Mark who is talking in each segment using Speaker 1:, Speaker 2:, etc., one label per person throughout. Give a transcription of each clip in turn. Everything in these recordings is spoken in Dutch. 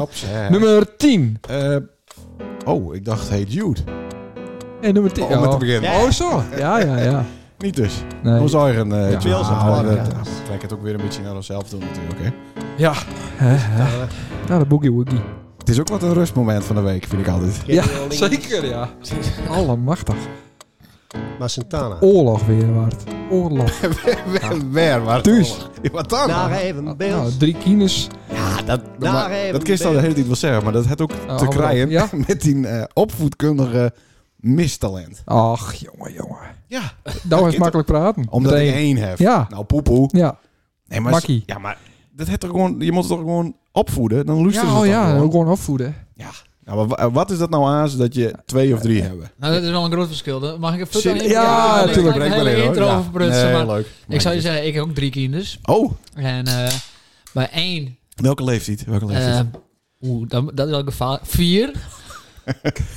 Speaker 1: Ops.
Speaker 2: Nummer 10.
Speaker 1: Eh, oh, ik dacht, hey Jude.
Speaker 2: En Eh, nummer 10.
Speaker 1: Om met te beginnen.
Speaker 2: Oh, zo. Ja, ja, ja.
Speaker 1: Niet dus.
Speaker 2: Nee.
Speaker 1: Ons eigen eh,
Speaker 2: Ja.
Speaker 1: Jude.
Speaker 2: Wilson.
Speaker 1: Ah,
Speaker 3: Ja.
Speaker 1: dat- ah, Gelijk het ook weer een beetje naar onszelf doen natuurlijk. Hè.
Speaker 2: Ja. Hè, hè.
Speaker 1: Eh,
Speaker 2: Nou, de boogie woogie.
Speaker 1: Het is ook wat een rustmoment van de week, vind ik altijd.
Speaker 2: Ja, zeker, ja. Allemachtig.
Speaker 3: Maar Santana.
Speaker 2: Oorlog weer, Waard. Oorlog.
Speaker 1: Waar, maar
Speaker 2: Thuis.
Speaker 1: Wat dan?
Speaker 3: Daar even
Speaker 2: Nou,
Speaker 3: beeld.
Speaker 2: drie kines.
Speaker 3: Ja, dat, daar
Speaker 1: Maar
Speaker 3: even
Speaker 1: dat kist al de
Speaker 3: beeld.
Speaker 1: hele tijd wel zeggen, maar dat had ook te
Speaker 2: Oh, allemaal,
Speaker 1: krijgen
Speaker 2: ja.
Speaker 1: met die eh, opvoedkundige mistalent.
Speaker 2: Ach, jongen, jongen.
Speaker 1: Ja,
Speaker 2: Nou is
Speaker 1: kind
Speaker 2: makkelijk praten.
Speaker 1: omdat
Speaker 2: Meteen.
Speaker 1: ik één heb.
Speaker 2: Ja.
Speaker 1: Nou, poepoe.
Speaker 2: Ja.
Speaker 1: Nee, maar,
Speaker 2: Makkie.
Speaker 1: Ja, maar dat het er gewoon, je moet het toch gewoon opvoeden? Dan luisteren
Speaker 2: Ja,
Speaker 1: ze
Speaker 2: oh
Speaker 1: toch
Speaker 2: ja.
Speaker 1: gewoon.
Speaker 2: Ook gewoon opvoeden.
Speaker 1: Nou, maar wa- wat is dat nou aan, zodat je twee of drie hebben?
Speaker 4: Nou, dat is wel een groot verschil. hè. Mag ik even...
Speaker 1: Zin-
Speaker 4: Ja,
Speaker 2: ja,
Speaker 4: ik
Speaker 2: tuurlijk,
Speaker 4: ga
Speaker 1: breek
Speaker 4: een hele
Speaker 1: in, hoor.
Speaker 4: intro
Speaker 1: Ja.
Speaker 4: over prutsen,
Speaker 1: Nee,
Speaker 4: maar
Speaker 1: leuk.
Speaker 4: Ik zou je zeggen, ik heb ook drie kinders.
Speaker 1: Oh,
Speaker 4: En eh, bij één...
Speaker 1: welke leeftijd? Welke leeftijd?
Speaker 4: eh, Oeh, dat, dat is wel gevaar. Vier.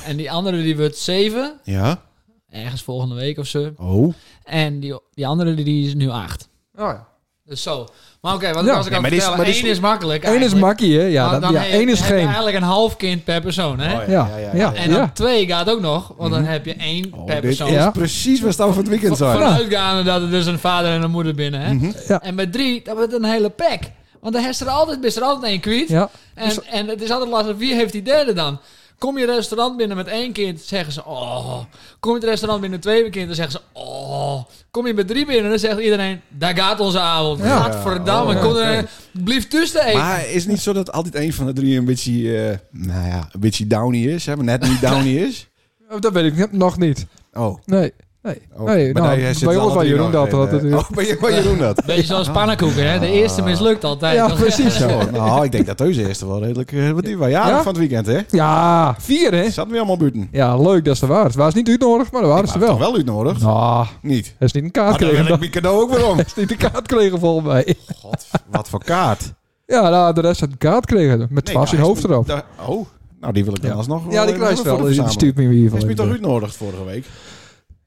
Speaker 4: en die andere die wordt zeven.
Speaker 1: ja.
Speaker 4: Ergens volgende week of zo.
Speaker 1: Oh.
Speaker 4: En die, die andere die- die is nu acht.
Speaker 2: Oh, ja.
Speaker 4: Dus zo. Maar oké, wat
Speaker 2: Ja.
Speaker 1: Nee,
Speaker 4: was ik aan
Speaker 1: maar
Speaker 4: het
Speaker 1: dit is-
Speaker 4: vertellen?
Speaker 1: maar dit is-
Speaker 4: Eén is makkelijk.
Speaker 2: Eén is
Speaker 4: eigenlijk.
Speaker 2: makkie, hè. Ja,
Speaker 1: Nou,
Speaker 2: dat,
Speaker 4: Maar dan
Speaker 2: ja
Speaker 4: heb-
Speaker 2: één is
Speaker 4: heb je
Speaker 2: geen.
Speaker 4: eigenlijk een half kind per persoon, hè?
Speaker 1: Oh,
Speaker 2: Ja, ja, Mhm.
Speaker 4: En dan twee gaat ook nog, want dan heb je één
Speaker 1: Oh,
Speaker 4: per
Speaker 1: dit
Speaker 4: persoon.
Speaker 1: is
Speaker 2: Ja.
Speaker 1: precies waar Stan van het weekend
Speaker 4: Vo-
Speaker 1: zijn.
Speaker 4: Vooruitgaande dat er dus een vader en een moeder binnen, hè?
Speaker 1: Mhm.
Speaker 2: Ja.
Speaker 4: En bij drie, dat wordt een hele pack. Want dan is er altijd, is er altijd één kwiet.
Speaker 2: Ja. Dus-
Speaker 4: En, en het is altijd lastig, wie heeft die derde dan? Kom je restaurant binnen met één kind, zeggen ze oh. Kom je het restaurant binnen met twee kind, dan zeggen ze oh. Kom je met drie binnen, dan zegt iedereen, daar gaat onze avond.
Speaker 2: Ja.
Speaker 4: Gadverdamme,
Speaker 1: Ja,
Speaker 4: kom
Speaker 1: oké.
Speaker 4: er een- blieft tussen eten.
Speaker 1: Maar is het niet zo dat altijd een van de drie een beetje, eh, nou ja, een beetje downy is, hè, maar net niet downy is?
Speaker 2: Oh, Dat weet ik nog niet.
Speaker 1: Oh.
Speaker 2: Nee. Nee.
Speaker 1: oh.
Speaker 2: nee
Speaker 1: Maar
Speaker 2: nou,
Speaker 1: hij zit
Speaker 2: bij
Speaker 1: er
Speaker 2: ons bij
Speaker 1: alle drie
Speaker 2: Jeroen
Speaker 1: nog
Speaker 2: dat. dat
Speaker 1: in,
Speaker 2: het-
Speaker 1: eh. Oh, bij, bij Jeroen dat?
Speaker 4: Beetje zoals pannenkoeken, hè? De eerste mislukt altijd.
Speaker 2: Ja,
Speaker 4: Dan-
Speaker 2: precies.
Speaker 1: Zo, nou, ik denk dat deze eerste wel redelijk... eh, wat die waren jaren
Speaker 2: Ja?
Speaker 1: van het weekend, hè?
Speaker 2: Ja, vier, hè.
Speaker 1: Zaten we allemaal buiten?
Speaker 2: Ja, leuk, dat is de waar. Het was niet uitnodigd, maar dat waren ze
Speaker 1: Maar toch
Speaker 2: wel.
Speaker 1: wel uitnodigd?
Speaker 2: Nou,
Speaker 1: Niet.
Speaker 2: hij is niet een kaart
Speaker 1: Maar dan
Speaker 2: gekregen.
Speaker 1: wil ik
Speaker 2: Hij
Speaker 1: mijn cadeau ook weer om.
Speaker 2: is niet een kaart gekregen, volgens mij.
Speaker 1: God, wat voor kaart.
Speaker 2: Ja, nou, de rest had een kaart gekregen. Met
Speaker 1: Nee,
Speaker 2: twaalf
Speaker 1: nou,
Speaker 2: in
Speaker 1: is-
Speaker 2: hoofd erop.
Speaker 1: daar- Oh, nou die wil ik dan
Speaker 2: Ja.
Speaker 1: alsnog
Speaker 2: Ja, die
Speaker 1: even
Speaker 2: kruis
Speaker 1: voor
Speaker 2: wel.
Speaker 1: de
Speaker 2: Dus die
Speaker 1: verzameling.
Speaker 2: stuurt me in ieder
Speaker 1: Is
Speaker 2: geval.
Speaker 1: me toch
Speaker 2: even.
Speaker 1: uitnodigd vorige week?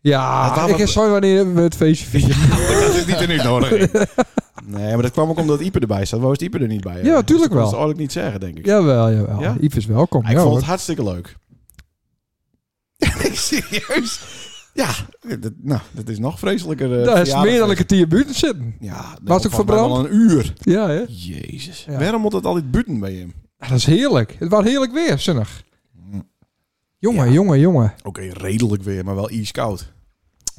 Speaker 1: Dat
Speaker 2: Ja,
Speaker 1: waren
Speaker 2: ik
Speaker 1: we-
Speaker 2: heb zo wanneer we het feestje vieren.
Speaker 1: dat is niet een uitnodiging. Nee, maar dat kwam ook omdat Ipe erbij zat. Waar was Ipe er niet bij? hè?
Speaker 2: Ja,
Speaker 1: Dus
Speaker 2: tuurlijk
Speaker 1: Dat kon
Speaker 2: wel.
Speaker 1: ze eigenlijk niet zeggen, denk ik.
Speaker 2: Jawel, jawel.
Speaker 1: Ja?
Speaker 2: Yves is welkom.
Speaker 1: ik
Speaker 2: ja,
Speaker 1: vond
Speaker 2: hoor.
Speaker 1: het hartstikke leuk. Serieus? Ja, dat, nou, dat is nog vreselijker. eh,
Speaker 2: Daar is
Speaker 1: verjaardag.
Speaker 2: meer dan een kwartier buiten zitten.
Speaker 1: Ja, dat
Speaker 2: Was ook
Speaker 1: volgens mij wel
Speaker 2: verbrand?
Speaker 1: een uur.
Speaker 2: Ja, hè?
Speaker 1: Jezus.
Speaker 2: Ja.
Speaker 1: Waarom moet het altijd buiten bij hem?
Speaker 2: Ja, Dat is heerlijk. Het was heerlijk weer, zonnig.
Speaker 1: Hm.
Speaker 2: Jongen,
Speaker 1: Ja.
Speaker 2: jongen, jongen.
Speaker 1: Oké, redelijk weer, maar wel ijskoud.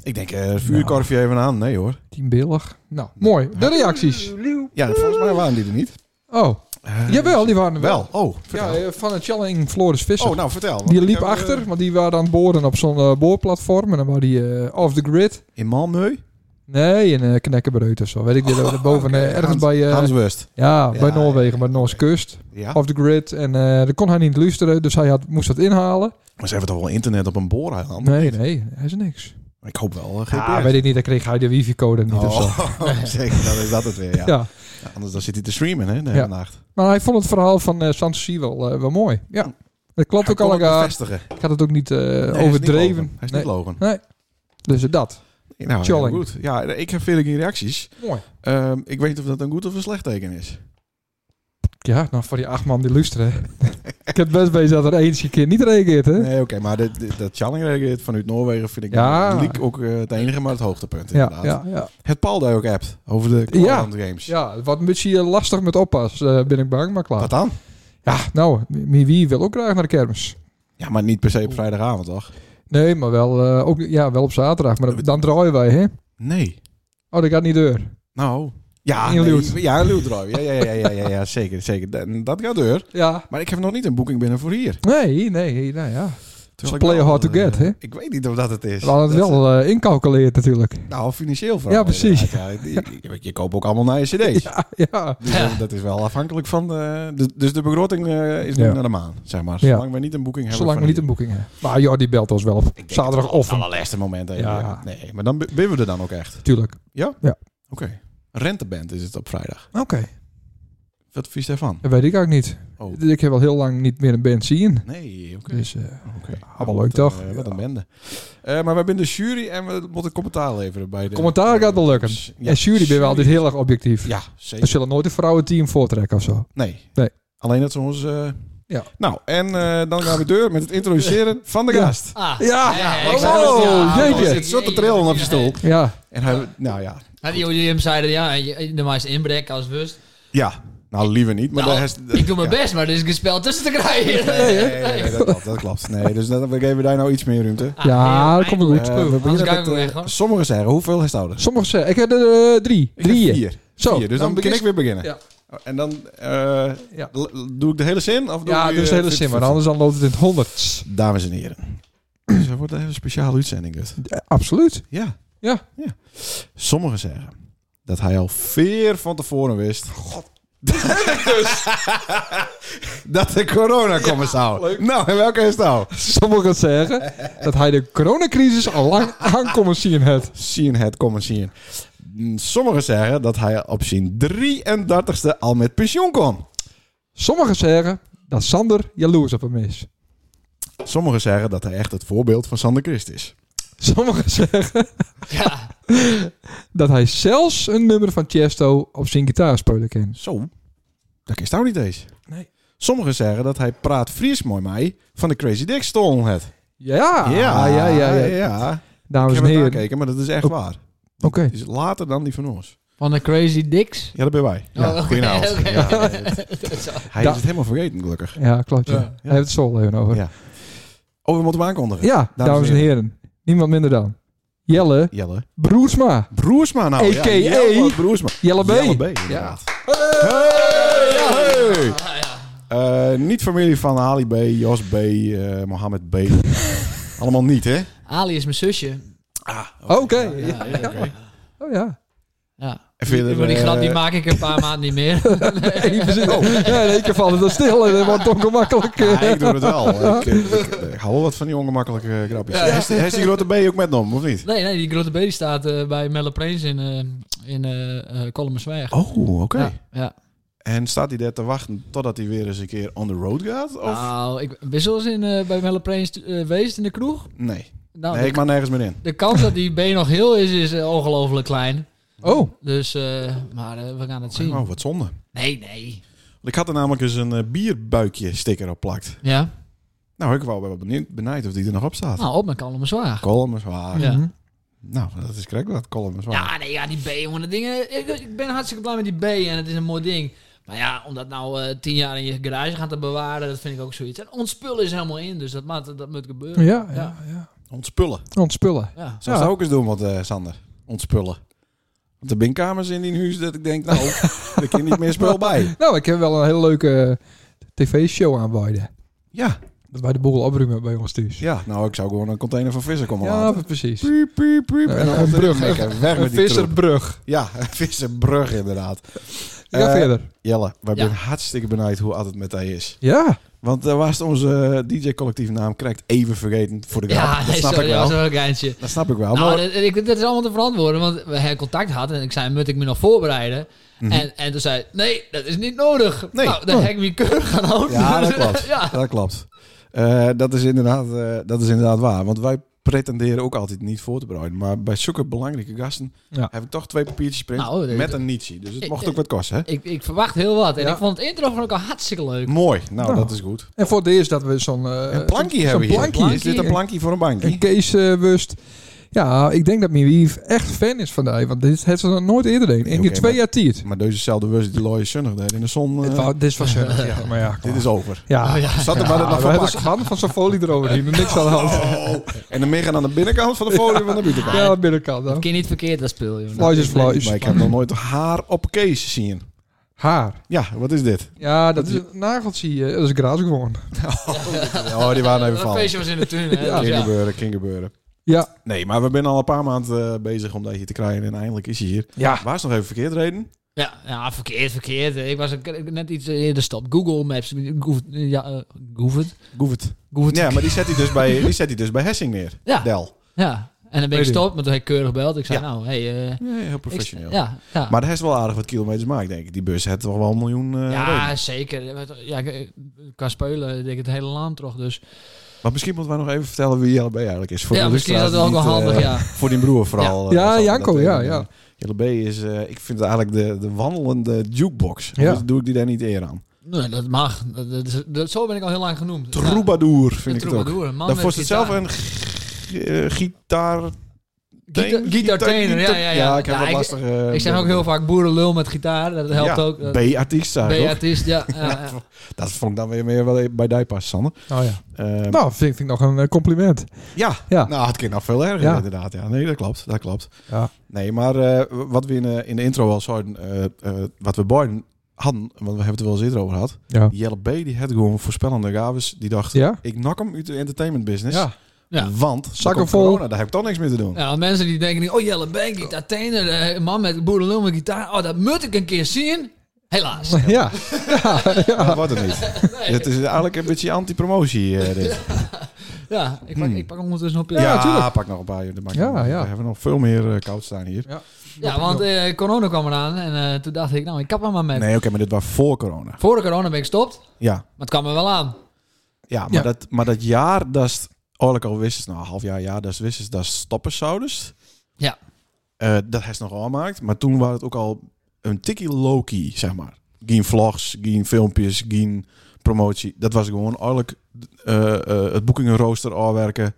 Speaker 1: Ik denk, eh vuurkorfje even aan. Nee hoor.
Speaker 2: Teambillig. Nou, mooi. De reacties.
Speaker 1: Ja, volgens mij waren die er niet.
Speaker 2: Oh,
Speaker 1: Eh,
Speaker 2: jawel, die waren er wel.
Speaker 1: Wel. Oh,
Speaker 2: Ja,
Speaker 1: vertel.
Speaker 2: eh, van het Challing Floris Visser.
Speaker 1: oh, nou vertel. want
Speaker 2: Die
Speaker 1: ik
Speaker 2: liep
Speaker 1: heb, eh,
Speaker 2: achter, want die waren aan het boren op zo'n eh, boorplatform. En dan waren die eh, off the grid.
Speaker 1: in Malmö?
Speaker 2: Nee, in eh Knekkenbreut of zo. Weet ik niet. daar boven, eh, ergens
Speaker 1: Ah, Hans-
Speaker 2: bij, eh,
Speaker 1: Hans Wust. Oh.
Speaker 2: ja,
Speaker 1: Ja,
Speaker 2: bij Noorwegen,
Speaker 1: ja,
Speaker 2: bij de Noorse
Speaker 1: oké.
Speaker 2: kust.
Speaker 1: Ja.
Speaker 2: Off the grid. En eh daar kon hij niet luisteren, dus hij had, moest dat inhalen.
Speaker 1: Maar ze hebben toch wel internet op een booreiland?
Speaker 2: Nee, nee, hij is niks.
Speaker 1: Ik hoop wel. eh,
Speaker 2: Ja,
Speaker 1: GPS.
Speaker 2: weet ik niet. Dan kreeg hij de wifi-code niet of zo.
Speaker 1: Oh, zeker, dan is dat het weer. Ja.
Speaker 2: Ja.
Speaker 1: Ja, Anders dan zit hij te streamen hè, de hele
Speaker 2: Ja.
Speaker 1: nacht.
Speaker 2: Maar hij vond het verhaal van eh Sanssouci wel, eh, wel mooi. Ja, dat klopt
Speaker 1: Hij
Speaker 2: ook
Speaker 1: kon het
Speaker 2: al.
Speaker 1: bevestigen.
Speaker 2: Ik had het ook niet eh,
Speaker 1: Nee, hij is niet
Speaker 2: overdreven.
Speaker 1: logen. Hij is
Speaker 2: Nee.
Speaker 1: niet logen.
Speaker 2: Dus eh, dat.
Speaker 1: Nou, heel
Speaker 2: Challenge.
Speaker 1: goed. Ja, ik heb veel geen reacties.
Speaker 2: Mooi.
Speaker 1: Ehm, ik weet niet of dat een goed of een slecht teken is.
Speaker 2: Ja, nou voor die acht man die luisteren. ik heb best bezig dat er eentje keer niet reageert, hè?
Speaker 1: Nee, oké, maar de, de, dat challenge vanuit Noorwegen vind ik
Speaker 2: Ja.
Speaker 1: de leak ook eh, het enige, maar het hoogtepunt
Speaker 2: ja,
Speaker 1: inderdaad.
Speaker 2: ja, ja.
Speaker 1: Het Paul daar ook appt over de Cloudland Games.
Speaker 2: ja, wat een beetje eh, lastig met oppas, eh, ben ik bang, maar klaar.
Speaker 1: Wat dan?
Speaker 2: Ja, nou, wie wie wil ook graag naar de kermis?
Speaker 1: Ja, maar niet per se op vrijdagavond, toch?
Speaker 2: Nee, maar wel, eh, ook, ja, wel op zaterdag. Maar dan draaien wij, hè?
Speaker 1: Nee.
Speaker 2: Oh, dat gaat niet deur.
Speaker 1: Nou. Ja,
Speaker 2: In
Speaker 1: nee,
Speaker 2: Leeuwarden.
Speaker 1: ja, in Leeuwarden. Ja, ja, ja, ja, ja, ja, zeker, zeker. Dat, dat gaat deur.
Speaker 2: Ja.
Speaker 1: Maar ik heb nog niet een boeking binnen voor hier.
Speaker 2: Nee, nee, nou ja.
Speaker 1: Terwijl ik
Speaker 2: play
Speaker 1: wel,
Speaker 2: hard to
Speaker 1: eh,
Speaker 2: get, hè?
Speaker 1: Ik weet niet of dat het is.
Speaker 2: We hadden het
Speaker 1: Dus Dat-
Speaker 2: wel eh incalculeerd natuurlijk.
Speaker 1: Nou, financieel vooral.
Speaker 2: Ja, precies.
Speaker 1: inderdaad. Ja, je, je- je koopt ook allemaal naar je cd's.
Speaker 2: Ja, ja.
Speaker 1: Dus, eh, Dat is wel afhankelijk van... eh, de, dus de begroting eh, is nu
Speaker 2: Ja.
Speaker 1: naar de maan, zeg maar.
Speaker 2: Ja.
Speaker 1: Zolang we niet een boeking hebben
Speaker 2: Zolang
Speaker 1: van
Speaker 2: we niet een
Speaker 1: hier.
Speaker 2: boeking hebben. Maar ja, die belt ons wel op
Speaker 1: Ik denk
Speaker 2: zaterdag
Speaker 1: het wel
Speaker 2: of
Speaker 1: Op het
Speaker 2: een...
Speaker 1: allerlaatste moment. even.
Speaker 2: Ja.
Speaker 1: Nee, maar dan winnen we er dan ook echt.
Speaker 2: Tuurlijk.
Speaker 1: Oké. Renteband is het op vrijdag.
Speaker 2: Oké.
Speaker 1: Wat vies daarvan?
Speaker 2: Dat weet ik ook niet.
Speaker 1: Oh.
Speaker 2: Ik heb al heel lang niet meer een band zien.
Speaker 1: Nee, oké.
Speaker 2: Dus eh,
Speaker 1: Oké.
Speaker 2: allemaal
Speaker 1: Wat
Speaker 2: leuk,
Speaker 1: een,
Speaker 2: toch?
Speaker 1: eh, wat een
Speaker 2: Ja.
Speaker 1: bende. Eh, maar wij zijn de jury en we moeten commentaar leveren bij de...
Speaker 2: Commentaar gaat wel lukken.
Speaker 1: Ja,
Speaker 2: en jury ben je wel altijd heel erg objectief.
Speaker 1: Ja,
Speaker 2: We
Speaker 1: zeker.
Speaker 2: zullen nooit een vrouwenteam voortrekken of zo.
Speaker 1: Nee.
Speaker 2: Nee.
Speaker 1: Alleen dat ze ons... eh,
Speaker 2: Ja.
Speaker 1: Nou, en eh, dan gaan we door met het introduceren van de
Speaker 2: Ja.
Speaker 1: gast.
Speaker 4: Ah.
Speaker 2: Ja.
Speaker 4: Nee,
Speaker 1: Oh,
Speaker 4: ik zei dat-
Speaker 2: jeetje.
Speaker 1: Er zit zo te trillen op je stoel.
Speaker 2: Ja.
Speaker 1: En hij, nou ja,
Speaker 4: Ja, die OJM zeiden, ja, je- de meeste inbrek als wust.
Speaker 1: ja. Nou, liever niet. Maar
Speaker 4: Nou,
Speaker 1: daar is-
Speaker 4: ik doe mijn
Speaker 1: ja.
Speaker 4: best, maar er is een spel tussen te krijgen.
Speaker 1: Nee, nee, nee, nee, dat klopt. Dat klopt. Nee, dus dan we geven daar nou iets meer ruimte.
Speaker 4: Ah,
Speaker 2: Ja,
Speaker 4: heel
Speaker 2: dat komt wel
Speaker 4: eind.
Speaker 2: goed.
Speaker 1: Eh, we beginnen
Speaker 4: anders gaan
Speaker 1: met,
Speaker 4: we
Speaker 1: eh,
Speaker 4: weg, hoor.
Speaker 1: sommigen zeggen, hoeveel is het ouder?
Speaker 2: Sommigen zeggen, ik heb er eh, drie.
Speaker 1: Ik heb
Speaker 2: Drieën.
Speaker 1: vier.
Speaker 2: Zo,
Speaker 1: Vier, dus dan, begin ik weer beginnen.
Speaker 2: Oh,
Speaker 1: Oh,
Speaker 2: Ja.
Speaker 1: En dan eh,
Speaker 2: Ja.
Speaker 1: l- doe ik de hele zin? Of doe
Speaker 2: Ja,
Speaker 1: ik,
Speaker 2: dus
Speaker 1: eh,
Speaker 2: hele
Speaker 1: fifty-
Speaker 2: zin, maar
Speaker 1: fifty?
Speaker 2: anders dan loopt het in het honderd.
Speaker 1: Dames en heren. Dus er wordt even een speciale uitzending. dit.
Speaker 2: Absoluut.
Speaker 1: Ja.
Speaker 2: Ja.
Speaker 1: ja. Sommigen zeggen dat hij al veer van tevoren wist. God.
Speaker 2: dus.
Speaker 1: dat de corona komen zou. nou, en welke is het nou?
Speaker 2: Sommigen zeggen dat hij de coronacrisis al lang aankomen zien het.
Speaker 1: Zien het komen zien. Sommigen zeggen dat hij op zijn 33ste al met pensioen kon.
Speaker 2: Sommigen zeggen dat Sander jaloers op hem is.
Speaker 1: Sommigen zeggen dat hij echt het voorbeeld van Sander Christ is.
Speaker 2: Sommigen zeggen
Speaker 4: Ja,
Speaker 2: dat hij zelfs een nummer van Chesto op zijn gitaar spelen kan.
Speaker 1: Zo, dat is nou niet eens.
Speaker 2: Nee.
Speaker 1: Sommigen zeggen dat hij praat Fries mooi mij van de Crazy Dick stolen het.
Speaker 2: Ja, Ah, ja, ja, ja.
Speaker 1: Ik
Speaker 2: Dames
Speaker 1: heb
Speaker 2: en
Speaker 1: het
Speaker 2: heren. Oké.
Speaker 1: nakeken, maar dat is echt
Speaker 2: Oh.
Speaker 1: waar. Het is later dan die van ons.
Speaker 4: van de Crazy Dicks.
Speaker 1: Ja, dat ben wij. Ja,
Speaker 4: oké,
Speaker 1: goedenavond.
Speaker 4: Oh, oké.
Speaker 1: Ja, hij
Speaker 2: Da-
Speaker 1: is het helemaal vergeten, gelukkig.
Speaker 2: Ja, klopt. Ja.
Speaker 1: Ja,
Speaker 2: Hij
Speaker 1: ja.
Speaker 2: heeft het zo even over.
Speaker 1: Ja.
Speaker 2: Ja,
Speaker 1: Oh, we moeten hem aankondigen.
Speaker 2: dames, en heren. Niemand minder dan. Jelle
Speaker 1: Jelle.
Speaker 2: Broersma.
Speaker 1: Broersma nou. ja.
Speaker 2: A.k.a.
Speaker 1: Jelle Broersma.
Speaker 2: Jelle B.
Speaker 1: Jelle B, inderdaad. Hey, ja, hey.
Speaker 4: Ah, ja.
Speaker 1: Eh, niet familie van Ali B, Jos B, eh, Mohammed B. Allemaal niet, hè?
Speaker 4: Ali is mijn zusje.
Speaker 2: Oké.
Speaker 4: Ja, ja, ja.
Speaker 2: Oh ja.
Speaker 4: Ja.
Speaker 1: En verder,
Speaker 4: Maar die
Speaker 1: eh,
Speaker 4: grap die maak ik een paar maanden niet meer.
Speaker 2: Even zitten. Ja, in één keer vallen dat stil en dat wordt ongemakkelijk.
Speaker 1: Oh.
Speaker 2: eh.
Speaker 1: Ja, ik doe het wel. ik, ik, ik- eh, ik hou wel wat van die ongemakkelijke grapjes. Ja. Heeft heeft die grote B ook met nom, of niet?
Speaker 4: Nee, nee, die grote baby staat eh, bij Melle Preens in, eh in eh eh Kolmersweg.
Speaker 1: Oh, oké.
Speaker 4: Ja, ja.
Speaker 1: En staat hij daar te wachten totdat hij weer eens een keer on the road gaat? Of?
Speaker 4: Nou, ik ben zoals in, eh, bij Melle Preens eh, geweest in de kroeg.
Speaker 1: nee.
Speaker 4: Nou,
Speaker 1: nee,
Speaker 4: de,
Speaker 1: ik mag nergens meer in.
Speaker 4: de kans dat die been nog heel is, is eh, ongelooflijk klein.
Speaker 2: Oh,
Speaker 4: Dus, eh, maar eh, we gaan het zien.
Speaker 1: Oh, wat zonde. Want
Speaker 4: Nee, nee.
Speaker 1: ik had er namelijk eens een eh, bierbuikje sticker op plakt.
Speaker 4: Ja,
Speaker 1: Nou, ik wou wel benieuwd, benijd of die er nog op staat.
Speaker 4: nou, op met Kolmersweg.
Speaker 1: Column is waar.
Speaker 4: Ja.
Speaker 2: Mhm.
Speaker 1: Nou, dat is correct wat. Column is waar.
Speaker 4: Ja, nee, ja, die B, jongen, dat ding, eh, ik, ik ben hartstikke blij met die B en het is een mooi ding. Maar ja, om dat nou eh, tien jaar in je garage gaan te bewaren, dat vind ik ook zoiets. En ons spul is helemaal in, dus dat, maakt, dat moet gebeuren.
Speaker 2: ja, ja, ja.
Speaker 1: Ontspullen.
Speaker 2: Ontspullen.
Speaker 4: Ja.
Speaker 1: Zou
Speaker 2: Ja.
Speaker 1: ze ook eens doen, wat, eh, Sander? Ontspullen. Want er zijn kamers in die huis dat ik denk, nou, er kan niet meer spul bij.
Speaker 2: Nou, ik heb wel een hele leuke eh, tv-show aanbieden.
Speaker 1: Ja,
Speaker 2: Dat wij de boel opruimen bij ons thuis.
Speaker 1: Ja, nou, ik zou gewoon een container van vissen komen
Speaker 2: Ja,
Speaker 1: laten.
Speaker 2: precies.
Speaker 1: Piep, piep, piep.
Speaker 2: Een
Speaker 1: En dan
Speaker 2: brug.
Speaker 1: brug. Weg
Speaker 2: Een
Speaker 1: met die troep.
Speaker 2: visserbrug.
Speaker 1: Ja, een vissenbrug inderdaad.
Speaker 2: Ga
Speaker 1: Eh,
Speaker 2: verder.
Speaker 1: Jelle, wij
Speaker 4: Ja.
Speaker 1: zijn hartstikke benieuwd hoe altijd met hij is.
Speaker 2: Ja.
Speaker 1: Want daar was onze DJ-collectief naam correct even vergeten voor de grap.
Speaker 4: Ja,
Speaker 1: dat
Speaker 4: nee,
Speaker 1: snap
Speaker 4: sorry,
Speaker 1: ik
Speaker 4: dat
Speaker 1: wel.
Speaker 4: was wel een geintje.
Speaker 1: Dat snap ik wel.
Speaker 4: Nou,
Speaker 1: maar
Speaker 4: dit, ik, dit is allemaal te verantwoorden, want we hebben contact gehad en ik zei, moet ik me nog voorbereiden? en, en toen zei hij, nee, dat is niet nodig.
Speaker 1: Mhm. Nee.
Speaker 4: Nou, dan
Speaker 1: Oh.
Speaker 4: heb ik me keurig gaan houden.
Speaker 1: Ja, dat klopt.
Speaker 4: ja.
Speaker 1: Dat klopt. Eh, dat, is inderdaad, eh, dat is inderdaad waar. Want wij pretenderen ook altijd niet voor te bereiden. Maar bij zulke belangrijke gasten
Speaker 2: Ja.
Speaker 1: heb ik toch twee papiertjes print
Speaker 4: Nou, dit-
Speaker 1: met een nietje. Dus het
Speaker 4: Ik-
Speaker 1: mocht ook wat kosten, hè?
Speaker 4: Ik, ik verwacht heel wat. En
Speaker 2: Ja.
Speaker 4: ik vond het intro van ook al hartstikke leuk.
Speaker 1: Mooi. Nou,
Speaker 2: Nou.
Speaker 1: dat is goed.
Speaker 2: En voor het eerst dat we zo'n... eh,
Speaker 1: Een plankie
Speaker 2: zo'n
Speaker 1: hebben we hier.
Speaker 2: plankie.
Speaker 1: Is dit een plankie voor een
Speaker 2: En
Speaker 1: bankje?
Speaker 2: Kees eh, Wust. Ja, ik denk dat mijn wief echt fan is van die. Want dit heeft ze nog nooit eerder deed. In
Speaker 1: Oké,
Speaker 2: die twee
Speaker 1: maar- Eh,
Speaker 2: jaar tiert.
Speaker 1: Maar dezezelfde was die looie zonnig deed in de zon. eh,
Speaker 2: Het wou- Dit is van Sunny. Ja, maar ja.
Speaker 1: dit is over.
Speaker 2: Ja.
Speaker 4: Oh, ja.
Speaker 1: Zat er maar
Speaker 2: Ja,
Speaker 1: het nog
Speaker 2: we
Speaker 1: van
Speaker 2: hebben
Speaker 1: pakken.
Speaker 2: schade van zo'n folie eroverheen. Er niks aan de hand.
Speaker 1: En dan meegaan aan de binnenkant van de folie van de buitenkant.
Speaker 2: Ja, aan de binnenkant. dan.
Speaker 4: Ik ken niet verkeerd dat speel, joh.
Speaker 2: Flies is
Speaker 1: Maar
Speaker 2: flies.
Speaker 1: ik heb nog nooit haar op Kees zien.
Speaker 2: Haar.
Speaker 1: Ja, wat is dit?
Speaker 2: Ja, dat is een nageltje. eh, Dat is graas gewoon.
Speaker 1: Oh, die waren even
Speaker 4: Dat
Speaker 1: van.
Speaker 4: feestje was in de tuin, hè.
Speaker 2: Ja.
Speaker 4: dus
Speaker 1: King
Speaker 4: ja.
Speaker 1: gebeuren, king gebeuren.
Speaker 2: Ja.
Speaker 1: Nee, maar we zijn al een paar maanden eh, bezig om dat hier te krijgen. En eindelijk is hij hier.
Speaker 2: Ja.
Speaker 1: Waar is nog even verkeerd reden?
Speaker 4: Ja, ja, verkeerd, verkeerd. Ik was ook net iets eerder stop. Google Maps. Goof- Ja, eh, Goofed.
Speaker 1: Goevert.
Speaker 4: Goofed.
Speaker 1: Ja, maar die zet hij dus bij, die zet hij dus bij Hessing neer.
Speaker 4: Ja.
Speaker 1: Del.
Speaker 4: Ja. En dan ben ik
Speaker 2: Weet ik.
Speaker 4: gestopt, maar toen heb ik keurig gebeld. Ik zei,
Speaker 1: Ja.
Speaker 4: nou, hey, eh, ik-
Speaker 1: Ja, heel professioneel.
Speaker 4: ja, ja.
Speaker 1: Maar hij is wel aardig wat kilometers maakt, denk ik. Die bus heeft toch wel een miljoen eh,
Speaker 4: Ja,
Speaker 1: reden.
Speaker 4: zeker. Ja, ik- qua spelen denk ik het hele land toch. Dus
Speaker 1: Maar misschien moeten wij nog even vertellen wie Jelle B eigenlijk is. Voor
Speaker 4: ja,
Speaker 1: de
Speaker 4: misschien is dat wel
Speaker 1: luisteraars
Speaker 4: wel
Speaker 1: die het,
Speaker 4: handig,
Speaker 1: eh,
Speaker 4: ja.
Speaker 1: Voor die broer vooral. eh,
Speaker 2: Ja,
Speaker 1: zal ik
Speaker 2: Janko,
Speaker 1: dat
Speaker 2: ja,
Speaker 1: even
Speaker 2: ja.
Speaker 1: doen. eh, Jelle B is, eh, ik vind het eigenlijk de, de wandelende jukebox.
Speaker 2: Ja.
Speaker 1: Anders doe ik die daar niet eer aan.
Speaker 4: Nee, dat mag. Dat, dat, dat- zo ben ik al heel lang genoemd.
Speaker 1: Troubadour
Speaker 4: Ja,
Speaker 1: vind
Speaker 4: de
Speaker 1: ik het ook.
Speaker 4: troubadour, een man
Speaker 1: Dan
Speaker 4: met
Speaker 1: was het zelf
Speaker 4: gitaar.
Speaker 1: een g- eh, gitaar...
Speaker 4: Gita- Gitaartener, ja, ja, ja.
Speaker 1: Ja, ik heb
Speaker 4: Ja,
Speaker 1: wat eh,
Speaker 4: ik-
Speaker 1: lastig...
Speaker 4: Ik zeg ook heel vaak boerenlul met gitaar. Dat helpt ook. Dat-
Speaker 1: B-artiesta. toch?
Speaker 4: B-artiest, ja. ja, ja.
Speaker 1: Dat vond ik dan weer meer wel even bij Dijpas, Sanne.
Speaker 2: Oh ja.
Speaker 1: Ehm,
Speaker 2: Nou, vind ik- vind ik nog een eh, compliment.
Speaker 1: Ja,
Speaker 2: Ja.
Speaker 1: nou, het kan nog veel erger
Speaker 2: Ja.
Speaker 1: inderdaad. Ja, nee, dat klopt, dat klopt.
Speaker 2: Ja.
Speaker 1: Nee, maar eh, wat we in, eh, in de intro al zouden, eh, eh, wat we beiden hadden, want we hebben het er wel eens eerder over gehad.
Speaker 2: Ja.
Speaker 1: Jelle B, die had gewoon voorspellende gaves. Die dacht,
Speaker 2: Ja?
Speaker 1: ik nak hem uit de entertainment business.
Speaker 2: Ja.
Speaker 4: Ja.
Speaker 1: Want,
Speaker 2: Zakken
Speaker 1: zakken
Speaker 2: vol.
Speaker 1: corona, daar heb ik toch niks meer te doen.
Speaker 4: Ja, Nou, want mensen die denken, niet, oh Jelle Bank, gitaartener, eh, man met boerenlul met gitaar. Oh, dat moet ik een keer zien. Helaas.
Speaker 2: Ja.
Speaker 1: Dat wordt het niet. Dus Het is eigenlijk een beetje anti-promotie, eh, dit.
Speaker 4: Ja, ik pak,
Speaker 1: Hmm.
Speaker 4: ik pak ondertussen op je.
Speaker 1: Ja,
Speaker 4: Ja,
Speaker 2: tuurlijk.
Speaker 1: pak nog een paar. dat maakt
Speaker 2: Ja,
Speaker 1: niet uit.
Speaker 2: ja.
Speaker 1: We hebben nog veel meer eh, koud staan hier.
Speaker 4: want eh, corona kwam eraan en eh, toen dacht ik, nou, ik kap er maar mee.
Speaker 1: Nee, oké, maar dit was voor corona.
Speaker 4: Voor de corona ben ik gestopt, maar
Speaker 1: Ja,
Speaker 4: het kwam er wel aan.
Speaker 1: Ja, maar,
Speaker 2: Ja.
Speaker 1: Dat, maar dat jaar dat is- eigenlijk al wist, nou, een half jaar, jaar dat wist, is dat stoppen zouden.
Speaker 4: Ja.
Speaker 1: Eh, dat hij is nog gemaakt, maar toen was het ook al een tikkie low-key, zeg maar. Geen vlogs, geen filmpjes, geen promotie. Dat was gewoon eigenlijk eh, eh, het boekingenrooster afwerken,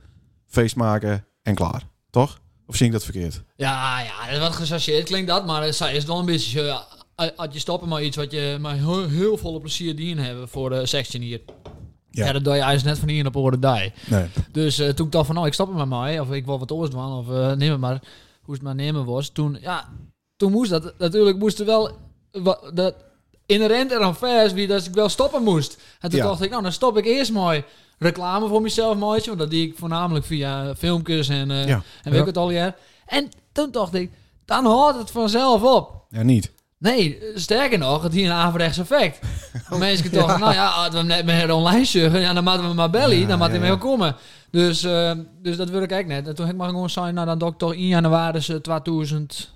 Speaker 1: feest maken en klaar. Toch? Of zie ik dat verkeerd?
Speaker 4: Ja, ja, wat gechargeerd klinkt dat, maar eh, zij is wel een beetje, eh, had- had je stoppen maar iets wat je maar heel, heel volle plezier die in hebben voor de section hier.
Speaker 1: Ja.
Speaker 4: Ja, dat doe je eigenlijk net van hier op orde die.
Speaker 1: Nee.
Speaker 4: Dus eh, toen ik dacht van, nou, ik stop er met mij. Of ik wil wat anders doen. Of eh, neem het maar. Hoe het maar nemen was. Toen, ja, toen moest dat. Natuurlijk moest er wel... wa- dat, inherent eraan vast wie dat ik wel stoppen moest. En toen
Speaker 1: Ja.
Speaker 4: dacht ik, nou, dan stop ik eerst mooi reclame voor mezelf mooitje. Want dat die ik voornamelijk via filmpjes en, eh,
Speaker 1: Ja.
Speaker 4: en weet
Speaker 2: Ja.
Speaker 4: ik het al jaar. En toen dacht ik, dan houdt het vanzelf op.
Speaker 1: Ja, niet.
Speaker 4: Nee, sterker nog, het hier een averechts effect. Mensen dachten, nou ja, hadden we hem net met een online juggen, ja, dan maakten we hem maar belly,
Speaker 1: Ja,
Speaker 4: dan maakten we
Speaker 1: ja, ja.
Speaker 4: hem wel komen. Dus, eh, dus dat wil ik eigenlijk net. En toen heb ik maar gewoon zijn, nou dan doe ik toch in januari eh, 2000...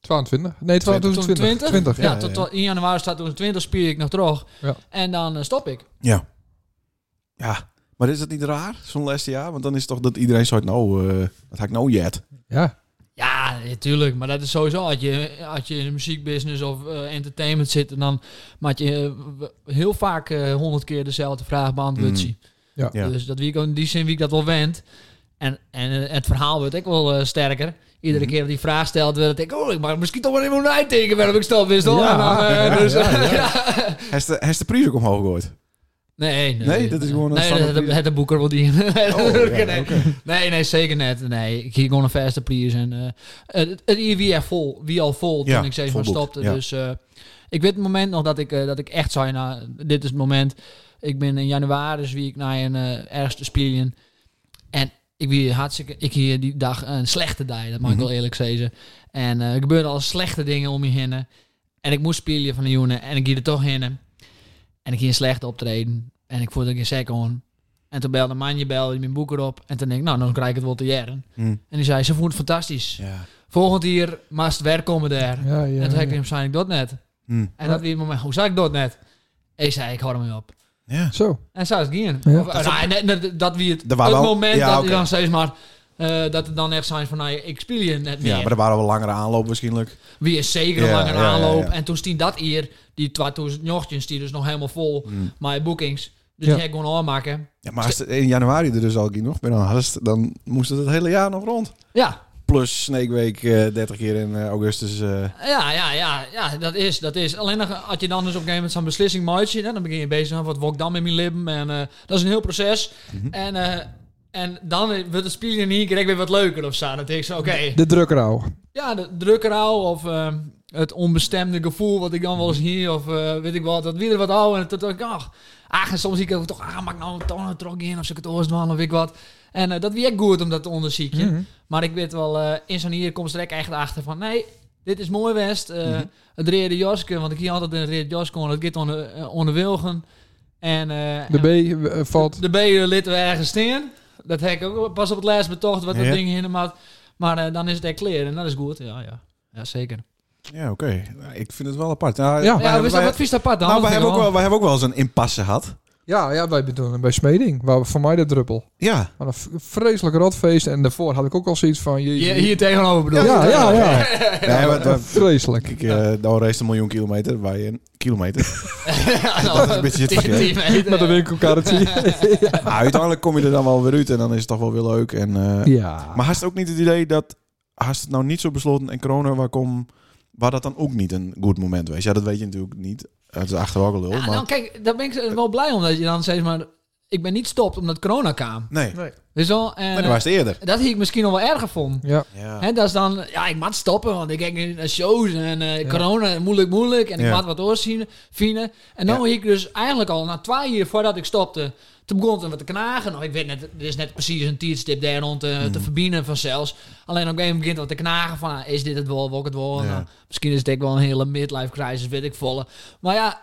Speaker 2: 22. Nee, 2020.
Speaker 4: 2020?
Speaker 2: 20,
Speaker 4: Ja,
Speaker 2: ja.
Speaker 1: ja,
Speaker 4: tot
Speaker 1: ja.
Speaker 4: tot in januari 2020 spier ik nog terug.
Speaker 2: Ja.
Speaker 4: En dan eh, stop ik.
Speaker 1: Ja. Ja. Maar is dat niet raar, zo'n laatste jaar? Want dan is het toch dat iedereen zoiets, nou, eh dat had ik nou jet.
Speaker 2: Ja.
Speaker 4: Ja, natuurlijk. Maar dat is sowieso, als je, als je in de muziekbusiness of eh, entertainment zit, en dan maak je eh, w- heel vaak eh, honderd keer dezelfde vraag beantwoord.
Speaker 1: Mm.
Speaker 4: zien.
Speaker 1: Ja.
Speaker 4: Dus dat wie ik in die zin wie ik dat wel wend. En, en eh, het verhaal wordt ook wel eh, sterker. Iedere
Speaker 1: Mhm.
Speaker 4: keer dat die vraag stelt, werd ik, oh, ik mag misschien toch wel even een uitteken waarom ik stop is, toch?
Speaker 2: Ja.
Speaker 4: En dan, eh,
Speaker 2: Ja,
Speaker 4: dus,
Speaker 2: ja, ja.
Speaker 1: Hij is de, hij is de prijs ook omhoog gegooid.
Speaker 4: Nee, nee,
Speaker 1: Nee, dat is gewoon een
Speaker 4: nee,
Speaker 1: standaard
Speaker 4: het,
Speaker 1: prijs.
Speaker 4: het, boeker wil die. Nee,
Speaker 1: Oh, ja,
Speaker 4: nee.
Speaker 1: oké.
Speaker 4: nee, nee, zeker net. Nee, ik ging gewoon een vaste prijs. En eh het, het IEW echt vol, wie al vol toen
Speaker 1: Ja,
Speaker 4: ik steeds
Speaker 1: vol
Speaker 4: maar
Speaker 1: boekt,
Speaker 4: stopte.
Speaker 1: ja.
Speaker 4: Dus eh, ik weet het moment nog dat ik, eh, dat ik echt zei, nou, dit is het moment. Ik ben in januari, dus wie ik naar een eh ergste spelen. En ik wie hartstikke, ik hier die dag een slechte dag, dat mag ik
Speaker 1: Mhm.
Speaker 4: wel eerlijk zeggen. En eh, er gebeurden al slechte dingen om je heen. En ik moest spelen van de jongen en ik ging er toch heen. En ik ging slecht optreden. En ik voelde ik in sek aan. En toen belde een man, je belde mijn boeker op. En toen denk ik, nou, dan krijg ik het wel te jaren.
Speaker 1: Hm.
Speaker 4: En die zei, ze vond het fantastisch.
Speaker 1: Ja.
Speaker 4: Volgend jaar maast werk komen daar.
Speaker 2: Ja, ja.
Speaker 4: en toen heb ik
Speaker 2: ja.
Speaker 4: hem zei ik dat net.
Speaker 1: Hm.
Speaker 4: En dat weer een moment, hoe zei ik dat net? Ik zei, ik hou hem op.
Speaker 1: Ja.
Speaker 2: Zo.
Speaker 4: En zo is het gaan.
Speaker 2: Ja.
Speaker 4: Of, nou, nee, nee, dat- dat wie het,
Speaker 1: Er waren
Speaker 4: het
Speaker 1: wel-
Speaker 4: moment
Speaker 1: ja,
Speaker 4: dat
Speaker 1: oké.
Speaker 4: je dan steeds maar... eh, dat het dan echt zijn van, nou, ik speel je net meer.
Speaker 1: Ja, maar er waren wel langere aanloop waarschijnlijk.
Speaker 4: Wie is zeker een
Speaker 1: Ja,
Speaker 4: lange
Speaker 1: ja, ja,
Speaker 4: aanloop.
Speaker 1: ja.
Speaker 4: En toen stien dat hier, die 2000 njochtjes, die dus nog helemaal vol,
Speaker 1: Hm.
Speaker 4: maar boekings. Dus
Speaker 2: Ja.
Speaker 4: die heb ik gewoon aanmaken.
Speaker 1: Ja, maar als het in januari er dus al ging nog, ben dan, hadst, dan moest het het hele jaar nog rond.
Speaker 4: Ja,
Speaker 1: Plus Snake Week eh, 30 keer in eh, augustus. eh,
Speaker 4: Ja, ja, ja, ja, dat is, dat is. Alleen dan, als je dan dus op een gegeven moment zo'n beslissing maakt, hè, dan begin je bezig met wat wok dan met mijn lippen. En eh, dat is een heel proces.
Speaker 1: Mhm.
Speaker 4: En, eh, en dan eh, wordt het spelen in één keer weer wat leuker of zo. Dan denk ik zo, oké,
Speaker 2: De drukrouw.
Speaker 4: ja, de drukkerau of eh, het onbestemde gevoel wat ik dan wel eens hier of eh, weet ik wat, dat weer wat ouder. En toen dacht ik, ach, ach, en soms zie ik ook toch, ah, maak nou een toon een trok in of zo, ik het oorst doen of weet ik wat. En eh, dat wie ik goed om dat te onderzoeken.
Speaker 2: Mhm.
Speaker 4: Maar ik weet wel, eh, in zo'n hier komt ze direct echt achter van... Nee, dit is mooi West. eh,
Speaker 2: Mhm.
Speaker 4: Het reden Joske, want ik hier altijd in het reden Joske. want Het gaat onder, eh, onder Wilgen. En, eh,
Speaker 2: De
Speaker 4: en
Speaker 2: B eh, valt.
Speaker 4: de B litten we ergens in. Dat heb ik ook pas op het laatst betocht wat dat
Speaker 1: Ja.
Speaker 4: ding in Maar, maar eh, dan is het echt clear en dat is goed. Ja, ja. ja zeker.
Speaker 1: ja, oké. Nou, ik vind het wel apart. Nou,
Speaker 2: Ja.
Speaker 1: wij
Speaker 4: ja, we
Speaker 1: hebben,
Speaker 4: zijn
Speaker 1: Oh, wij,
Speaker 4: wat vies apart dan.
Speaker 1: nou, wij
Speaker 4: dat
Speaker 1: hebben ook
Speaker 4: vind ik
Speaker 1: wel, wij hebben ook wel eens een impasse gehad.
Speaker 2: Ja, ja wij bedoelen bij Smeding. Waar we voor mij de druppel.
Speaker 1: Ja.
Speaker 2: Wat een v- vreselijk rotfeest. En daarvoor had ik ook al zoiets van... Je,
Speaker 4: Hier, hier tegenover bedoel
Speaker 2: Ja,
Speaker 4: ik.
Speaker 2: ja, ja.
Speaker 1: Nee, maar, maar,
Speaker 2: Vreselijk.
Speaker 1: kijk, eh, nou race een miljoen kilometer. Wij een kilometer.
Speaker 4: dat
Speaker 1: is een beetje het
Speaker 2: Met een winkelkarretje.
Speaker 1: Maar uiteindelijk kom je er dan wel weer uit en dan is het toch wel weer leuk. En, eh,
Speaker 2: ja.
Speaker 1: Maar haast ook niet het idee dat... Haast het nou niet zo besloten en corona waar kom... Waar dat dan ook niet een goed moment was. Ja, dat weet je natuurlijk niet. Het is achteraf wel lul,
Speaker 4: Ja,
Speaker 1: maar...
Speaker 4: nou, kijk, daar ben ik wel blij om dat je dan steeds maar... Ik ben niet stopt omdat corona kwam.
Speaker 1: Nee,
Speaker 2: Nee.
Speaker 4: Dus wel, en,
Speaker 1: nee, dat was het eerder.
Speaker 4: eh, dat heb ik misschien nog wel erger vond.
Speaker 2: Ja.
Speaker 1: Ja.
Speaker 4: Hè, dat is dan, ja, ik moet stoppen, want ik kijk nu naar shows en eh,
Speaker 2: Ja.
Speaker 4: corona, moeilijk, moeilijk. En ik
Speaker 1: Ja.
Speaker 4: moet wat doorzien, vinden. En dan heb ik dus eigenlijk al na twee jaar voordat ik stopte, toen begon het wat te knagen. Nou, ik weet net, er is net precies een tijdstip daar rond eh,
Speaker 1: Hmm.
Speaker 4: te verbinden van zelfs. Alleen op een gegeven moment begint het wat te knagen van, ah, is dit het wel, wil ik het wel?
Speaker 1: Ja.
Speaker 4: Nou, misschien is het ook wel een hele midlife crisis, weet ik volle. Maar ja,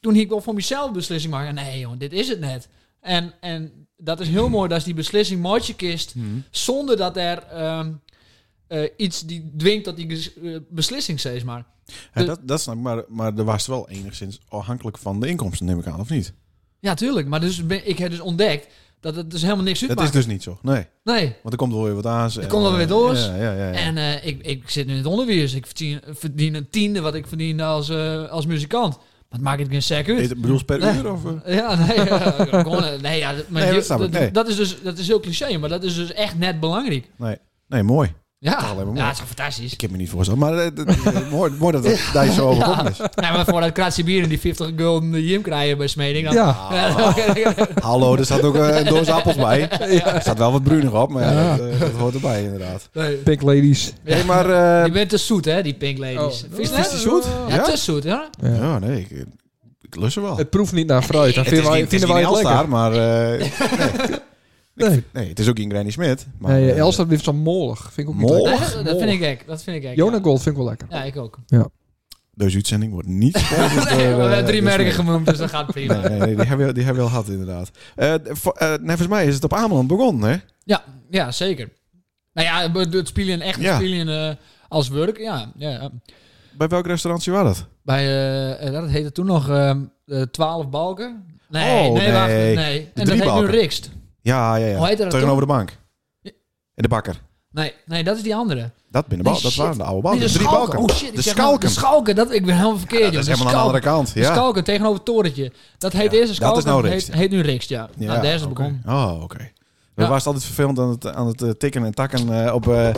Speaker 4: toen heb ik wel voor mezelf een beslissing maken. Nee, joh, dit is het net. En, en dat is heel mooi, dat is die beslissing maatje kist
Speaker 1: Hmm.
Speaker 4: zonder dat er ehm, eh, iets die dwingt dat die ges- eh, beslissing steeds maar. Hm.
Speaker 1: Ja, dat, dat snap ik, maar, maar er was wel enigszins afhankelijk van de inkomsten, neem ik aan, of niet?
Speaker 4: Ja, tuurlijk. Maar dus ben, ik heb dus ontdekt dat het dus helemaal niks
Speaker 1: Dat is
Speaker 4: uitmaakt.
Speaker 1: dus niet zo, nee.
Speaker 4: Nee.
Speaker 1: Want er komt wel weer wat aan. Er
Speaker 4: komt wel weer door.
Speaker 1: Ja, ja, ja. ja.
Speaker 4: En eh, ik, ik zit nu in het onderwijs. Ik verdien, verdien een tiende wat ik verdien als, eh, als muzikant. Dat maakt het geen sec uit.
Speaker 1: Is het- bedoel je per
Speaker 4: Nee.
Speaker 1: uur? Of, eh?
Speaker 4: Ja, nee, eh, gewoon, eh, nee, ja, maar
Speaker 1: Nee,
Speaker 4: je-
Speaker 1: dat snap ik,
Speaker 4: dat,
Speaker 1: nee.
Speaker 4: dat is dus dat is heel cliché, maar dat is dus echt net belangrijk.
Speaker 1: Nee, mooi.
Speaker 4: Ja,
Speaker 1: alleen maar mooi.
Speaker 4: ja het is toch fantastisch.
Speaker 1: Ik heb me niet voorgesteld, maar eh, dat- eh, mooi, mooi dat het daar je zo over komt. is.
Speaker 4: nee, maar voor dat kratje bier en die 50 gulden jim krijgen bij Smeding, dan,
Speaker 2: Ja.
Speaker 1: Hallo, er staat ook eh, een doos appels bij. Er staat wel wat bruinig op, maar ja, dat, eh, dat hoort erbij inderdaad.
Speaker 4: Nee.
Speaker 2: Pink ladies. Oh.
Speaker 1: Nee, maar...
Speaker 4: Je
Speaker 1: eh,
Speaker 4: bent te zoet, hè, die pink ladies. Vind je
Speaker 1: Oh. is
Speaker 4: dat?
Speaker 1: die zoet?
Speaker 4: Ja,
Speaker 1: Ja?
Speaker 4: te zoet, hè?
Speaker 2: Ja.
Speaker 1: ja, Oh, nee, ik, ik lust er wel.
Speaker 2: Het proeft niet naar fruit. Dan
Speaker 1: Het is
Speaker 2: vinden wij,
Speaker 1: niet, het is
Speaker 2: vinden wij
Speaker 1: niet
Speaker 2: het
Speaker 1: Elstar,
Speaker 2: lekker.
Speaker 1: maar... eh,
Speaker 2: Nee,
Speaker 1: nee, het is ook geen Granny Smit. Maar,
Speaker 2: nee
Speaker 1: eh,
Speaker 2: Elster heeft zo'n molig. Vind ik ook
Speaker 1: Molig?
Speaker 2: niet
Speaker 4: Nee,
Speaker 2: lekker.
Speaker 4: dat, dat vind ik gek. Dat vind ik gek.
Speaker 2: Jona
Speaker 4: ja.
Speaker 2: Gold vind ik wel lekker.
Speaker 4: Ja, ik ook.
Speaker 1: Deze uitzending wordt niet... gesponsord
Speaker 4: Nee,
Speaker 1: door,
Speaker 4: we hebben
Speaker 1: eh,
Speaker 4: drie
Speaker 1: de
Speaker 4: merken
Speaker 1: Smit.
Speaker 4: genoemd, dus dat gaat prima.
Speaker 1: Nee, nee, nee, die hebben we, die hebben we al gehad, inderdaad. Eh, d- vo- eh, nee, volgens mij is het op Ameland begonnen, hè?
Speaker 4: Ja, ja, zeker. Nou ja, het- het spelen, echt
Speaker 1: Ja.
Speaker 4: het spelen eh, als werk, ja. ja.
Speaker 1: Bij welk restaurantje was dat?
Speaker 4: Bij, eh, eh, dat heette toen nog ehm, eh, 12 balken. Nee,
Speaker 1: Oh,
Speaker 4: nee, wacht.
Speaker 1: nee.
Speaker 4: Nee.
Speaker 1: De drie
Speaker 4: En dat heet nu
Speaker 1: balken.
Speaker 4: Rikst.
Speaker 1: Ja, ja, ja.
Speaker 4: Hoe heet dat
Speaker 1: Tegenover de bank.
Speaker 4: Ja.
Speaker 1: En de bakker.
Speaker 4: Nee, nee, dat is die andere.
Speaker 1: Dat binnen
Speaker 4: Nee,
Speaker 1: bal. Dat
Speaker 4: shit.
Speaker 1: waren de oude balken.
Speaker 4: Nee,
Speaker 1: de
Speaker 4: de
Speaker 1: drie
Speaker 4: Schalken.
Speaker 1: balken.
Speaker 4: Oh shit,
Speaker 1: de
Speaker 4: ik zeg nou,
Speaker 1: schalken.
Speaker 4: de Schalken. Dat, ik ben helemaal verkeerd.
Speaker 1: Ja,
Speaker 4: joh.
Speaker 1: dat is
Speaker 4: De
Speaker 1: helemaal aan de andere kant.
Speaker 4: De
Speaker 1: Ja.
Speaker 4: Schalken tegenover het torentje. Dat heet
Speaker 1: Ja,
Speaker 4: eerst een
Speaker 1: dat is
Speaker 4: Schalken.
Speaker 1: nou Rikst.
Speaker 4: heet, heet nu Rikst, ja.
Speaker 1: Ja,
Speaker 4: nou, daar is het
Speaker 1: oké.
Speaker 4: begonnen.
Speaker 1: Oh, oké. We
Speaker 4: Ja.
Speaker 1: waren altijd vervelend aan het, aan het eh, tikken en takken eh, op, eh,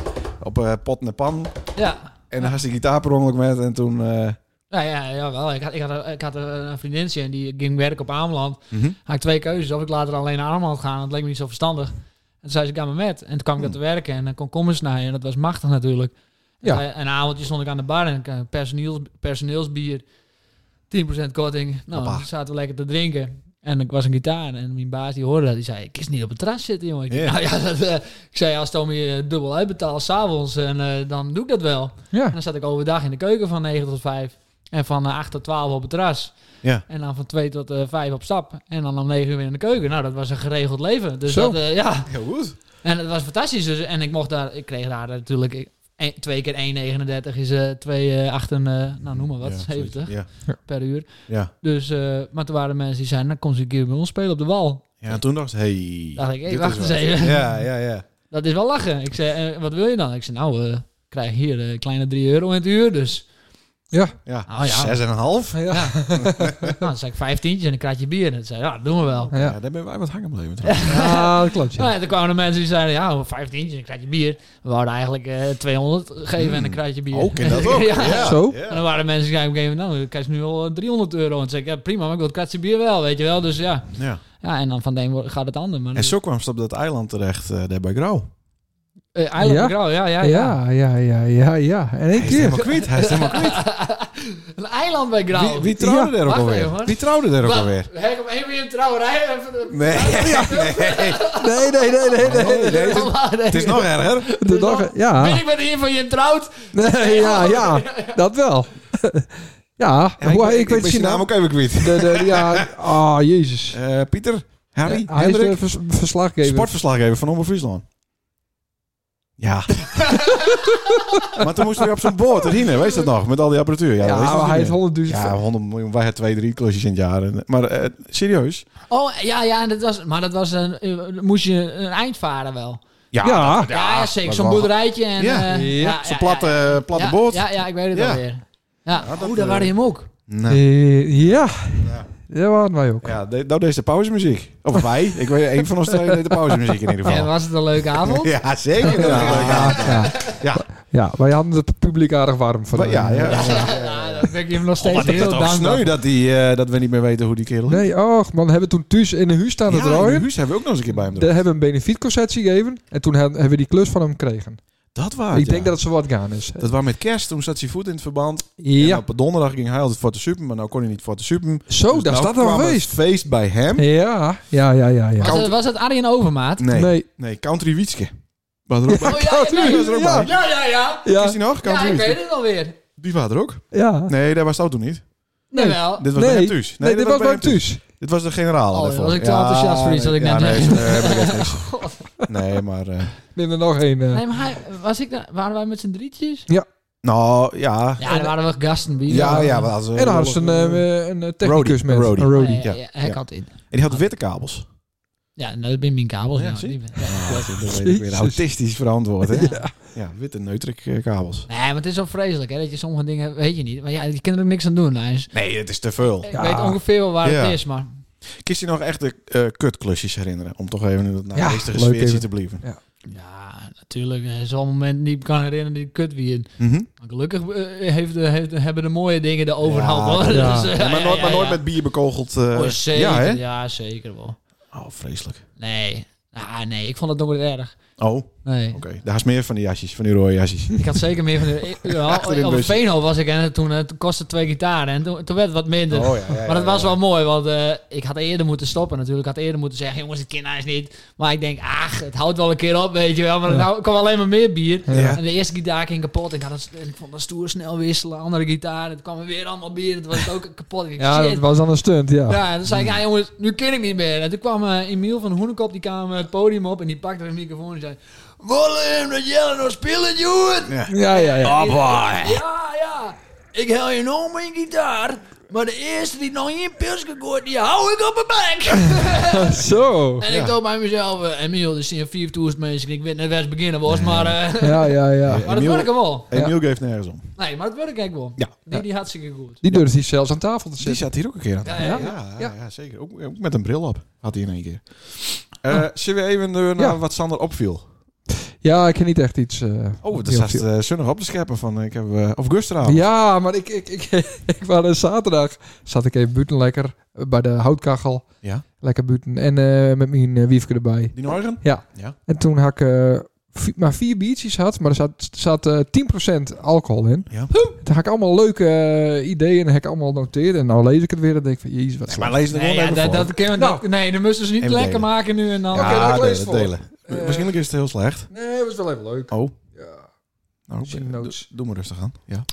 Speaker 1: op eh, pot en pan.
Speaker 4: Ja.
Speaker 1: En dan had ze de gitaar per ongeluk met. En toen... eh,
Speaker 4: Nou ja, jawel. Ik had, ik, had, ik had een vriendinnetje en die ging werken op Ameland.
Speaker 1: mhm.
Speaker 4: Had ik twee keuzes. Of ik later alleen naar Ameland gaan. Dat leek me niet zo verstandig. En toen zei ze, ik ga maar met. En toen kwam ik
Speaker 1: Hmm.
Speaker 4: dat te werken en dan kon kommers snijden. En dat was machtig natuurlijk.
Speaker 2: Ja.
Speaker 4: En een avondje stond ik aan de bar en ik eh, personeels, personeelsbier. 10% korting. Nou,
Speaker 1: Hoppa.
Speaker 4: dan zaten we lekker te drinken. En ik was een gitaar en mijn baas die hoorde dat. Die zei, ik is niet op het terras zitten, jongen. Ik,
Speaker 1: Ja.
Speaker 4: nou, ja, dat, eh, ik zei, als Tommy eh, dubbel uitbetaalt s'avonds, en, eh, dan doe ik dat wel. En
Speaker 2: Ja.
Speaker 4: dan zat ik overdag in de keuken van 9 tot 5. En van eh, 8 tot 12 op het terras.
Speaker 1: Ja.
Speaker 4: En dan van 2 tot eh, 5 op stap. En dan om 9 uur weer in de keuken. Nou, dat was een geregeld leven. Dus
Speaker 2: Zo.
Speaker 4: dat, eh, ja.
Speaker 1: Heel goed.
Speaker 4: En dat was fantastisch. Dus, en ik mocht daar, ik kreeg daar natuurlijk eh, één- twee keer 1,39 is eh 2, 8, nou noem maar wat,
Speaker 1: Ja, zoiets.
Speaker 4: 70
Speaker 1: Ja.
Speaker 4: per uur.
Speaker 1: ja.
Speaker 4: Dus, eh, maar toen waren er mensen die zeiden, dan kon ze een keer bij ons spelen op de wal.
Speaker 1: Ja, en toen dacht ik, hey,
Speaker 4: Dacht ik, hey,
Speaker 1: dit
Speaker 4: wacht
Speaker 1: is
Speaker 4: eens
Speaker 1: wat.
Speaker 4: even.
Speaker 1: Ja, ja, ja.
Speaker 4: Dat is wel lachen. Ik zei, eh, wat wil je dan? Ik zei, nou, eh, ik krijg hier eh, een kleine 3 euro in het uur. Dus,
Speaker 1: ja.
Speaker 4: Oh, ja.
Speaker 1: Zes en een half.
Speaker 2: Ja. Ja.
Speaker 4: nou, dan zei ik vijftientjes en een kratje bier. En dat zei, ja, dat doen we wel.
Speaker 1: Ja.
Speaker 2: Ja.
Speaker 1: daar ben wij wat hangen blijven. trouwens.
Speaker 2: Ah, dat klopt.
Speaker 4: Nou
Speaker 2: Ja.
Speaker 4: ja, toen kwamen er mensen die zeiden, ja, 15, een kratje bier. We wouden eigenlijk eh 200 geven en een kratje bier.
Speaker 1: Hmm. Ook en dat ook.
Speaker 4: ja.
Speaker 1: Ja.
Speaker 2: Zo.
Speaker 1: Ja.
Speaker 4: En dan waren er mensen die zeiden op een gegeven moment, nou, krijg je nu al eh, 300 euro. En toen zei ik, ja, prima, maar ik wil het kratje bier wel, weet je wel. Dus ja,
Speaker 1: Ja.
Speaker 4: ja en dan van de een wordt- gaat het ander. Maar
Speaker 1: En zo kwam ze op dat eiland terecht, eh, daar bij Grauw.
Speaker 4: Eh, Eiland
Speaker 2: Ja?
Speaker 4: van Grauw, ja, ja, ja,
Speaker 2: Ja, ja, ja, ja, ja. En één
Speaker 1: Hij is helemaal
Speaker 2: keer.
Speaker 1: kwijt, hij is helemaal kwijt.
Speaker 4: Een eiland bij Grauw.
Speaker 1: Wie, wie trouwde
Speaker 2: Ja.
Speaker 1: er ook
Speaker 4: Wacht
Speaker 1: alweer?
Speaker 4: even, hoor.
Speaker 1: wie trouwde er ook
Speaker 4: Wat?
Speaker 1: alweer?
Speaker 4: We hebben hem weer een trouwerij. Even-
Speaker 1: Nee, nee,
Speaker 2: Nee, nee, nee, nee, nee.
Speaker 1: nee, nee, het,
Speaker 4: Nee.
Speaker 1: het is nog erger.
Speaker 2: De dag, ja.
Speaker 4: Ben ik met een van je trouwd?
Speaker 2: Nee, ja, ja. Dat wel. Ja, hoe, ik, weet
Speaker 1: ben
Speaker 2: zijn
Speaker 1: zijn naam
Speaker 2: naam.
Speaker 1: ook even kwijt.
Speaker 2: De, de, ja, ah, jezus.
Speaker 1: Eh, Pieter, Harry,
Speaker 2: hij is eh,
Speaker 1: Hendrik,
Speaker 2: de vers- verslaggever.
Speaker 1: sportverslaggever van Omroep Friesland. Ja. maar toen moesten we op zo'n boot erin, hè, weet je dat nog? Met al die apparatuur. Ja,
Speaker 2: Ja,
Speaker 1: dat weet je
Speaker 2: maar
Speaker 1: nog
Speaker 2: hij
Speaker 1: niet
Speaker 2: heeft 100.000...
Speaker 1: meer. Ja, 100 miljoen. Wij hebben twee, drie klusjes in het jaar. En- Maar eh, serieus?
Speaker 4: Oh, ja, ja, dat was, maar dat was een, eh, moest je een eind varen wel.
Speaker 1: Ja.
Speaker 2: Ja.
Speaker 1: dat-
Speaker 4: Ja, zeker.
Speaker 1: dat
Speaker 4: Zo'n
Speaker 1: was wel-
Speaker 4: boerderijtje en...
Speaker 1: Ja.
Speaker 4: eh,
Speaker 2: Ja.
Speaker 1: Zo'n platte, platte
Speaker 4: ja,
Speaker 1: boot.
Speaker 4: Ja, ja, ik weet het
Speaker 1: Ja.
Speaker 4: alweer. Ja,
Speaker 1: Ja, dat,
Speaker 4: Oeh, daar
Speaker 1: eh,
Speaker 4: waren hem ook.
Speaker 1: Nou.
Speaker 2: Eh, ja. dat waren wij ook.
Speaker 1: Ja, de, nou deze pauzemuziek. Of wij. Ik weet één van ons twee deed de pauzemuziek in ieder
Speaker 4: En
Speaker 1: geval.
Speaker 4: was het een leuke avond?
Speaker 1: Ja, zeker.
Speaker 2: Ja, Ah, ja.
Speaker 1: Ja.
Speaker 2: ja, wij hadden het publiek aardig warm voor
Speaker 1: Maar ja, ja.
Speaker 4: Ja, dat ben ik hem nog steeds
Speaker 1: Oh, Maar dat is
Speaker 4: heel
Speaker 1: toch
Speaker 4: dankbaar.
Speaker 1: sneu dat, die, eh, dat we niet meer weten hoe die kerel
Speaker 2: Nee, och man, hebben we toen thuis in de huis staan te
Speaker 1: Ja, in de
Speaker 2: draaien.
Speaker 1: huis hebben we ook nog eens een keer bij hem.
Speaker 2: Daar hebben we een benefietconcert gegeven. En toen he- hebben we die klus van hem gekregen.
Speaker 1: Dat waar.
Speaker 2: ik
Speaker 1: Ah, ja.
Speaker 2: denk dat het zo wat gaan is.
Speaker 1: Dat was met kerst, toen zat zijn voet in het verband. En
Speaker 2: Ja,
Speaker 1: op donderdag ging hij altijd voor de super, maar nou kon hij niet voor de super.
Speaker 2: zo,
Speaker 1: Dus
Speaker 2: daar
Speaker 1: nou
Speaker 2: staat al
Speaker 1: kwam het
Speaker 2: geweest.
Speaker 1: feest bij hem.
Speaker 2: Ja, ja, ja, ja. ja.
Speaker 4: Was, het, was het Arjen Overmaat?
Speaker 1: Nee, nee.
Speaker 2: Nee.
Speaker 1: Country Wietske. Was er ook bij.
Speaker 4: Oh, ja, ja,
Speaker 1: Die was er ook
Speaker 2: Ja.
Speaker 1: bij.
Speaker 4: ja, ja, ja.
Speaker 1: Is
Speaker 2: Ja,
Speaker 1: die nog?
Speaker 4: Ja,
Speaker 1: Country
Speaker 4: ik weet
Speaker 1: Wietske.
Speaker 4: het alweer.
Speaker 1: Die waren er ook.
Speaker 2: ja.
Speaker 1: Nee, daar was het ook toen niet.
Speaker 4: Nee.
Speaker 2: Nee.
Speaker 4: Jawel.
Speaker 1: Dit was
Speaker 2: Nee.
Speaker 1: bij hem thuis.
Speaker 2: Nee, dit was bij hem
Speaker 1: thuis.
Speaker 2: thuis.
Speaker 1: Dit was de generaal.
Speaker 4: Oh,
Speaker 1: daarvoor.
Speaker 4: dan was ik te enthousiast voor iets wat ik
Speaker 1: ja,
Speaker 4: net
Speaker 1: nee,
Speaker 4: zei.
Speaker 1: eh, heb ik echt niks. Nee, maar... eh,
Speaker 2: Neem er nog één. eh.
Speaker 4: Nee, maar hij, was ik daar, waren wij met z'n drietjes?
Speaker 1: nou, ja.
Speaker 4: Ja, daar waren we gasten bij.
Speaker 1: Ja, ja. maar als, eh,
Speaker 2: En dan hadden ze een, eh, een eh, technicus
Speaker 1: Roadie,
Speaker 2: met.
Speaker 1: een roadie.
Speaker 2: Een
Speaker 4: Ja,
Speaker 2: roadie.
Speaker 4: ja,
Speaker 1: ja.
Speaker 4: hij
Speaker 1: Ja.
Speaker 4: had in.
Speaker 1: En die had witte kabels.
Speaker 4: Ja, nou, dat ben mijn kabels.
Speaker 1: Ja,
Speaker 4: nou,
Speaker 1: zie.
Speaker 4: die ben-
Speaker 1: Ah,
Speaker 4: ja, klopt.
Speaker 1: dat weet ik weer.
Speaker 2: Jezus.
Speaker 1: Autistisch verantwoord, hè?
Speaker 4: Ja.
Speaker 1: Ja, witte neutrik eh, kabels.
Speaker 4: Nee, maar het is zo vreselijk, hè. Dat je sommige dingen, weet je niet. Maar ja, je kunt er ook niks aan doen, Lijns.
Speaker 1: Nee, het is te veel.
Speaker 4: Ik
Speaker 2: Ja.
Speaker 4: weet ongeveer wel waar
Speaker 1: Ja.
Speaker 4: het is, maar...
Speaker 1: Kies je nog echt de eh, kutklusjes herinneren? Om toch even in dat
Speaker 2: Ja,
Speaker 1: naargeestige
Speaker 2: leuk
Speaker 1: sfeertje
Speaker 2: even.
Speaker 1: te blijven.
Speaker 4: Ja, natuurlijk. eh, Zo'n moment niet kan herinneren die kut wie in.
Speaker 1: Mhm.
Speaker 4: Maar Gelukkig eh, heeft, de- heeft, hebben de mooie dingen de overhand. hoor.
Speaker 2: ja.
Speaker 4: eh,
Speaker 1: Ja, maar nooit, maar
Speaker 4: ja,
Speaker 1: nooit
Speaker 4: ja.
Speaker 1: met bier bekogeld. eh,
Speaker 4: Oh, zeker.
Speaker 1: ja,
Speaker 4: Ja,
Speaker 1: hè?
Speaker 4: zeker wel.
Speaker 1: Oh, vreselijk.
Speaker 4: Nee. Ah, nee, ik vond het nog wel erg.
Speaker 1: Oh, oké.
Speaker 4: Nee.
Speaker 1: Daar is meer van die jasjes, van die rode jasjes.
Speaker 4: Ik had zeker meer van de... Ja,
Speaker 1: Achter in het
Speaker 4: op het
Speaker 1: busje.
Speaker 4: Veenhof was ik en toen, eh, toen kostte twee gitaren. En toen, toen werd het wat minder.
Speaker 1: Oh, ja, ja, ja,
Speaker 4: maar dat
Speaker 1: ja,
Speaker 4: was
Speaker 1: ja.
Speaker 4: wel mooi, want eh, ik had eerder moeten stoppen natuurlijk. Ik had eerder moeten zeggen, jongens, het kind is niet. Maar ik denk, ach, het houdt wel een keer op, weet je wel. Maar
Speaker 2: Ja.
Speaker 4: nou kwam alleen maar meer bier.
Speaker 1: Ja.
Speaker 4: En de eerste gitaar ging kapot. Ik, had het, ik vond dat stoer snel wisselen. Andere gitaar, het kwam er weer allemaal bier. Het was ook kapot. Ik
Speaker 2: Ja,
Speaker 4: dacht,
Speaker 2: dat
Speaker 4: shit.
Speaker 2: was dan een stunt, ja.
Speaker 4: Ja, en toen zei ik, ja jongens, nu ken ik niet meer. En toen kwam eh, Emiel van Hoenekop, die kwam eh, het podium op en die pakte een microfoon en zei... Willem, dat jelle nog spelen, jongen!
Speaker 1: Ja.
Speaker 2: Ja, ja, ja.
Speaker 4: Oh Ja, ja. Ik hel je nog mijn gitaar, maar de eerste die nog in pilsje gooit, die hou ik op mijn bank.
Speaker 2: Zo.
Speaker 4: en ik dacht bij mezelf, eh, Emiel, er zijn 4000 mensen en ik weet net waar ze beginnen was, maar... eh,
Speaker 2: Ja, ja, ja.
Speaker 4: maar dat
Speaker 1: Emiel-
Speaker 4: werkt hem wel.
Speaker 1: Emiel geeft nergens om.
Speaker 4: Nee, maar dat werkt eigenlijk wel.
Speaker 1: Ja.
Speaker 4: Die, die hartstikke goed.
Speaker 2: Die durfde hij zelfs aan tafel
Speaker 1: Die
Speaker 2: te zitten.
Speaker 1: zat hier ook een keer aan.
Speaker 4: Ja,
Speaker 1: Ja,
Speaker 4: ja,
Speaker 1: ja,
Speaker 2: ja.
Speaker 1: ja, ja, zeker. Ook, ook met een bril op had hij in één keer. Eh, Zullen we even eh, naar
Speaker 2: Ja.
Speaker 1: wat Sander opviel?
Speaker 2: Ja, ik ken niet echt iets. eh,
Speaker 1: Oh, dat
Speaker 2: heel
Speaker 1: staat
Speaker 2: veel.
Speaker 1: eh zonnig op te scheppen van eh, ik heb, eh, of Gustera.
Speaker 2: Ja, maar ik, ik, ik, ik was er zaterdag. Zat ik even buiten lekker eh, bij de houtkachel.
Speaker 1: Ja.
Speaker 2: Lekker buiten. En eh, met mijn eh, wiefke erbij.
Speaker 1: Die Norgen?
Speaker 2: En toen had ik eh, vi- maar vier biertjes had, maar er zat, zat eh 10% alcohol in.
Speaker 1: Ja.
Speaker 2: Daar had ik allemaal leuke eh, ideeën en heb ik allemaal noteerd. En nou lees ik het weer en denk ik van, jezus, wat
Speaker 1: Nee,
Speaker 2: slecht.
Speaker 1: maar lees er
Speaker 4: Nee,
Speaker 1: gewoon
Speaker 4: ja,
Speaker 1: even
Speaker 4: dat,
Speaker 1: voor.
Speaker 4: dat kunnen we-
Speaker 2: Nou.
Speaker 4: dat- nee, dan moesten ze niet
Speaker 1: Even
Speaker 4: lekker
Speaker 1: delen.
Speaker 4: maken nu en dan...
Speaker 2: Oké, nou, ik lees
Speaker 1: delen,
Speaker 2: voor.
Speaker 1: delen.
Speaker 2: Eh,
Speaker 1: Waarschijnlijk is het heel slecht.
Speaker 2: Nee, was wel even leuk.
Speaker 1: Oh.
Speaker 2: Ja.
Speaker 1: Nou,
Speaker 2: Misschien
Speaker 1: eh,
Speaker 2: notes.
Speaker 1: doe- Doe maar rustig aan. Ja,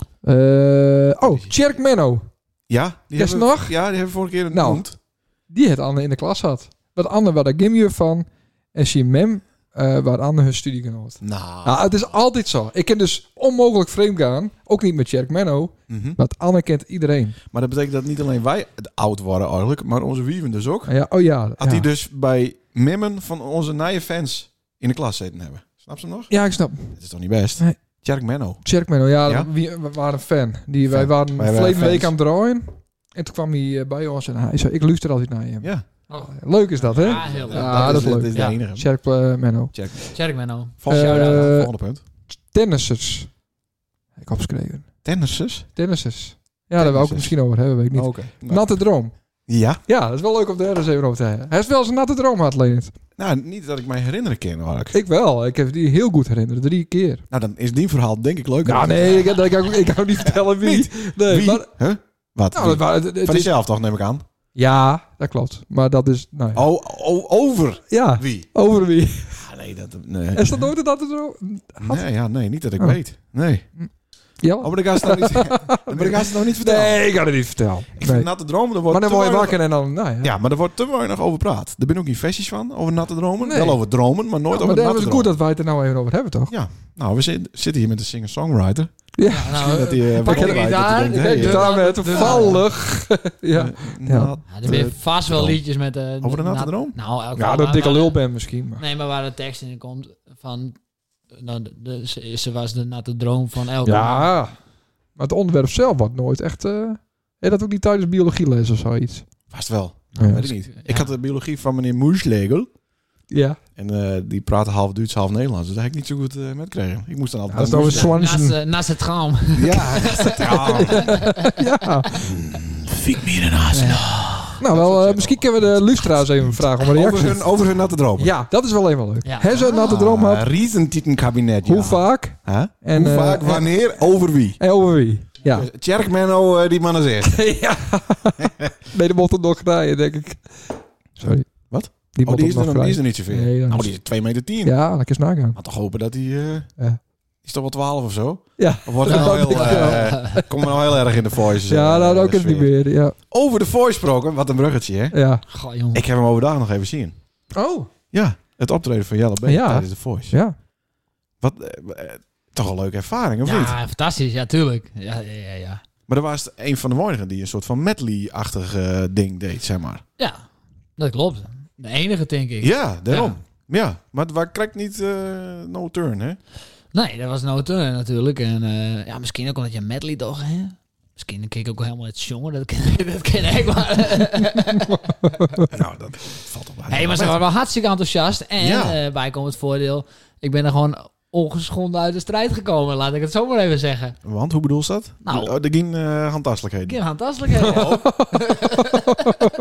Speaker 2: Eh, oh, Cherk Menno.
Speaker 1: ja die
Speaker 2: Is
Speaker 1: hebben
Speaker 2: nog?
Speaker 1: Ja, die hebben we vorige keer
Speaker 2: Nou.
Speaker 1: genoemd.
Speaker 2: Die het Anne in de klas had. Wat Anne was daar gymjuf van. En zijn mem eh waar Anne hun studiegenoot.
Speaker 1: Nou.
Speaker 2: Nou, het is altijd zo. Ik kan dus onmogelijk vreemd gaan. Ook niet met Cherk Menno.
Speaker 1: Mhm.
Speaker 2: Want Anne kent iedereen.
Speaker 1: Maar dat betekent dat niet alleen wij het oud waren eigenlijk, maar onze wieven dus ook.
Speaker 2: Ah Ja, oh ja.
Speaker 1: Had
Speaker 2: ja.
Speaker 1: die dus bij Mimmen van onze nieuwe fans in de klas zitten hebben. Snap ze hem nog?
Speaker 2: ja, ik snap.
Speaker 1: Dat is toch niet best?
Speaker 2: Nee.
Speaker 1: Tjerk Menno.
Speaker 2: Cherk Menno, ja,
Speaker 1: Ja?
Speaker 2: Wie, we waren een fan. Die, Wij
Speaker 1: Fan.
Speaker 2: waren
Speaker 1: Wij waren
Speaker 2: verleden
Speaker 1: fans.
Speaker 2: week aan het draaien. En toen kwam hij eh, bij ons en hij zei, ik luister altijd naar je.
Speaker 1: Ja,
Speaker 4: Oh.
Speaker 2: Leuk is dat, hè?
Speaker 4: Ja, heel leuk.
Speaker 2: Ja, dat is leuk.
Speaker 1: Dat is de
Speaker 4: Ja.
Speaker 1: enige.
Speaker 2: Cherk eh, Menno.
Speaker 1: Tjerk.
Speaker 4: Check me nou.
Speaker 1: Volgende,
Speaker 2: Eh,
Speaker 1: volgende punt.
Speaker 2: Tennissers. Heb Ik opgeschreven.
Speaker 1: Tennissers?
Speaker 2: Tennissers. Ja, daar wil ik
Speaker 1: Tennissers.
Speaker 2: het misschien over hebben, weet ik niet.
Speaker 1: Oh, Oké. Nou,
Speaker 2: Natte droom.
Speaker 1: Ja.
Speaker 2: Ja, dat is wel leuk om daar eens even over te hebben. Hij is wel zijn natte droom had, Leonard.
Speaker 1: Nou, niet dat ik mij herinneren ken eigenlijk.
Speaker 2: Ik wel. Ik heb die heel goed herinnerd. Drie keer.
Speaker 1: Nou, dan is die verhaal denk ik leuker.
Speaker 2: Nou, nee, ik, ik, ik, ik hou niet vertellen wie. Nee,
Speaker 1: Wie?
Speaker 2: maar...
Speaker 1: Huh? Wat?
Speaker 2: Nou,
Speaker 1: Wie?
Speaker 2: dat, waren- het- het
Speaker 1: Van
Speaker 2: is-
Speaker 1: jezelf toch, neem ik aan.
Speaker 2: ja, dat klopt. Maar dat is... Nou, ja.
Speaker 1: Oh, oh, over
Speaker 2: ja,
Speaker 1: wie?
Speaker 2: over wie.
Speaker 1: Ah, nee, dat... Nee.
Speaker 2: Is dat nooit een natte droom?
Speaker 1: Nee, ja, nee, niet dat ik
Speaker 2: Oh.
Speaker 1: weet. Nee.
Speaker 2: Ja?
Speaker 1: Oh, maar dan gaan ze het nog niet, maar dan gaan ze het nog niet vertellen.
Speaker 2: Nee, ik ga het niet vertellen.
Speaker 1: Ik
Speaker 2: Nee.
Speaker 1: vind natte dromen, er wordt
Speaker 2: Maar dan
Speaker 1: te
Speaker 2: word je
Speaker 1: weinig-
Speaker 2: wakker en dan... Nou, ja.
Speaker 1: Ja, maar er wordt te weinig over praat. Er ben ook geen versies van, over natte dromen.
Speaker 2: Nee.
Speaker 1: Wel over dromen, maar nooit
Speaker 2: Ja, maar
Speaker 1: over
Speaker 2: dan
Speaker 1: natte
Speaker 2: is het
Speaker 1: dromen.
Speaker 2: goed dat wij het er nou even over hebben, toch?
Speaker 1: Nou, we zit- zitten hier met een singer-songwriter.
Speaker 2: Ja.
Speaker 4: Nou,
Speaker 1: dat die, eh,
Speaker 4: pak
Speaker 1: wat
Speaker 4: je de
Speaker 1: opleidt,
Speaker 4: gitaar,
Speaker 1: dat die denkt,
Speaker 4: kijk,
Speaker 1: hey,
Speaker 4: de-
Speaker 2: Daar werd
Speaker 4: de-
Speaker 2: toevallig. Ja, Ja.
Speaker 1: Natte-
Speaker 4: Ja, ah, er weer vast wel
Speaker 1: droom.
Speaker 4: liedjes met... eh,
Speaker 1: Eh, Over de natte
Speaker 4: na-
Speaker 1: droom?
Speaker 4: Nou, elk
Speaker 2: ja dat dikke lul ben misschien. Maar.
Speaker 4: Nee, maar waar de tekst in komt van... eh, Nou, de, de- ze, ze was de natte droom van elke man.
Speaker 2: Ja, maar het onderwerp zelf wordt nooit echt... eh hey, dat ook niet tijdens biologieles of zoiets.
Speaker 1: Vast wel.
Speaker 2: Ja.
Speaker 1: Weet ik niet.
Speaker 4: Ja.
Speaker 1: Ik had de biologie van meneer Moeslegel.
Speaker 2: Ja,
Speaker 1: En eh, die praatte half Duits, half Nederlands. Dus daar heb ik niet zo goed eh, met kregen. Ik moest dan altijd...
Speaker 2: dat is nou een
Speaker 1: Moes-
Speaker 4: Naast,
Speaker 2: Swanson.
Speaker 4: eh, naast het droom.
Speaker 1: Ja, dat is het. Ja.
Speaker 2: Ja.
Speaker 1: Fiek me in de naast.
Speaker 2: Nou, wel, eh, misschien kunnen we de lustra's even vragen om een
Speaker 1: Over
Speaker 2: reactie.
Speaker 1: hun, over hun natte dromen.
Speaker 2: Ja, dat is wel even leuk.
Speaker 4: Ja.
Speaker 2: Hebben ze een natte droom
Speaker 1: Ah,
Speaker 2: gehad?
Speaker 1: Riesentietenkabinet, ja.
Speaker 2: Hoe vaak?
Speaker 1: Huh?
Speaker 2: En,
Speaker 1: Hoe
Speaker 2: eh,
Speaker 1: vaak,
Speaker 2: en-
Speaker 1: wanneer, over wie?
Speaker 2: En over wie? Ja.
Speaker 1: Tjerk Menno, eh, die man is eerst.
Speaker 2: ja. nee, die mocht het nog draaien, denk ik. Sorry.
Speaker 1: Wat?
Speaker 2: Die
Speaker 1: Oh,
Speaker 2: mocht
Speaker 1: die
Speaker 2: het
Speaker 1: is, er,
Speaker 2: nog
Speaker 1: nog- die is
Speaker 2: draaien.
Speaker 1: er niet zoveel.
Speaker 2: Nee, dan
Speaker 1: nou,
Speaker 2: is-
Speaker 1: die is 2 meter 10.
Speaker 2: Ja, laat ik eens nagaan.
Speaker 1: Laat toch hopen dat hij... eh
Speaker 2: Ja.
Speaker 1: is toch wel 12 of zo?
Speaker 2: Ja.
Speaker 1: Of wordt hij nou
Speaker 2: Dat
Speaker 1: heel,
Speaker 2: denk ik
Speaker 1: eh, komen we nou heel erg in de voice?
Speaker 2: Ja,
Speaker 1: eh,
Speaker 2: nou, dat ook
Speaker 1: sfeer.
Speaker 2: is niet meer. Ja.
Speaker 1: Over de voice gesproken, wat een bruggetje, hè?
Speaker 2: ja.
Speaker 4: Goh, jongen.
Speaker 1: Ik heb hem overdag nog even zien.
Speaker 2: Oh.
Speaker 1: Ja, het optreden van Jelle B
Speaker 2: Ja.
Speaker 1: tijdens de Voice.
Speaker 2: Ja.
Speaker 1: Wat, eh, eh, toch een leuke ervaring, of niet?
Speaker 4: ja, fantastisch. Ja, tuurlijk. Ja, ja, ja. Ja,
Speaker 1: Maar er was een van de weinigen die een soort van medley-achtig eh, ding deed, zeg maar.
Speaker 4: ja dat klopt. De enige, denk ik.
Speaker 1: Ja, daarom. Ja, maar waar krijgt niet eh, no turn, hè?
Speaker 4: Nee, dat was no turn natuurlijk. En eh, ja, misschien ook omdat je medley toch, hè? Misschien keek ik ook helemaal het jongen. Dat ken, dat ken ik wel.
Speaker 1: nou, dat valt op.
Speaker 4: hey, maar ze waren wel hartstikke enthousiast. En
Speaker 1: Ja.
Speaker 4: eh bijkomend voordeel, ik ben er gewoon ongeschonden uit de strijd gekomen. Laat ik het zo maar even zeggen.
Speaker 1: Want, hoe bedoel je dat?
Speaker 4: Nou.
Speaker 1: Oh, er ging eh handtastelijkheden.
Speaker 4: Kim, fantastisch. hè?
Speaker 1: Oh.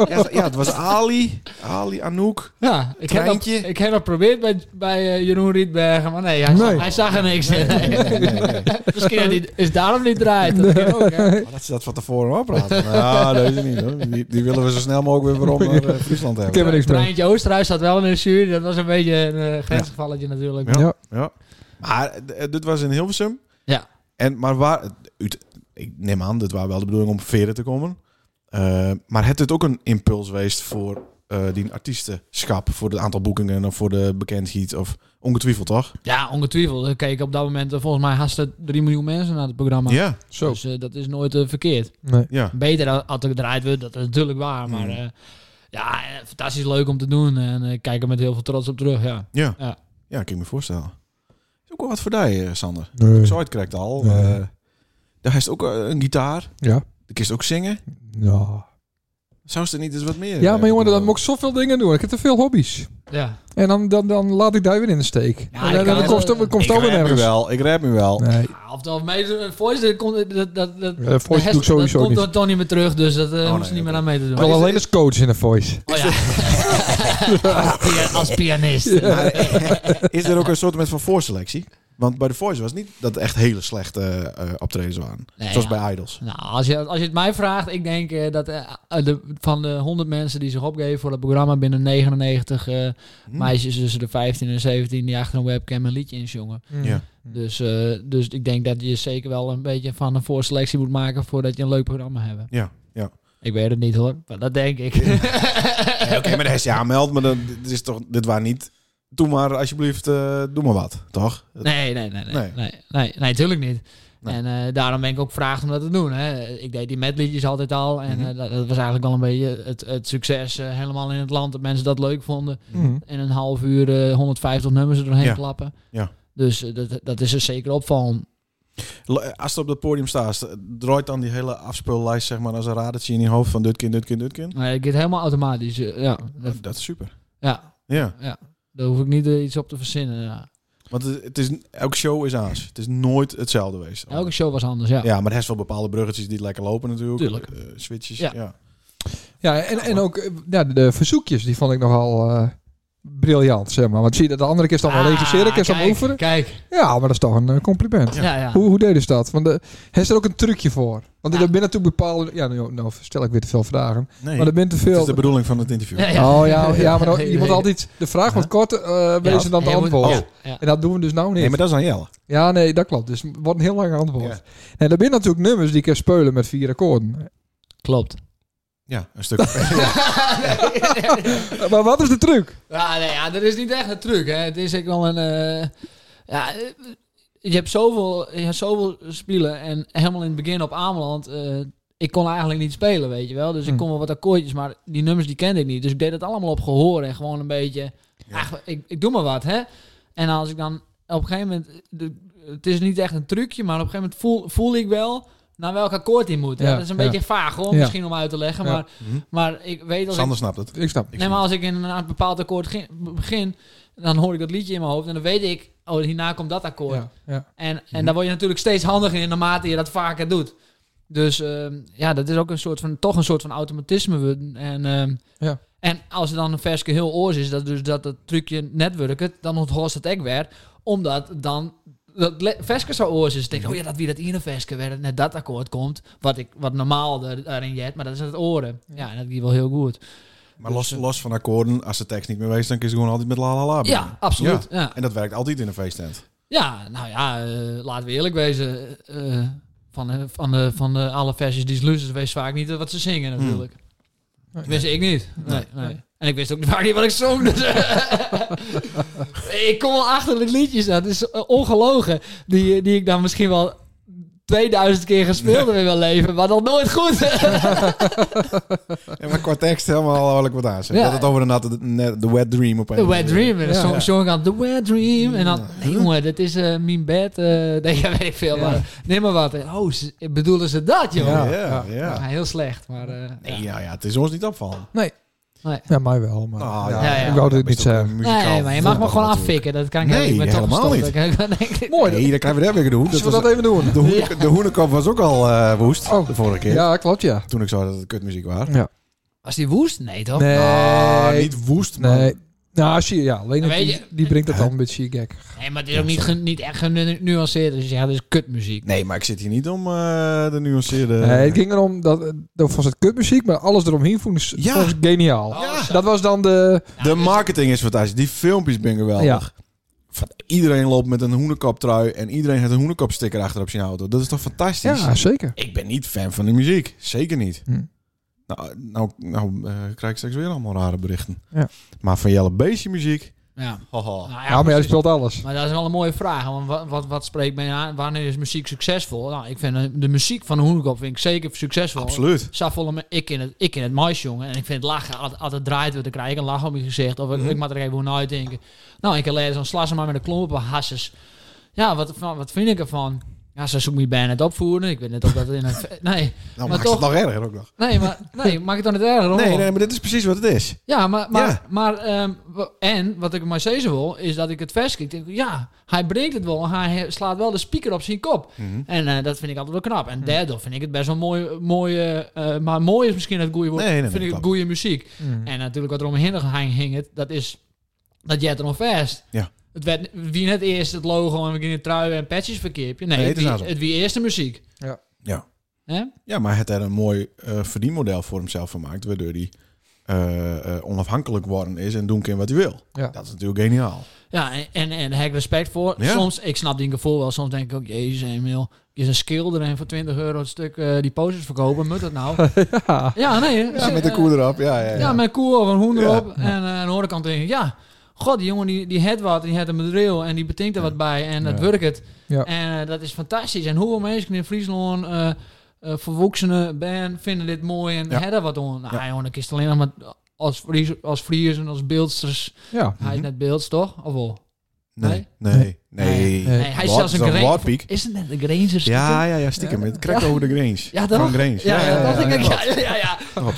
Speaker 1: Ja, ja, het was Ali, Ali Anouk.
Speaker 4: Ja, ik heb, dat,
Speaker 1: Treintje.
Speaker 4: ik heb dat geprobeerd bij, bij eh, Jeroen Rietbergen, maar nee, hij, zag-
Speaker 2: Nee.
Speaker 4: hij zag er niks in.
Speaker 1: nee.
Speaker 4: Misschien dat hij- is daarom niet draait. Dat kan ook, hè.
Speaker 1: Maar dat ze dat van tevoren opraten. nou, dat is het niet hoor. Die, die willen we zo snel mogelijk weer waarom naar eh, Friesland
Speaker 2: Ik
Speaker 1: hebben.
Speaker 2: heb er niks mee.
Speaker 4: Treintje Dus Oosterhuis zat wel in de jury. Dat was een beetje een eh, grensgevalletje natuurlijk.
Speaker 1: Ja.
Speaker 2: Ja.
Speaker 1: Ja. Maar eh, dit was in Hilversum.
Speaker 4: Ja.
Speaker 1: En, maar waar, uit- ik neem aan, dit was wel de bedoeling om veren te komen. Eh, maar het is ook een impuls geweest voor eh, die artiestenschap. Voor het aantal boekingen of voor de bekendheid. Of ongetwijfeld toch?
Speaker 4: Ja, ongetwijfeld. Er keken op dat moment eh, volgens mij haast 3 miljoen mensen naar het programma.
Speaker 1: Ja.
Speaker 2: Zo.
Speaker 4: Dus eh, dat is nooit eh, verkeerd.
Speaker 2: Nee.
Speaker 1: ja.
Speaker 4: Beter dan als er gedraaid wordt, dat is natuurlijk waar. Maar
Speaker 1: Mm.
Speaker 4: eh, ja, eh, fantastisch leuk om te doen. En eh, ik kijk er met heel veel trots op terug, ja.
Speaker 1: Ja.
Speaker 4: Ja.
Speaker 1: Ja, kan ik me voorstellen. Is ook wel wat voor die, eh, Sander.
Speaker 2: Nee.
Speaker 1: Zo het krijgt al.
Speaker 2: Nee.
Speaker 1: eh, daar heeft ook eh, een gitaar.
Speaker 2: Ja.
Speaker 1: Ik kist ook zingen.
Speaker 2: Ja.
Speaker 1: Zou ze er niet eens wat meer?
Speaker 2: Ja,
Speaker 1: eh,
Speaker 2: maar jongen, dan
Speaker 1: doen?
Speaker 2: moet ik zoveel dingen doen. Ik heb te veel hobby's.
Speaker 4: Ja,
Speaker 2: En dan, dan, dan laat ik daar weer in de steek. En
Speaker 4: ik
Speaker 2: dan,
Speaker 4: kan
Speaker 2: dan
Speaker 4: het-
Speaker 2: komt het dan komt
Speaker 1: Ik
Speaker 2: het alweer
Speaker 1: rap nu
Speaker 2: nergens.
Speaker 1: wel. Ik rap nu wel.
Speaker 2: Nee.
Speaker 4: ja of dat mee, voice, eh, dat, komt- dat, dat, dat,
Speaker 2: Eh, voice
Speaker 4: dat-
Speaker 2: doe ik sowieso
Speaker 4: dat komt
Speaker 2: niet.
Speaker 4: er toch niet meer terug, dus dat eh
Speaker 1: nee,
Speaker 4: hoeft ze niet
Speaker 1: oké.
Speaker 4: meer aan mee te
Speaker 2: Ik wil
Speaker 4: doen.
Speaker 2: alleen als coach in de voice.
Speaker 4: Oh, ja. als, pia- als pianist.
Speaker 1: eh, Is er ook een soort met van voorselectie? Want bij The Voice was het niet dat er echt hele slechte eh, eh, optredens waren.
Speaker 4: Nee,
Speaker 1: Zoals
Speaker 4: ja.
Speaker 1: bij Idols.
Speaker 4: Nou, als je, als je het mij vraagt, ik denk eh, dat eh, eh, de, van de 100 mensen die zich opgeven voor het programma, binnen 99 eh,
Speaker 1: Hm.
Speaker 4: meisjes tussen de 15 en 17 die achter een webcam een liedje inzongen.
Speaker 1: Ja.
Speaker 4: Dus, eh, dus ik denk dat je zeker wel een beetje van een voorselectie moet maken voordat je een leuk programma hebt.
Speaker 1: Ja, ja.
Speaker 4: Ik weet het niet hoor, maar dat denk ik.
Speaker 1: Nee, Eh, Oké, maar de SCA meldt, maar dan, dit, is toch, dit waren niet... Doe maar alsjeblieft, eh, doe maar wat, toch?
Speaker 4: Nee, nee, nee, nee,
Speaker 1: Nee.
Speaker 4: nee, nee, nee, natuurlijk niet.
Speaker 1: Nee.
Speaker 4: En eh, daarom ben ik ook gevraagd om dat te doen. Hè. Ik deed die medliedjes altijd al. En
Speaker 1: Mhm.
Speaker 4: eh, dat, dat was eigenlijk al een beetje het, het succes eh, helemaal in het land. Dat mensen dat leuk vonden.
Speaker 2: Mhm.
Speaker 4: In een half uur eh, 150 nummers er doorheen
Speaker 1: Ja.
Speaker 4: klappen.
Speaker 1: Ja.
Speaker 4: Dus eh, dat, dat is er zeker opvallen.
Speaker 1: L- eh, Als het op dat podium staat, draait dan die hele afspeellijst zeg maar als een radertje in je hoofd van dit kind, dit kind, dit kind.
Speaker 4: Maar ik het helemaal automatisch. eh, ja. Dat,
Speaker 1: Dat is super.
Speaker 4: ja,
Speaker 1: Ja,
Speaker 4: daar hoef ik niet eh, iets op te verzinnen. Ja.
Speaker 1: want het, het is, elke show is aans. Het is nooit hetzelfde geweest.
Speaker 4: Elke show was anders, ja.
Speaker 1: Ja, maar er zijn wel bepaalde bruggetjes die lekker lopen natuurlijk.
Speaker 4: Tuurlijk.
Speaker 1: Eh, switches,
Speaker 4: Ja.
Speaker 1: ja.
Speaker 2: Ja, en, en ook eh, ja, de verzoekjes, die vond ik nogal... eh, briljant, zeg maar. Want zie je dat de andere keer dan wel regisseren, keer dan
Speaker 4: Ah, kijk,
Speaker 2: oefenen.
Speaker 4: Kijk.
Speaker 2: Ja, maar dat is toch een eh, compliment.
Speaker 4: Ja, ja.
Speaker 2: Hoe, hoe deden ze dat? Want de, heeft er ook een trucje voor? Want
Speaker 4: Ja.
Speaker 2: er binnen natuurlijk bepaalde... Ja, nou, nou stel ik weer te veel vragen.
Speaker 1: Nee,
Speaker 2: Maar er bent te
Speaker 1: dat
Speaker 2: veel...
Speaker 1: is de bedoeling van het interview.
Speaker 4: Ja,
Speaker 2: Oh ja, ja maar nou, je moet
Speaker 4: Nee.
Speaker 2: altijd... De vraag wordt korter eh, wezen dan het
Speaker 4: Ja, je moet- oh.
Speaker 2: antwoord.
Speaker 4: ja, ja.
Speaker 2: En dat doen we dus nou niet.
Speaker 1: Oh, Nee, maar dat is aan Jelle.
Speaker 2: Ja, nee, dat klopt. Dus het wordt een heel lang antwoord.
Speaker 3: Ja.
Speaker 2: En er zijn natuurlijk nummers die kan speulen met vier akkoorden.
Speaker 4: Klopt.
Speaker 1: Ja, een stuk.
Speaker 2: Eh, Maar wat is de truc?
Speaker 4: Ja, nee, ja, dat is niet echt een truc. Hè. Het is echt wel een. eh, ja, eh, je hebt zoveel, je hebt zoveel spelen en helemaal in het begin op Ameland. eh, ik kon eigenlijk niet spelen, weet je wel. Dus ik
Speaker 2: Hmm.
Speaker 4: kon wel wat akkoordjes, maar die nummers die kende ik niet. Dus ik deed het allemaal op gehoor en gewoon een beetje.
Speaker 1: Ja.
Speaker 4: ach, ik, ik doe maar wat, hè. En als ik dan op een gegeven moment. de- het is niet echt een trucje, maar op een gegeven moment voel, voel ik wel naar welk akkoord hij moet. hè.
Speaker 2: Ja,
Speaker 4: dat is een
Speaker 2: ja.
Speaker 4: beetje vaag hoor,
Speaker 2: Ja.
Speaker 4: misschien om uit te leggen.
Speaker 2: Ja.
Speaker 4: Maar,
Speaker 1: Mhm.
Speaker 4: maar ik weet als ik
Speaker 1: Sander snapt het.
Speaker 2: Ik snap.
Speaker 1: Ik
Speaker 4: nee, maar als ik in een bepaald akkoord ge- begin, dan hoor ik dat liedje in mijn hoofd en dan weet ik, oh, hierna komt dat akkoord.
Speaker 2: Ja, ja.
Speaker 4: En, en daar word je natuurlijk steeds handiger in naarmate je dat vaker doet. Dus ehm, ja, dat is ook een soort van, toch een soort van automatisme. worden. En, ehm,
Speaker 2: Ja.
Speaker 4: en als er dan een verske heel oors is, dat dus dat, dat trucje net werkt, dan onthoort het ook weer, omdat dan dat le- verske zo oors is. Ik denk, oh ja, dat wie dat ene verske werd, net dat akkoord komt, wat, ik, wat normaal er- daarin jet, maar dat is het oren. Ja, en dat ging wel heel goed.
Speaker 1: Maar los, los van akkoorden, als de tekst niet meer wees, dan kun je gewoon altijd met la la la.
Speaker 4: Ja,
Speaker 1: beginnen.
Speaker 4: absoluut. Ja.
Speaker 1: En dat werkt altijd in een feesttent.
Speaker 4: Ja, nou ja, eh, laten we eerlijk wezen. eh, van, eh, van, de, van de alle versies die ze luisteren, wees vaak niet eh, wat ze zingen natuurlijk.
Speaker 2: Nee.
Speaker 4: Wist ik niet. Nee,
Speaker 2: Nee.
Speaker 4: nee. En ik wist ook vaak niet wat ik zong. Dus, eh, ik kom wel achter de liedjes. Dat is eh, ongelogen. Die, eh, die ik dan misschien wel 2000 keer gespeeld heb in mijn leven. Maar dan nooit goed.
Speaker 1: En maar qua tekst helemaal wel ik wat aan. zeg.
Speaker 4: Ja.
Speaker 1: Dat het over de natte, net- de wet dream op een
Speaker 4: The Wet Dream. En dan
Speaker 2: Ja.
Speaker 4: zong, zong ik aan The Wet Dream. En dan, nee jongen, dat is eh mijn bed. eh nee, ja, weet ik veel.
Speaker 2: Ja.
Speaker 4: Maar, neem maar wat. Oh, ze- bedoelen ze dat, joh?
Speaker 1: Ja,
Speaker 2: Ja.
Speaker 1: ja.
Speaker 4: Ja, Nou, heel slecht, maar... eh,
Speaker 1: Nee,
Speaker 4: ja.
Speaker 1: ja, ja, het is ons niet opvallen.
Speaker 2: ja, mij wel. Maar,
Speaker 1: Nou,
Speaker 4: Ja, ja.
Speaker 2: Ik wou dit
Speaker 1: dat is
Speaker 2: niet
Speaker 1: toch
Speaker 2: zeggen.
Speaker 1: een muzikaal
Speaker 4: Nee, maar je mag me
Speaker 1: voorbeeld
Speaker 4: gewoon
Speaker 1: natuurlijk.
Speaker 4: afvikken. Dat kan ik
Speaker 1: Nee,
Speaker 4: helemaal niet. Ik ben toch
Speaker 1: helemaal
Speaker 4: gestopt. Ik- ik-
Speaker 2: Mooi.
Speaker 1: Nee, dan krijgen we dat weer gedoe.
Speaker 2: Zullen
Speaker 1: Dat
Speaker 2: we
Speaker 1: was-
Speaker 2: dat even doen?
Speaker 1: De, hoene- de hoenekop was ook al eh, woest
Speaker 2: Oh.
Speaker 1: de vorige keer.
Speaker 2: Ja, klopt, ja.
Speaker 1: Toen ik zag dat het kutmuziek was.
Speaker 2: ja.
Speaker 4: Was die woest? Nee, toch?
Speaker 2: Nee.
Speaker 1: Ah, niet woest, maar
Speaker 2: nee. Nou, zie je, ja. Alleen
Speaker 4: Weet
Speaker 2: die,
Speaker 4: je-
Speaker 2: die brengt dat
Speaker 1: Hè?
Speaker 2: dan een beetje gek.
Speaker 4: Nee, maar het is ook niet, ge- niet echt genuanceerd. Dus ja, dat is kutmuziek.
Speaker 1: Nee, maar ik zit hier niet om eh, de nuanceerde...
Speaker 2: Nee, het ging erom dat, eh, dat was het kutmuziek, maar alles eromheen vond ik
Speaker 1: Ja.
Speaker 2: vond ik geniaal.
Speaker 4: Ja.
Speaker 2: Dat was dan de.
Speaker 4: Nou,
Speaker 1: De
Speaker 4: dus-
Speaker 1: marketing is fantastisch. Die filmpjes ben geweldig. Van Iedereen loopt met een hoenekoptrui en iedereen heeft een hoenekopsticker achter op zijn auto. Dat is toch fantastisch?
Speaker 2: Ja, zeker.
Speaker 1: Ik ben niet fan van de muziek. Zeker niet.
Speaker 2: Hm.
Speaker 1: Nou, nou, nou eh, krijg ik straks weer allemaal rare berichten.
Speaker 2: Ja.
Speaker 1: Maar van Jelle Beestje muziek...
Speaker 4: Ja.
Speaker 1: Haha.
Speaker 4: Nou, ja,
Speaker 2: Ja, maar jij
Speaker 4: precies.
Speaker 2: speelt alles.
Speaker 4: Maar dat is wel een mooie vraag. Want wat, wat, wat spreekt mij aan? Wanneer is muziek succesvol? Nou, ik vind eh, de muziek van Hoenekop vind ik zeker succesvol.
Speaker 1: Absoluut.
Speaker 4: Saffolle, ik in het, ik in het mais, jongen. En ik vind het lachen, altijd, altijd draait we, dan krijg ik een lach op mijn gezicht. Of ik-
Speaker 1: Mhm.
Speaker 4: ik mag er even hoe uitdenken. Nou, ik lees zo'n slassen maar met een klomp op mijn hasses. Ja, wat, van- wat vind ik ervan? Ja, ze zoekt me bijna het opvoeren. Ik weet net of dat in een... Nee,
Speaker 1: Nou,
Speaker 4: Maar
Speaker 1: maakt het
Speaker 4: toch-
Speaker 1: nog erger ook nog.
Speaker 4: nee, maar, nee, maak het dan niet erger, hoor.
Speaker 1: Nee, nee, maar dit is precies wat het is.
Speaker 4: Ja, maar, maar,
Speaker 1: Ja.
Speaker 4: maar ehm, wa- en wat ik maar zeggen wil, is dat ik het vast Ik denk, ja, hij brengt het wel, maar hij slaat wel de speaker op zijn kop.
Speaker 1: Mhm.
Speaker 4: En eh, dat vind ik altijd wel
Speaker 1: Hm.
Speaker 4: knap. En daardoor vind ik het best wel mooi, mooi eh, eh, maar mooi is misschien het goede woord.
Speaker 1: Nee, nee, nee,
Speaker 4: vind ik het
Speaker 1: klopt. Hm.
Speaker 4: goede muziek.
Speaker 2: Mm.
Speaker 4: En natuurlijk wat er omheen hang- hing, het, dat is dat jij het erom vast.
Speaker 1: Ja.
Speaker 4: Het werd, wie net eerst het logo en we gingen truien en patches verkeerpje. Nee,
Speaker 1: Nee, het
Speaker 4: het,
Speaker 1: is
Speaker 4: wie,
Speaker 1: nou zo.
Speaker 4: het wie eerst de muziek.
Speaker 1: Ja.
Speaker 4: Hè?
Speaker 1: Ja, maar het er een mooi eh, verdienmodel voor hemzelf van maakt, waardoor hij eh, eh, onafhankelijk worden is en doen kan wat hij wil.
Speaker 2: Ja.
Speaker 1: Dat is natuurlijk geniaal.
Speaker 4: Ja, en, en, en daar heb ik respect voor.
Speaker 1: Ja.
Speaker 4: Soms, ik snap die gevoel wel. Soms denk ik ook, jezus Emil, je is een skilder en voor 20 euro het stuk eh, die posters verkopen. Moet dat nou? ja. nee. hè.
Speaker 1: Ja, met de
Speaker 4: Eh,
Speaker 1: koe erop. Ja, ja, ja.
Speaker 4: Ja, met koe of een hoen
Speaker 1: Ja.
Speaker 4: erop. En eh, aan de andere kant denk ik, ja, god, die jongen die, die had wat, die had een bedrijf en die betinkt er wat bij en dat
Speaker 1: Ja.
Speaker 4: werkt het.
Speaker 2: Ja.
Speaker 4: En eh, dat is fantastisch. En hoeveel mensen in Friesland... eh eh verwoksenen ben, vinden dit mooi en
Speaker 1: Ja.
Speaker 4: hebben wat om. Nou,
Speaker 1: Ja.
Speaker 4: jongen, ik is het alleen nog maar als Fries, als Friers en als beeldsters.
Speaker 2: Ja.
Speaker 4: Hij is
Speaker 1: Mhm.
Speaker 4: net beelds, toch? Of wel?
Speaker 1: Nee, nee, nee.
Speaker 2: Nee,
Speaker 4: Nee, hij is zelfs een
Speaker 1: Eh, Wat- zo'n
Speaker 4: Grange-
Speaker 1: Warpiek.
Speaker 4: Is het net een Granger?
Speaker 1: Ja, ja, ja, stiekem. Het krek over de Grange.
Speaker 4: Ja, toch?
Speaker 1: Van Grange.
Speaker 4: Ja, ja, dat denk ik.
Speaker 1: ja.
Speaker 4: Ja, ja, ja. ja.
Speaker 1: Oh.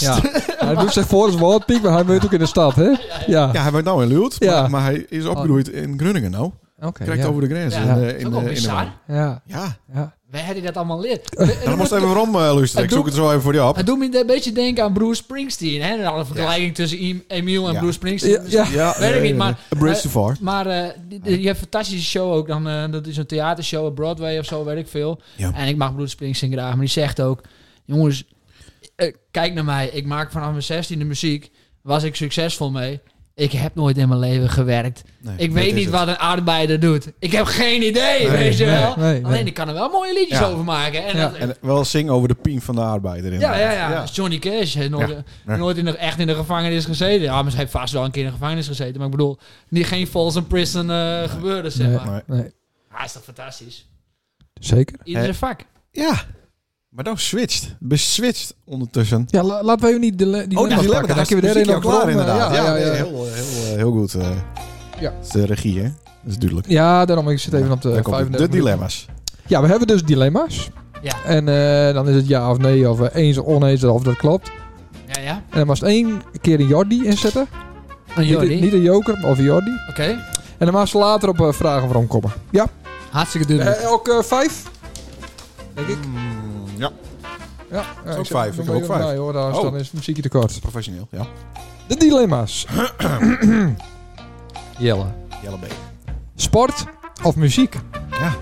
Speaker 2: Ja. Hij doet zich voor als Waldpiek, maar hij woont ook in de stad, hè? Ja.
Speaker 1: Ja, hij woont nou in Lult, maar,
Speaker 2: Ja.
Speaker 1: maar hij is opgegroeid in Groningen nou.
Speaker 2: Oké.
Speaker 1: Krijgt
Speaker 2: ja.
Speaker 1: over de grens.
Speaker 4: Oh.
Speaker 1: in,
Speaker 4: Ja,
Speaker 1: eh,
Speaker 4: dat is
Speaker 1: in,
Speaker 4: ook wel
Speaker 1: eh, in de
Speaker 4: bizar.
Speaker 1: war.
Speaker 2: Ja,
Speaker 1: Ja, Nou,
Speaker 2: ja.
Speaker 4: Waar heb je dat allemaal lid?
Speaker 1: dan moest even waarom eh luisteren. Ik
Speaker 4: doe-
Speaker 1: zoek het zo even voor je op.
Speaker 4: Het doet me een beetje denken aan Bruce Springsteen. Hè? Nou, Een vergelijking tussen Em- Emiel en
Speaker 1: Ja.
Speaker 4: Bruce
Speaker 2: Ja,
Speaker 4: Springsteen. Dus
Speaker 2: ja.
Speaker 1: Ja,
Speaker 4: Weet ik niet, maar-
Speaker 1: A bridge too far.
Speaker 4: Maar eh, die- die- je hebt een fantastische show ook. Dan, eh, dat is een theatershow op Broadway of zo, weet ik veel.
Speaker 1: Ja.
Speaker 4: En ik mag Bruce Springsteen graag. Maar die zegt ook... Jongens, eh, kijk naar mij. Ik maak vanaf mijn zestiende muziek. Was ik succesvol mee? Ik heb nooit in mijn leven gewerkt.
Speaker 1: Nee,
Speaker 4: Ik
Speaker 1: dat
Speaker 4: weet
Speaker 1: is
Speaker 4: niet
Speaker 1: het.
Speaker 4: wat een arbeider doet. Ik heb geen idee, weet je
Speaker 2: nee,
Speaker 4: wel.
Speaker 2: nee, nee.
Speaker 4: Alleen ik kan er wel mooie liedjes
Speaker 1: Ja.
Speaker 4: over maken. En
Speaker 2: Ja.
Speaker 4: dat-
Speaker 1: En wel zing over de pien van de arbeider. in.
Speaker 4: ja, ja, ja.
Speaker 1: Ja.
Speaker 4: Dat is Johnny Cash heeft nooit,
Speaker 1: Ja.
Speaker 4: eh,
Speaker 1: Ja.
Speaker 4: nooit in de, echt in de gevangenis gezeten. Ja, maar ze heeft vast wel een keer in de gevangenis gezeten. Maar ik bedoel, niet, geen false in prison eh gebeuren, zeg
Speaker 2: Nee,
Speaker 4: maar.
Speaker 1: maar-
Speaker 2: nee.
Speaker 4: Ah, is toch fantastisch?
Speaker 2: Zeker.
Speaker 4: Ieder
Speaker 1: Hè?
Speaker 4: zijn vak.
Speaker 1: Ja. Maar dan switcht. Beswitcht ondertussen.
Speaker 2: Ja, la- laten we even niet de le-
Speaker 1: Oh,
Speaker 2: die dilemma pakken. Dan kunnen we
Speaker 1: Muziekje
Speaker 2: daarin
Speaker 1: al
Speaker 2: nog
Speaker 1: klaar
Speaker 2: wel, eh,
Speaker 1: inderdaad.
Speaker 2: Ja, ja, ja,
Speaker 1: nee, Heel, heel, heel goed. eh.
Speaker 2: Ja.
Speaker 1: Het is de regie, hè? Dat is duidelijk.
Speaker 2: Ja, daarom. Ik zit even
Speaker 1: Ja,
Speaker 4: Eh,
Speaker 2: op de
Speaker 1: daar komt het.
Speaker 2: 35
Speaker 1: De
Speaker 2: minuten.
Speaker 1: dilemma's.
Speaker 2: Ja, we hebben dus dilemma's.
Speaker 4: Ja.
Speaker 2: En eh, dan is het ja of nee, of eh, eens of oneens, of dat klopt.
Speaker 4: Ja, ja.
Speaker 2: En dan mag het één keer een Jordi inzetten.
Speaker 4: Een
Speaker 2: Niet, een- niet een joker, maar of een Jordi.
Speaker 4: Oké.
Speaker 2: En dan mag ze later op eh, vragen waarom komen. Ja.
Speaker 4: Hartstikke dun.
Speaker 2: Eh, elk eh, vijf? Denk ik.
Speaker 1: Mm, ja,
Speaker 2: Ja. ja,
Speaker 1: ook
Speaker 2: ik
Speaker 1: vijf. Ik
Speaker 2: zet hem
Speaker 1: heb ook
Speaker 2: even
Speaker 1: vijf.
Speaker 2: bij, hoor, anders
Speaker 1: Oh.
Speaker 2: Dan is het muziekje te kort.
Speaker 1: professioneel. Ja.
Speaker 2: De dilemma's. Jelle.
Speaker 1: Jelle B.
Speaker 2: Sport of muziek?
Speaker 1: Ja.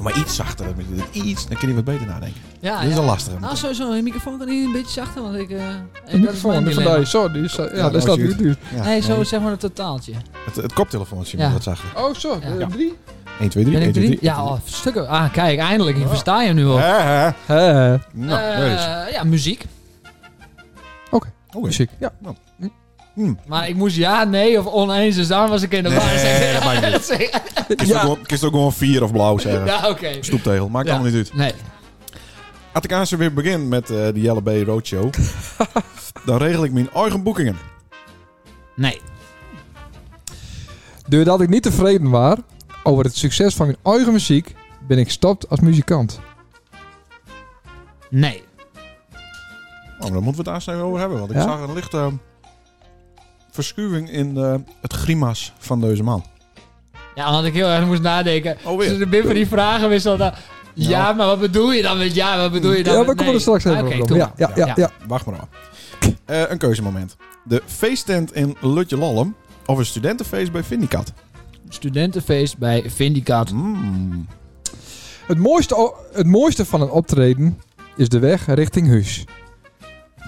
Speaker 1: Maar iets zachter. dat moet je- Iets, dan kun je wat beter nadenken.
Speaker 4: ja,
Speaker 1: Dit is
Speaker 4: ja.
Speaker 1: al lastig.
Speaker 4: Nou, sowieso. Een microfoon kan hier een beetje zachter, want ik... eh
Speaker 2: De microfoon van
Speaker 4: dilemma.
Speaker 2: de zo, die is, eh, ja,
Speaker 1: Ja,
Speaker 2: daar
Speaker 1: nou
Speaker 2: staat
Speaker 1: is
Speaker 2: nu
Speaker 1: het.
Speaker 2: duur.
Speaker 1: Ja,
Speaker 4: nee, zo
Speaker 1: nee.
Speaker 4: zeg maar een totaaltje.
Speaker 1: Het, het koptelefoontje
Speaker 4: Ja.
Speaker 1: moet wat zachter.
Speaker 2: Oh, zo, eh,
Speaker 4: Ja.
Speaker 2: drie.
Speaker 1: 1, 2, 3.
Speaker 4: Ben
Speaker 1: 1,
Speaker 4: ik
Speaker 1: 2,
Speaker 4: drie?
Speaker 1: 3.
Speaker 4: Ja, oh, stukken. Ah, kijk, eindelijk. Ik versta je nu al.
Speaker 2: Hè,
Speaker 1: Nou,
Speaker 4: Eh,
Speaker 1: daar is het.
Speaker 4: ja, muziek.
Speaker 1: Oké.
Speaker 2: muziek. Ja.
Speaker 1: Hmm.
Speaker 4: Maar ik moest ja, nee of oneens, dus daarom was ik in de
Speaker 1: Nee,
Speaker 4: war. Zeg-
Speaker 1: maakt niet
Speaker 4: Zeg-
Speaker 1: Kist ook gewoon- kist ook gewoon vier of blauw zeggen.
Speaker 4: ja, oké.
Speaker 1: Stoeptegel, maakt
Speaker 4: Ja.
Speaker 1: allemaal niet uit.
Speaker 4: Nee.
Speaker 1: Als ik aan ze weer begin met eh, de Jelle B Roadshow, dan regel ik mijn eigen boekingen.
Speaker 4: Nee.
Speaker 2: Doordat ik niet tevreden was over het succes van mijn eigen muziek, ben ik gestopt als muzikant.
Speaker 4: Nee.
Speaker 1: Oh, maar daar moeten we het aansnijden over hebben, want ik
Speaker 2: Ja?
Speaker 1: zag een lichte ehm, verschuwing in eh, het grimas van deze man.
Speaker 4: Ja, want ik heel erg moest nadenken.
Speaker 1: Oh, weer.
Speaker 4: Dus de bim van die vragen wist al dat... Ja, maar wat bedoel je dan met ja? Wat bedoel je dan
Speaker 2: Ja,
Speaker 4: met
Speaker 2: we komen
Speaker 4: nee?
Speaker 2: er straks
Speaker 4: Ah,
Speaker 2: even
Speaker 4: oké,
Speaker 2: op.
Speaker 4: doe
Speaker 2: Ja,
Speaker 4: maar.
Speaker 2: ja, ja,
Speaker 4: Ja.
Speaker 2: ja.
Speaker 1: Wacht maar af. Eh, een keuzemoment. De feesttent in Lutje Lallem of een studentenfeest bij Vindicat?
Speaker 4: Studentenfeest bij Vindicat.
Speaker 1: Mm.
Speaker 2: Het, mooiste, o- het mooiste van een optreden is de weg richting huis.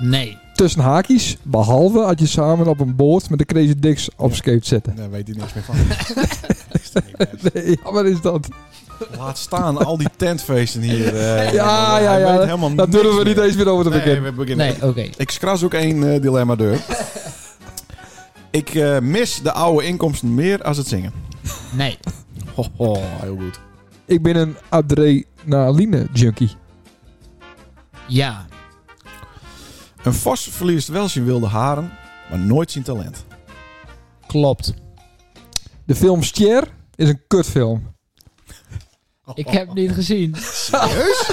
Speaker 4: Nee.
Speaker 2: Tussen haakjes, behalve als je samen op een boot met de Crazy Dicks op
Speaker 1: Ja.
Speaker 2: skate zetten.
Speaker 1: Daar weet hij niks meer van. Is er niks meer.
Speaker 2: Nee, ja, wat is dat?
Speaker 1: Laat staan al die tentfeesten hier. eh,
Speaker 2: Ja, ja,
Speaker 1: hij
Speaker 2: ja.
Speaker 1: weet helemaal
Speaker 2: Daar
Speaker 1: niks
Speaker 2: durven we niet
Speaker 1: meer.
Speaker 2: eens meer over te
Speaker 1: Nee,
Speaker 2: beginnen.
Speaker 1: we beginnen.
Speaker 4: Nee, oké.
Speaker 1: Ik skras ook één eh, dilemma door. ik eh, mis de oude inkomsten meer als het zingen.
Speaker 4: Nee.
Speaker 1: Ho, ho, heel goed.
Speaker 2: Ik ben een adrenaline junkie.
Speaker 4: Ja.
Speaker 1: Een vos verliest wel zijn wilde haren, maar nooit zijn talent.
Speaker 4: Klopt.
Speaker 2: De film Stier is een kutfilm.
Speaker 4: Ik heb het niet gezien.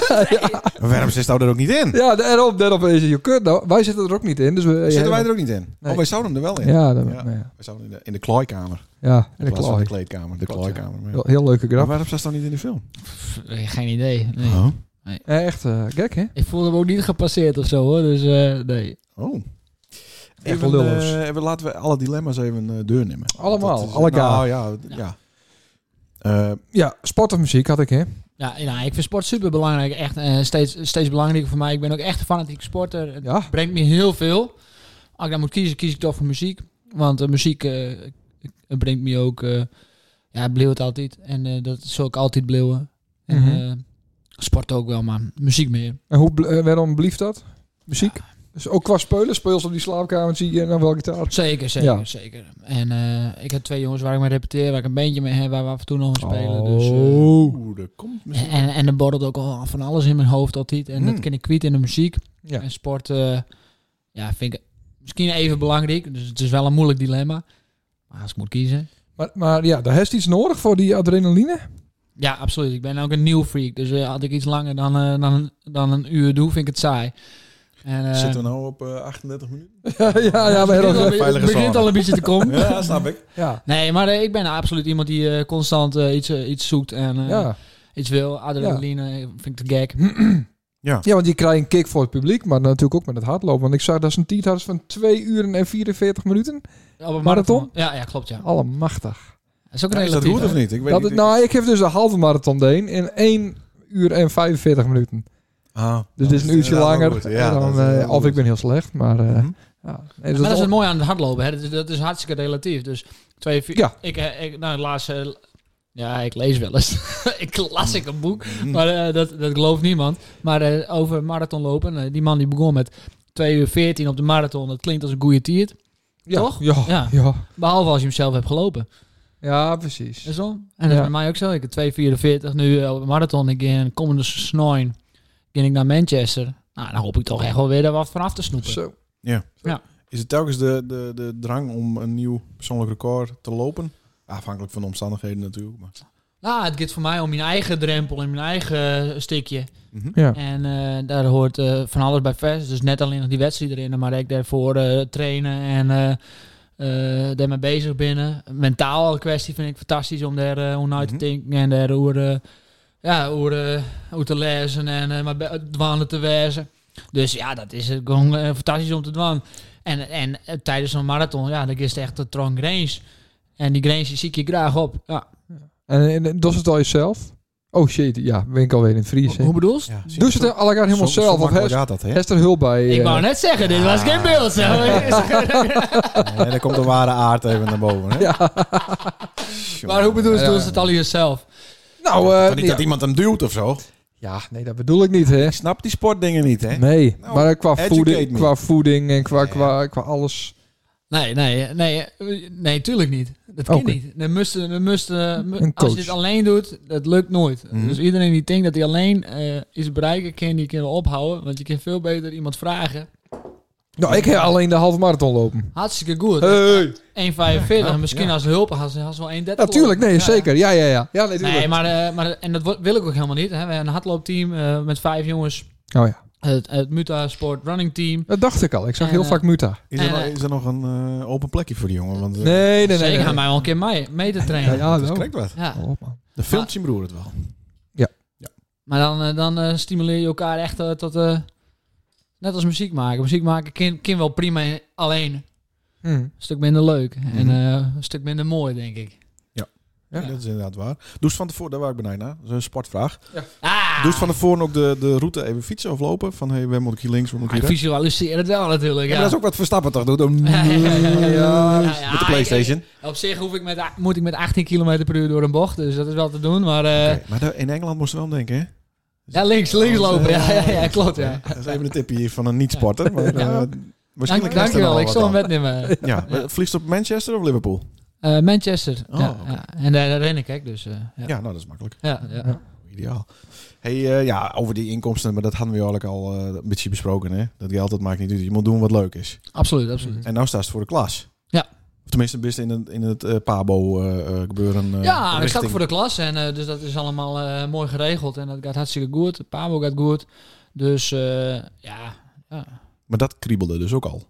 Speaker 1: Waarom zit nou er ook niet in?
Speaker 2: Ja, daarop, daarop is het je kut. Nou, wij zitten er ook niet in. Dus we,
Speaker 1: Zitten wij er ook niet in?
Speaker 2: Nee.
Speaker 1: Oh, wij zouden hem er wel in.
Speaker 2: Ja, dat-
Speaker 1: Ja.
Speaker 2: nou ja.
Speaker 1: Wij zouden in de, in de klooikamer.
Speaker 2: ja in
Speaker 1: In
Speaker 2: de
Speaker 1: plaats van
Speaker 2: klaar.
Speaker 1: de kleedkamer. De
Speaker 2: Klopt, ja.
Speaker 1: klooikamer. maar ja.
Speaker 2: Heel, heel leuke
Speaker 1: Maar
Speaker 2: grap.
Speaker 1: waarom zat ze dan niet in de film?
Speaker 4: Pff, Geen idee. Nee.
Speaker 1: Oh.
Speaker 2: Eh, Echt eh, gek, hè?
Speaker 4: Ik voelde hem ook niet gepasseerd of zo hoor. Dus eh, nee.
Speaker 1: Oh.
Speaker 2: Echt
Speaker 1: Even,
Speaker 2: lulloos.
Speaker 1: eh, even laten we alle dilemma's even eh deur nemen.
Speaker 2: Allemaal,
Speaker 1: Dat is-
Speaker 2: alle
Speaker 1: nou, ja, ja. Eh,
Speaker 2: Ja, sport of muziek had ik, hè?
Speaker 4: Ja, nou, ik vind sport super belangrijk. Echt eh, steeds, steeds belangrijker voor mij. Ik ben ook echt een fanatiek sporter. Het
Speaker 2: Ja.
Speaker 4: brengt me heel veel. Als ik dan moet kiezen, kies ik toch voor muziek. Want eh, muziek eh, het brengt me ook... eh ja, het bleeuwt altijd. En eh, dat zal ik altijd bleeuwen. En,
Speaker 2: Mhm.
Speaker 4: eh, sport ook wel, maar muziek meer.
Speaker 2: En hoe, bl- eh, waarom blieft dat? Muziek? Dus ook qua spelen, speel ze op die slaapkamer, zie je en dan wel gitaar.
Speaker 4: Zeker, zeker,
Speaker 2: Ja.
Speaker 4: zeker. En eh, ik heb twee jongens waar ik mee repeteer, waar ik een bandje mee heb, waar we af en toe nog mee spelen.
Speaker 2: Oh.
Speaker 4: Dus, eh,
Speaker 1: Oeh, er komt misschien...
Speaker 4: En, en er borrelt ook al van alles in mijn hoofd altijd. En dat
Speaker 1: Hmm.
Speaker 4: ken ik kwijt in de muziek.
Speaker 2: Mm. Ja.
Speaker 4: En sport eh, ja, vind ik misschien even belangrijk. Dus het is wel een moeilijk dilemma. Maar als ik moet kiezen.
Speaker 2: Maar, maar ja, daar heeft iets nodig voor die adrenaline.
Speaker 4: Ja, absoluut. Ik ben ook een nieuw freak. Dus eh, had ik iets langer dan, eh, dan, dan een uur doe, vind ik het saai. En, eh,
Speaker 1: Zitten we nou op eh, 38 minuten?
Speaker 2: ja, ja, ja, maar heel
Speaker 4: het begint al een
Speaker 2: erg.
Speaker 4: beetje-
Speaker 1: Veilige
Speaker 4: het begint
Speaker 1: zone.
Speaker 4: al een beetje te komen.
Speaker 1: Ja, snap ik.
Speaker 2: Ja,
Speaker 4: Nee, maar eh, ik ben absoluut iemand die eh, constant eh, iets, eh, iets zoekt en eh,
Speaker 2: ja.
Speaker 4: iets wil. Adrenaline eh, vind ik te gek.
Speaker 2: ja, want die krijgen een kick voor het publiek, maar natuurlijk ook met het hardlopen. Want ik zag dat ze een tientallen van 2 uur en 44 minuten.
Speaker 4: Op een
Speaker 2: Marathon?
Speaker 4: Ja, ja, klopt ja.
Speaker 2: Allemachtig.
Speaker 4: Dat is ook een
Speaker 1: Ja, is dat
Speaker 4: relatief.
Speaker 1: goed of niet? Ik weet
Speaker 2: Dat,
Speaker 1: niet.
Speaker 2: het- nou, ik heb dus een halve marathon deen in 1 uur en 45 minuten.
Speaker 1: Ah,
Speaker 2: Dus
Speaker 1: dat
Speaker 2: dit is een uurtje
Speaker 1: inderdaad wel
Speaker 2: langer.
Speaker 1: goed. Ja,
Speaker 2: dan,
Speaker 1: dat is
Speaker 2: eh,
Speaker 1: wel
Speaker 2: of
Speaker 1: goed.
Speaker 2: ik ben heel slecht, maar... eh,
Speaker 1: Mhm.
Speaker 2: ja. Nee,
Speaker 4: maar dat is
Speaker 2: al-
Speaker 4: het mooie aan het hardlopen. Hè? Dat, is- dat is hartstikke relatief. Dus twee, vier,
Speaker 2: Ja.
Speaker 4: ik, eh, ik, nou, laatst, eh, ja, ik lees wel eens. ik las ik een boek,
Speaker 2: Mm-hmm.
Speaker 1: Mm.
Speaker 4: maar eh, dat, dat gelooft niemand. Maar eh, over marathonlopen, eh, die man die begon met 2 uur 14 op de marathon, dat klinkt als een goede tiert.
Speaker 2: ja,
Speaker 4: toch?
Speaker 2: Ja,
Speaker 4: Ja.
Speaker 2: Oh, ja. ja.
Speaker 4: Behalve als je hem zelf hebt gelopen.
Speaker 2: precies.
Speaker 4: Is zo? En dat is
Speaker 2: Ja.
Speaker 4: bij mij ook zo. Ik heb 2,44 nu eh, op de marathon. Ik ging komende snoin. Ging ik naar Manchester. Nou, dan hoop ik toch echt wel weer er wat van af te snoepen.
Speaker 2: Zo.
Speaker 1: Is het telkens de, de, de drang om een nieuw persoonlijk record te lopen? Afhankelijk van de omstandigheden natuurlijk. Maar.
Speaker 4: Nou, het gaat voor mij om mijn eigen drempel en mijn eigen eh, stukje.
Speaker 1: Mhm.
Speaker 2: Ja.
Speaker 4: En eh, daar hoort eh, van alles bij vers. Dus net alleen nog die wedstrijd erin, maar ik daarvoor eh, trainen en eh, eh, daarmee bezig binnen. Mentaal al kwestie vind ik fantastisch om daar eh om uit
Speaker 1: Mhm.
Speaker 4: te denken en daar hoe, eh, ja, hoe, eh, hoe te lezen en eh, maar be- dwanen te wijzen. Dus ja, dat is eh, gewoon eh, fantastisch om te dwan. En, en eh, tijdens zo'n marathon, ja, dan is het echt een tronk range. En die range die zie ik je graag op. Ja.
Speaker 2: En, en, en doe ze het al jezelf? Oh shit, ja, ben ik alweer in het Fries.
Speaker 4: Hoe hoe bedoel je?
Speaker 1: Ja, zie
Speaker 2: Doe
Speaker 1: je,
Speaker 2: ze het allemaal helemaal
Speaker 1: zo- zo
Speaker 2: zelf? Of
Speaker 1: makkelijk
Speaker 2: heeft
Speaker 1: gaat dat, hè?
Speaker 2: heeft er hulp bij?
Speaker 4: Ik
Speaker 2: eh,
Speaker 4: wou net zeggen, dit was geen beeld. Zo.
Speaker 1: En dan komt de ware aard even naar boven. Hè?
Speaker 2: Ja.
Speaker 1: Tjonge.
Speaker 4: Maar hoe bedoel je,
Speaker 2: Ja.
Speaker 4: doen ze het al jezelf?
Speaker 2: Nou,
Speaker 1: Kan
Speaker 2: eh,
Speaker 1: niet
Speaker 2: ja.
Speaker 1: dat iemand hem duwt of zo.
Speaker 2: ja, nee, dat bedoel ik niet, hè.
Speaker 1: Ik snap die sportdingen niet, hè?
Speaker 2: Nee,
Speaker 1: Nou,
Speaker 2: maar qua
Speaker 1: educate
Speaker 2: voeding,
Speaker 1: me.
Speaker 2: qua voeding en qua,
Speaker 1: Ja.
Speaker 2: qua, qua alles.
Speaker 4: Nee, nee, nee, eh, nee, tuurlijk niet. Dat kan
Speaker 2: Oké.
Speaker 4: niet. Dan moest, dan moest, eh, mu-
Speaker 2: Een
Speaker 4: als
Speaker 2: coach.
Speaker 4: je dit alleen doet, dat lukt nooit.
Speaker 1: Mhm.
Speaker 4: Dus iedereen die denkt dat hij alleen eh iets bereiken kan, die kan wel ophouden. Want je kan veel beter iemand vragen.
Speaker 2: Nou, ik heb alleen de halve marathon lopen.
Speaker 4: Hartstikke goed.
Speaker 2: Hey.
Speaker 4: 1,45. Misschien
Speaker 1: ja.
Speaker 4: als hulp had ze had ze wel 1,30.
Speaker 2: Natuurlijk, nee,
Speaker 4: Ja.
Speaker 2: zeker. Ja, ja, ja. ja nee,
Speaker 4: Nee,
Speaker 2: tuurlijk.
Speaker 4: maar, eh, maar en dat wo- wil ik ook helemaal niet. Hè. We hebben een hardloopteam eh, met vijf jongens.
Speaker 2: Oh ja,
Speaker 4: Het, het Muta Sport Running Team.
Speaker 2: dat dacht ik al. Ik zag
Speaker 4: En,
Speaker 2: heel
Speaker 4: eh,
Speaker 2: vaak Muta.
Speaker 1: Is, er
Speaker 4: En,
Speaker 1: nog,
Speaker 4: eh,
Speaker 1: is er nog een eh, open plekje voor die jongen? Want, eh,
Speaker 2: Nee, nee, nee.
Speaker 4: Zeker
Speaker 2: nee,
Speaker 4: aan
Speaker 2: nee.
Speaker 4: mij wel een keer mee, mee te
Speaker 2: Ja,
Speaker 4: trainen.
Speaker 2: ja,
Speaker 1: dat is
Speaker 2: wel.
Speaker 1: correct wat.
Speaker 4: Ja.
Speaker 2: Hou op, man.
Speaker 1: De filmt zijn broer het wel.
Speaker 4: Maar dan, eh, dan eh, stimuleer je elkaar echt eh, tot... eh, net als muziek maken. Muziek maken kan, kan wel prima in- alleen. Een
Speaker 2: Hm.
Speaker 4: stuk minder leuk. En
Speaker 1: Mhm.
Speaker 4: eh, een stuk minder mooi, denk ik.
Speaker 1: Ja.
Speaker 4: Ja.
Speaker 1: Dat is inderdaad waar. Doe ze van tevoren, daar waar ik benieuwd naar. Dat is een sportvraag.
Speaker 4: Ah!
Speaker 1: Doe ze van tevoren ook de, de route even fietsen of lopen? Van, hé, hey, waar moet ik hier links, waar moet ik
Speaker 4: Maar ik
Speaker 1: hier rechts?
Speaker 4: visualiseer het wel natuurlijk.
Speaker 1: Ja,
Speaker 4: Ja,
Speaker 1: maar dat is ook wat Verstappen toch doet. Dan-
Speaker 4: Ja, ja, ja, ja. Ja, ja,
Speaker 1: Met de Playstation.
Speaker 4: Op zich hoef ik met, a- moet ik met 18 km per uur door een bocht. Dus dat is wel te doen. Maar eh,
Speaker 1: Oké, Oh, maar daar- in Engeland moest je wel om denken, hè?
Speaker 4: ja, links, links lopen. Ja, ja, ja, klopt. Ja.
Speaker 1: Dat is even een tipje hier van een niet-sporter. Maar, eh,
Speaker 4: Ja. Dank,
Speaker 1: waarschijnlijk is er
Speaker 4: dankjewel.
Speaker 1: wel
Speaker 4: Ik
Speaker 1: wat
Speaker 4: zal hem
Speaker 1: aan.
Speaker 4: metnemen.
Speaker 1: Ja, maar vliegst op Manchester of Liverpool?
Speaker 4: Eh, Manchester.
Speaker 1: Oh,
Speaker 4: ja,
Speaker 1: oké.
Speaker 4: ja. En daar, daar ren ik, hè. Dus, eh,
Speaker 1: Ja,
Speaker 4: ja.
Speaker 1: nou, dat is makkelijk.
Speaker 4: Ja, ja.
Speaker 1: Ideaal. Hey, eh, ja, over die inkomsten, maar dat hadden we eigenlijk al eh, een beetje besproken, hè? Dat geld, dat maakt niet uit. Je moet doen wat leuk is.
Speaker 4: Absoluut, absoluut.
Speaker 1: En nou staat het voor de klas.
Speaker 4: Ja.
Speaker 1: Of tenminste, best in het, in het eh, Pabo eh, eh, gebeuren. eh,
Speaker 4: Ja, ik sta
Speaker 1: richting.
Speaker 4: ook voor de klas. En, eh, dus dat is allemaal eh, mooi geregeld. En dat gaat hartstikke goed. Pabo gaat goed. Dus eh, ja. ja.
Speaker 1: Maar dat kriebelde dus ook al.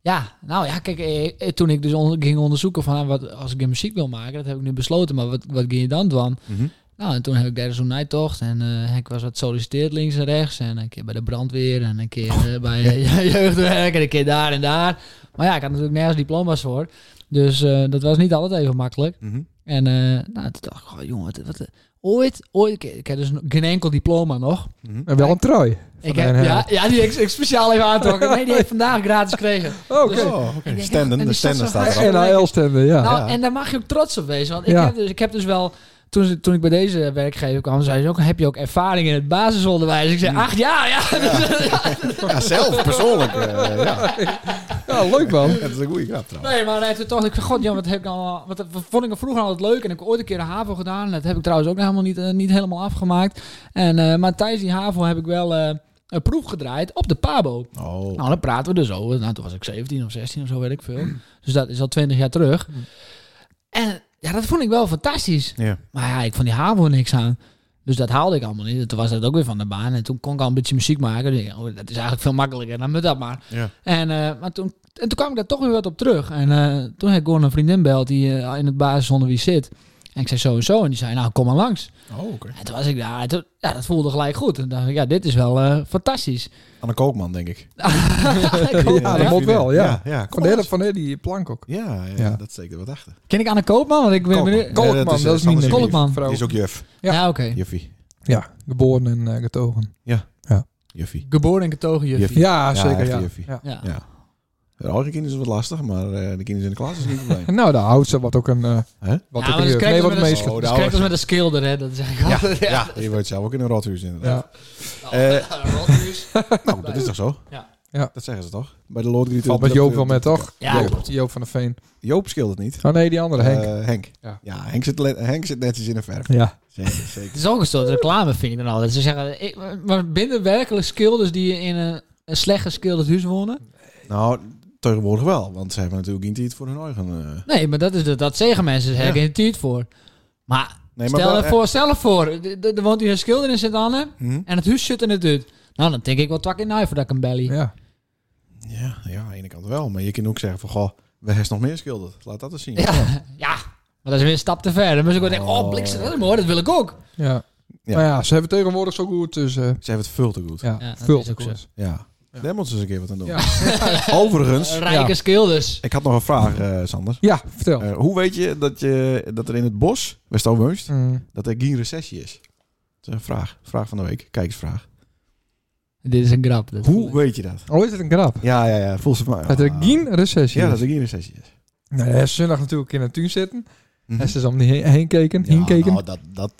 Speaker 4: Ja, nou ja, kijk, eh, eh, toen ik dus on- ging onderzoeken van ah, wat, als ik een muziek wil maken, dat heb ik nu besloten, maar wat, wat ging je dan doen?
Speaker 2: Mhm,
Speaker 4: Nou, en toen heb ik daar zo'n nijtocht en eh, ik was wat solliciteerd links en rechts en een keer bij de brandweer en een keer eh, bij eh, jeugdwerk en een keer daar en daar. Maar ja, ik had natuurlijk nergens diploma's voor, dus eh, dat was niet altijd even makkelijk.
Speaker 1: Mhm.
Speaker 4: En eh, nou, toen dacht ik, oh, jongen, wat, wat- ooit, ooit, ik, ik heb dus nog geen enkel diploma nog.
Speaker 1: Mhm.
Speaker 2: En wel een trui.
Speaker 4: Ik
Speaker 2: de
Speaker 4: heb,
Speaker 2: NH.
Speaker 4: ja, ja, die heb ik, ik speciaal even aantrokken. Nee, die heb ik vandaag gratis gekregen.
Speaker 2: Oké.
Speaker 4: Dus-
Speaker 1: Oh, oké.
Speaker 4: denk,
Speaker 1: Standen,
Speaker 4: en
Speaker 1: de
Speaker 4: die zat
Speaker 1: standen
Speaker 4: zo
Speaker 1: staat
Speaker 4: hard.
Speaker 1: erop.
Speaker 4: Ja.
Speaker 2: NAL-standen, Ah, ja.
Speaker 4: Nou,
Speaker 1: Ja.
Speaker 4: en daar mag je ook trots op wezen. Want ik,
Speaker 2: Ja.
Speaker 4: heb dus, ik heb dus wel, toen, ze- toen ik bij deze werkgever kwam, zei ze ook, heb je ook ervaring in het basisonderwijs? Ik zei, acht jaar, ja.
Speaker 1: Ja, zelf, persoonlijk. eh, ja.
Speaker 2: Ja, leuk man.
Speaker 1: Dat is een goede grap trouwens.
Speaker 4: Nee, maar nee, toen dacht ik, god, ja, wat heb ik allemaal... Wat, wat vond ik er vroeger altijd leuk en ik heb ooit een keer een HAVO gedaan. Dat heb ik trouwens ook nog helemaal niet, eh, niet helemaal afgemaakt. En, eh, maar tijdens die HAVO heb ik wel eh, een proef gedraaid op de PABO.
Speaker 1: Oh.
Speaker 4: Nou, dan praten we dus over. Nou, toen was ik 17 of 16 of zo, weet ik veel.
Speaker 1: Mm.
Speaker 4: Dus dat is al 20 jaar terug. En ja, dat vond ik wel fantastisch.
Speaker 1: Ja.
Speaker 4: Maar ja, ik vond die HAVO niks aan. Dus dat haalde ik allemaal niet. Toen was dat ook weer van de baan. En toen kon ik al een beetje muziek maken. Dus ik dacht, oh, dat is eigenlijk veel makkelijker dan met dat maar.
Speaker 1: Ja.
Speaker 4: En, eh, maar toen, en toen kwam ik daar toch weer wat op terug. En eh, toen heb ik gewoon een vriendin belt die eh, in het basisonderwijs zit. En ik zei zo en zo. En die zei, nou kom maar langs.
Speaker 1: Oh, oké.
Speaker 4: En toen was ik daar. En toen- ja, dat voelde gelijk goed. En dacht ik, ja, dit is wel eh, fantastisch.
Speaker 1: Anne Koopman, denk ik.
Speaker 4: Ik hoop-
Speaker 2: Ja,
Speaker 4: ja.
Speaker 2: dat moet wel, ja.
Speaker 1: Ja, ja,
Speaker 2: Van
Speaker 1: kom
Speaker 2: de
Speaker 1: maar
Speaker 2: hele
Speaker 1: eens.
Speaker 2: van de, die plank ook.
Speaker 1: ja, ja,
Speaker 2: Ja.
Speaker 1: dat steekt er wat achter.
Speaker 4: Ken ik aan de koopman? Want ik ben
Speaker 2: Koopman.
Speaker 4: benieuwd-
Speaker 2: Kolkman,
Speaker 1: Nee, dat is, eh,
Speaker 2: dat is,
Speaker 1: Sander
Speaker 2: minder.
Speaker 1: Simons.
Speaker 4: Kolkman.
Speaker 2: Vrouw.
Speaker 1: Die is ook juf.
Speaker 4: Ja,
Speaker 2: Ja.
Speaker 4: oké.
Speaker 1: Juffie.
Speaker 2: Ja, getogen en eh, getogen.
Speaker 1: Juffie.
Speaker 4: Geboren en getogen juffie.
Speaker 2: Ja,
Speaker 1: Ja,
Speaker 2: zeker.
Speaker 1: echt
Speaker 2: Ja.
Speaker 1: juffie.
Speaker 2: Ja.
Speaker 4: Ja.
Speaker 1: Ja. De oudere kinderen is het wat lastig, maar eh, de kinderen in de klas is niet een probleem.
Speaker 2: Nou, de oudste wat ook een...
Speaker 1: Hè?
Speaker 2: eh Wat
Speaker 4: Ja,
Speaker 2: ook
Speaker 4: maar
Speaker 2: een
Speaker 4: dat
Speaker 2: jeugd-
Speaker 4: krijg
Speaker 2: Nee,
Speaker 4: je
Speaker 2: wat
Speaker 4: met
Speaker 2: een
Speaker 4: een-
Speaker 2: meester.
Speaker 1: Oh, de
Speaker 4: Dus kijk
Speaker 1: ouders.
Speaker 4: dat met een schilder, hè. Dat zeg ik
Speaker 1: Ja,
Speaker 4: altijd. Ja.
Speaker 1: ja, je wordt zelf ook in een rothuis inderdaad.
Speaker 2: Ja.
Speaker 1: Eh,
Speaker 4: Rothuis.
Speaker 1: nou, dat is toch zo?
Speaker 4: Ja.
Speaker 2: Ja.
Speaker 1: Dat zeggen ze toch? Bij de Lord Griet.
Speaker 2: Valt met Joop wel met, toch?
Speaker 4: Ja.
Speaker 2: Joop, Joop van de Veen.
Speaker 1: Joop scheelt het niet.
Speaker 2: Oh nee, die andere, Henk.
Speaker 1: Eh, Henk. Ja,
Speaker 2: Ja.
Speaker 1: Henk, zit, le- Henk zit netjes in een verf.
Speaker 2: Ja.
Speaker 1: Zeker.
Speaker 4: Het
Speaker 1: zeker.
Speaker 4: is ook een soort reclame, vind ik dan altijd. Ze zeggen, ik, maar binnen werkelijk schilders die in een, een slecht geschilderd huis wonen?
Speaker 1: nou, tegenwoordig wel, want ze hebben natuurlijk niet iets voor hun eigen. eh.
Speaker 4: Nee, maar dat, is, dat, dat zeggen mensen. Daar heb ik
Speaker 1: Ja.
Speaker 4: geen tijd voor. Maar,
Speaker 1: Nee, maar
Speaker 4: stel
Speaker 1: wel,
Speaker 4: er voor, stel er voor. Er- Er er woont hier een schilder in Sint-Anne
Speaker 1: eh, hm?
Speaker 4: en het huis zit in het dut. Nou, dan denk ik wel twak in huis dat ik een belly.
Speaker 2: Ja.
Speaker 1: Ja, ja, aan de ene kant wel. Maar je kan ook zeggen van, goh, we hebben nog meer schilderd. Laat dat eens zien.
Speaker 4: Ja. Ja, maar dat is weer een stap te ver. Dan moet ik wel denken, oh, bliksem, dat is mooi, dat wil ik ook.
Speaker 2: Ja.
Speaker 1: Ja.
Speaker 2: Maar ja, ze hebben tegenwoordig zo goed, dus eh,
Speaker 1: Ze hebben het veel te goed. Ja.
Speaker 2: ja,
Speaker 4: Ja, dat
Speaker 2: veel
Speaker 4: is ook
Speaker 2: goed.
Speaker 1: Daar moeten ze eens een keer wat aan doen.
Speaker 2: Ja.
Speaker 1: Overigens,
Speaker 4: Rijke dus. schilders.
Speaker 1: ik had nog een vraag, eh, Sander.
Speaker 2: Ja, vertel.
Speaker 1: Eh, hoe weet je dat, je dat er in het bos, west Oost,
Speaker 2: Mm.
Speaker 1: dat er geen recessie is? Dat is een vraag. Vraag van de week. Kijkersvraag.
Speaker 4: Dit is een grap. dat voel
Speaker 1: Hoe
Speaker 4: ik.
Speaker 1: weet je dat?
Speaker 2: Oh, is het een grap?
Speaker 1: Ja, ja, ja. Voel ze maar.
Speaker 2: Dat er
Speaker 1: Ah.
Speaker 2: geen recessie
Speaker 1: Ja, dat
Speaker 2: is.
Speaker 1: er geen recessie is.
Speaker 2: Nou, hij is zondag natuurlijk in een tuin zitten.
Speaker 1: Mhm.
Speaker 2: En ze is dus om die heen, heen keken. heen
Speaker 1: Ja,
Speaker 2: keken.
Speaker 1: nou, dat, dat,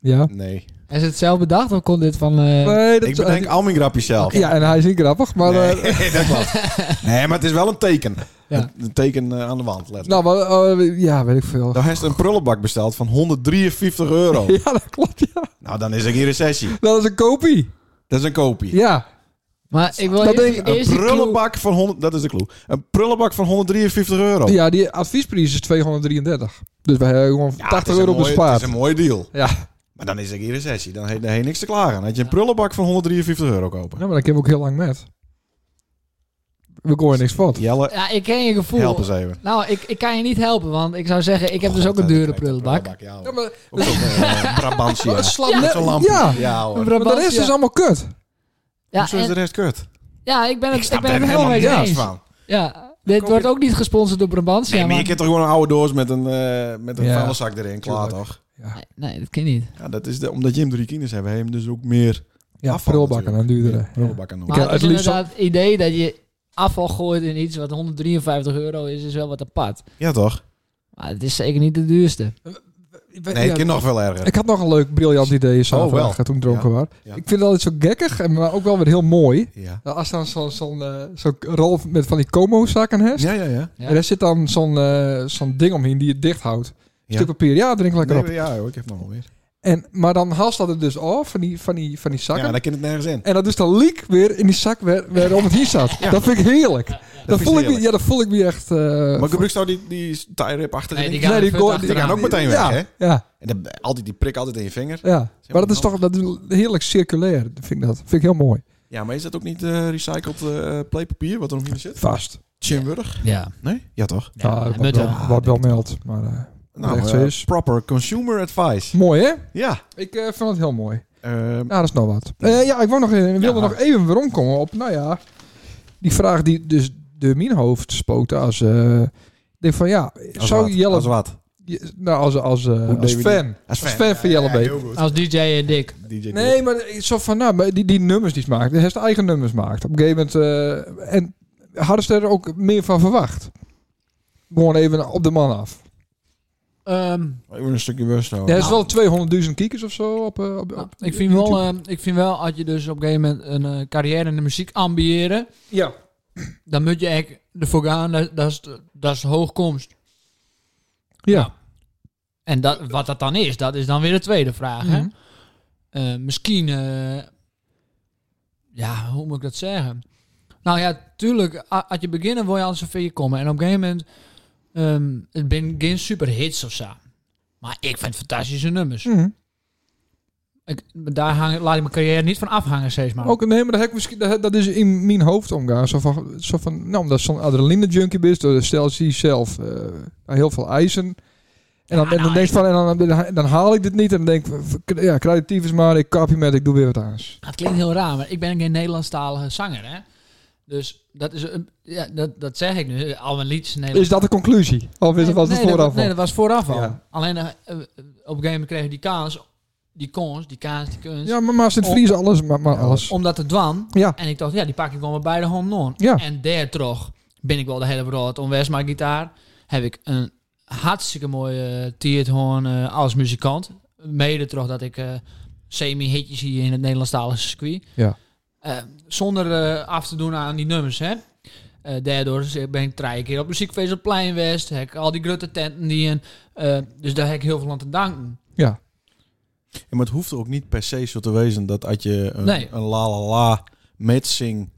Speaker 2: ja.
Speaker 1: nee.
Speaker 4: Is het zelf bedacht of kon dit van... eh,
Speaker 2: Nee, dat
Speaker 1: Ik bedenk al mijn grapjes zelf.
Speaker 2: Ja, en hij is niet grappig, maar...
Speaker 1: nee,
Speaker 2: eh,
Speaker 1: dat klopt. Nee, maar het is wel een teken.
Speaker 4: Ja.
Speaker 1: Een, een teken eh, aan de wand, letterlijk.
Speaker 2: nou, maar, eh, ja, weet ik veel.
Speaker 1: Dan heeft een prullenbak besteld van 153 euro.
Speaker 2: Ja, dat klopt, ja.
Speaker 1: Nou, dan is er geen recessie.
Speaker 2: Dat is een kopie.
Speaker 1: Dat is een kopie.
Speaker 2: Ja.
Speaker 4: Maar ik wil
Speaker 2: Dat
Speaker 4: eerst-
Speaker 2: denk ik-
Speaker 1: Een
Speaker 4: eerst die clue-
Speaker 1: prullenbak van 100, dat is de clue. Een prullenbak van 153 euro.
Speaker 2: Ja, die adviesprijs is 233. Dus we hebben gewoon
Speaker 1: Ja,
Speaker 2: 80
Speaker 1: het is
Speaker 2: euro
Speaker 1: een mooie-
Speaker 2: bespaard.
Speaker 1: Het is een mooi deal.
Speaker 2: Ja.
Speaker 1: Maar dan is er geen recessie. Dan heeft hij niks te klagen. had je een prullenbak van 153 euro kopen.
Speaker 2: Ja, maar dan kunnen we ook heel lang met. We gooien niks fout.
Speaker 1: Jelle,
Speaker 4: Ja, ik ken je gevoel.
Speaker 1: help eens even.
Speaker 4: Nou, ik, ik kan je niet helpen, want ik zou zeggen, ik heb
Speaker 1: Oh,
Speaker 4: dus
Speaker 1: God,
Speaker 4: ook een
Speaker 1: dat
Speaker 4: dure
Speaker 1: klinkt een
Speaker 4: prullenbak.
Speaker 1: Ja, hoor.
Speaker 2: Ja, maar,
Speaker 1: Ook zo'n eh, Brabantia.
Speaker 2: het slaat net-
Speaker 1: Zo'n lampje.
Speaker 2: Ja.
Speaker 1: ja hoor.
Speaker 2: maar de rest is dus
Speaker 4: ja.
Speaker 2: allemaal kut.
Speaker 4: Ja,
Speaker 1: Zo dus is de
Speaker 4: en-
Speaker 1: rest kut.
Speaker 4: ja, ik ben
Speaker 1: Ik
Speaker 4: het, ik
Speaker 1: snap
Speaker 4: ben
Speaker 1: er
Speaker 4: het
Speaker 1: helemaal
Speaker 4: helemaal mee
Speaker 1: niks
Speaker 4: eens.
Speaker 1: van.
Speaker 4: Ja, dit
Speaker 1: Koop
Speaker 4: wordt
Speaker 1: je-
Speaker 4: ook niet gesponsord door Brabantia.
Speaker 1: Nee, maar je
Speaker 4: want-
Speaker 1: kunt toch gewoon een oude doos met een, eh met een
Speaker 2: Ja.
Speaker 1: vuilniszak erin. Klaar
Speaker 2: Tuurlijk.
Speaker 1: toch?
Speaker 4: nee, nee, dat kan niet.
Speaker 1: Ja, dat is de, omdat je hem drie kinderen hebt, heb je hem dus ook meer
Speaker 2: Ja,
Speaker 1: afval
Speaker 2: prullenbakken en duurdere.
Speaker 1: meer prullenbak aan doen.
Speaker 4: Maar
Speaker 2: heb
Speaker 4: het
Speaker 2: het
Speaker 4: is
Speaker 2: liefst al-
Speaker 4: inderdaad het idee dat je afval gooit in iets wat 153 euro is, is wel wat apart.
Speaker 1: Ja, toch?
Speaker 4: Maar het is zeker niet de duurste.
Speaker 2: Ja.
Speaker 1: Nee, ik
Speaker 2: Ja,
Speaker 1: ken nog wel erger.
Speaker 2: ik had nog een leuk, briljant idee zaterdag toen ik dronken was.
Speaker 1: Ja.
Speaker 2: Ik vind het altijd zo gekkig, en maar ook wel weer heel mooi.
Speaker 1: Ja.
Speaker 2: Nou, als dan zo'n zo'n eh, zo'n rol met van die Como-zakken hebt.
Speaker 1: Ja, ja, ja.
Speaker 4: Ja.
Speaker 2: En daar zit dan zo'n eh, zo'n ding omheen die het dicht houdt.
Speaker 1: Ja.
Speaker 2: Stuk papier, ja, drink lekker
Speaker 1: Nee,
Speaker 2: op. Eh,
Speaker 1: ja hoor, ik heb nog wel weer.
Speaker 2: En, maar dan haalt ze dat er dus af van die, van die, van die zakken.
Speaker 1: Ja, daar kan het nergens in.
Speaker 2: En dat is dan leak weer in die zak waar, waarom het hier zat. Dat vind ik heerlijk.
Speaker 1: Dat
Speaker 2: dat,
Speaker 1: vind
Speaker 2: voel
Speaker 1: ik
Speaker 2: ik, me-
Speaker 1: heerlijk.
Speaker 2: ja, dat voel ik me echt... eh,
Speaker 1: Maar gebruik nou die, die tie-rip achter de
Speaker 4: Nee,
Speaker 1: ding.
Speaker 4: die gaan
Speaker 2: nee, die
Speaker 4: er vet
Speaker 2: go-
Speaker 4: achteraan.
Speaker 1: die gaan ook meteen weg,
Speaker 2: ja,
Speaker 1: hè?
Speaker 2: Ja,
Speaker 1: En dan, eh, altijd die prik altijd in je vinger.
Speaker 2: ja. Maar dat is toch dat is heerlijk circulair, vind ik dat. Vind ik heel mooi.
Speaker 1: Ja, maar is dat ook niet eh, recycled eh, playpapier wat er omheen zit?
Speaker 2: Vast.
Speaker 1: Chimburg?
Speaker 4: Ja,
Speaker 1: Nee? Ja, toch?
Speaker 4: ja,
Speaker 2: Ja,
Speaker 4: dat
Speaker 2: wordt
Speaker 4: moet
Speaker 2: wel,
Speaker 4: wel.
Speaker 2: wordt wel meld. Maar eh,
Speaker 1: Nou,
Speaker 2: Echt
Speaker 1: eh,
Speaker 2: zo is.
Speaker 1: proper consumer advice.
Speaker 2: mooi, hè?
Speaker 1: Ja.
Speaker 2: Ik eh, vind het heel mooi.
Speaker 1: Ehm,
Speaker 2: Ja, dat is nog wat. Eh, ja, ik wou nog, eh,
Speaker 1: Ja.
Speaker 2: wilde nog even weer omkomen op, nou ja, die vraag die dus door mijn hoofd spookte als... eh, ik denk van ja,
Speaker 1: als
Speaker 2: zou
Speaker 1: wat?
Speaker 2: Jelle...
Speaker 1: Als wat?
Speaker 2: je- nou, als, als, eh,
Speaker 1: Hoe
Speaker 2: als
Speaker 1: deed we
Speaker 2: fan. Als fan, van Jelle
Speaker 1: ja,
Speaker 2: Beek.
Speaker 1: heel goed.
Speaker 4: als DJ en Dick.
Speaker 1: DJ
Speaker 2: Nee, maar ik- zo van, nou, maar die, die nummers die ze maakt, hij heeft zijn eigen nummers gemaakt. Op een gegeven moment, eh, en hadden ze er ook meer van verwacht? Gewoon even op de man af.
Speaker 4: Ehm,
Speaker 1: Even een stukje worst houden.
Speaker 2: Er is wel 200.000 kijkers of zo op, eh, op,
Speaker 4: Nou,
Speaker 2: op
Speaker 4: ik, vind wel, eh, ik vind wel, als je dus op een gegeven moment een eh, carrière in de muziek ambiëren,
Speaker 2: ja.
Speaker 4: dan moet je echt ervoor gaan, dat, dat, is, de- dat is de hoogkomst.
Speaker 2: Ja.
Speaker 4: En dat, wat dat dan is, dat is dan weer de tweede vraag.
Speaker 2: Mhm.
Speaker 4: Hè? Eh, misschien, eh, ja, hoe moet ik dat zeggen? Nou ja, tuurlijk, a- als je beginnen wil je al zover je komen. En op een gegeven moment, ehm het
Speaker 2: Hm.
Speaker 4: ben geen superhits of zo. Maar ik vind fantastische nummers.
Speaker 2: Mhm.
Speaker 4: Ik, daar hang, laat ik mijn carrière niet van afhangen steeds maar.
Speaker 2: Ook, nee, maar dat, heb ik misschien, dat, dat is in mijn hoofd omgaan. Zo van, zo van nou, omdat zo'n adrenaline junkie bent, door de stel zie je zelf eh, heel veel eisen. En dan,
Speaker 4: Ja,
Speaker 2: en dan
Speaker 4: nou,
Speaker 2: denk je van, en dan, dan, dan haal ik dit niet. En dan denk ik, van, ja, creatief is maar, ik kap je met, ik doe weer wat anders.
Speaker 4: Het klinkt heel raar, maar ik ben geen Nederlandstalige zanger, hè. Dus dat is... een- Ja, dat, dat zeg ik nu. Al mijn liedjes in Nederland.
Speaker 2: Is dat de conclusie? Of is het was het
Speaker 4: nee,
Speaker 2: vooraf
Speaker 4: Dat, nee,
Speaker 2: al?
Speaker 4: dat was vooraf al.
Speaker 2: Ja.
Speaker 4: Alleen eh, eh, op een gegeven moment kreeg je die kans, die kans, die kans, die kunst,
Speaker 2: Ja, maar Maas in het
Speaker 4: Om-
Speaker 2: Vries, alles, maar, maar alles.
Speaker 4: om dat te dwan.
Speaker 2: Ja,
Speaker 4: En ik dacht, ja, die pak ik wel met beide handen aan.
Speaker 2: Ja.
Speaker 4: En daardoor ben ik wel de hele brood onwijs mijn gitaar. Heb ik een hartstikke mooie tierthoorn eh als muzikant. Mede terug dat ik eh, semi-hitjes zie in het Nederlandstalige circuit.
Speaker 2: Ja.
Speaker 4: Eh, zonder eh, af te doen aan die nummers, hè. Eh, daardoor ben ik drie keer op muziekfeest op Plein West. Heb ik al die grote tenten die en, eh, dus daar heb ik heel veel aan te danken.
Speaker 2: ja.
Speaker 1: Ja, maar het hoeft ook niet per se zo te wezen dat als je een,
Speaker 4: Nee.
Speaker 1: een la la la matching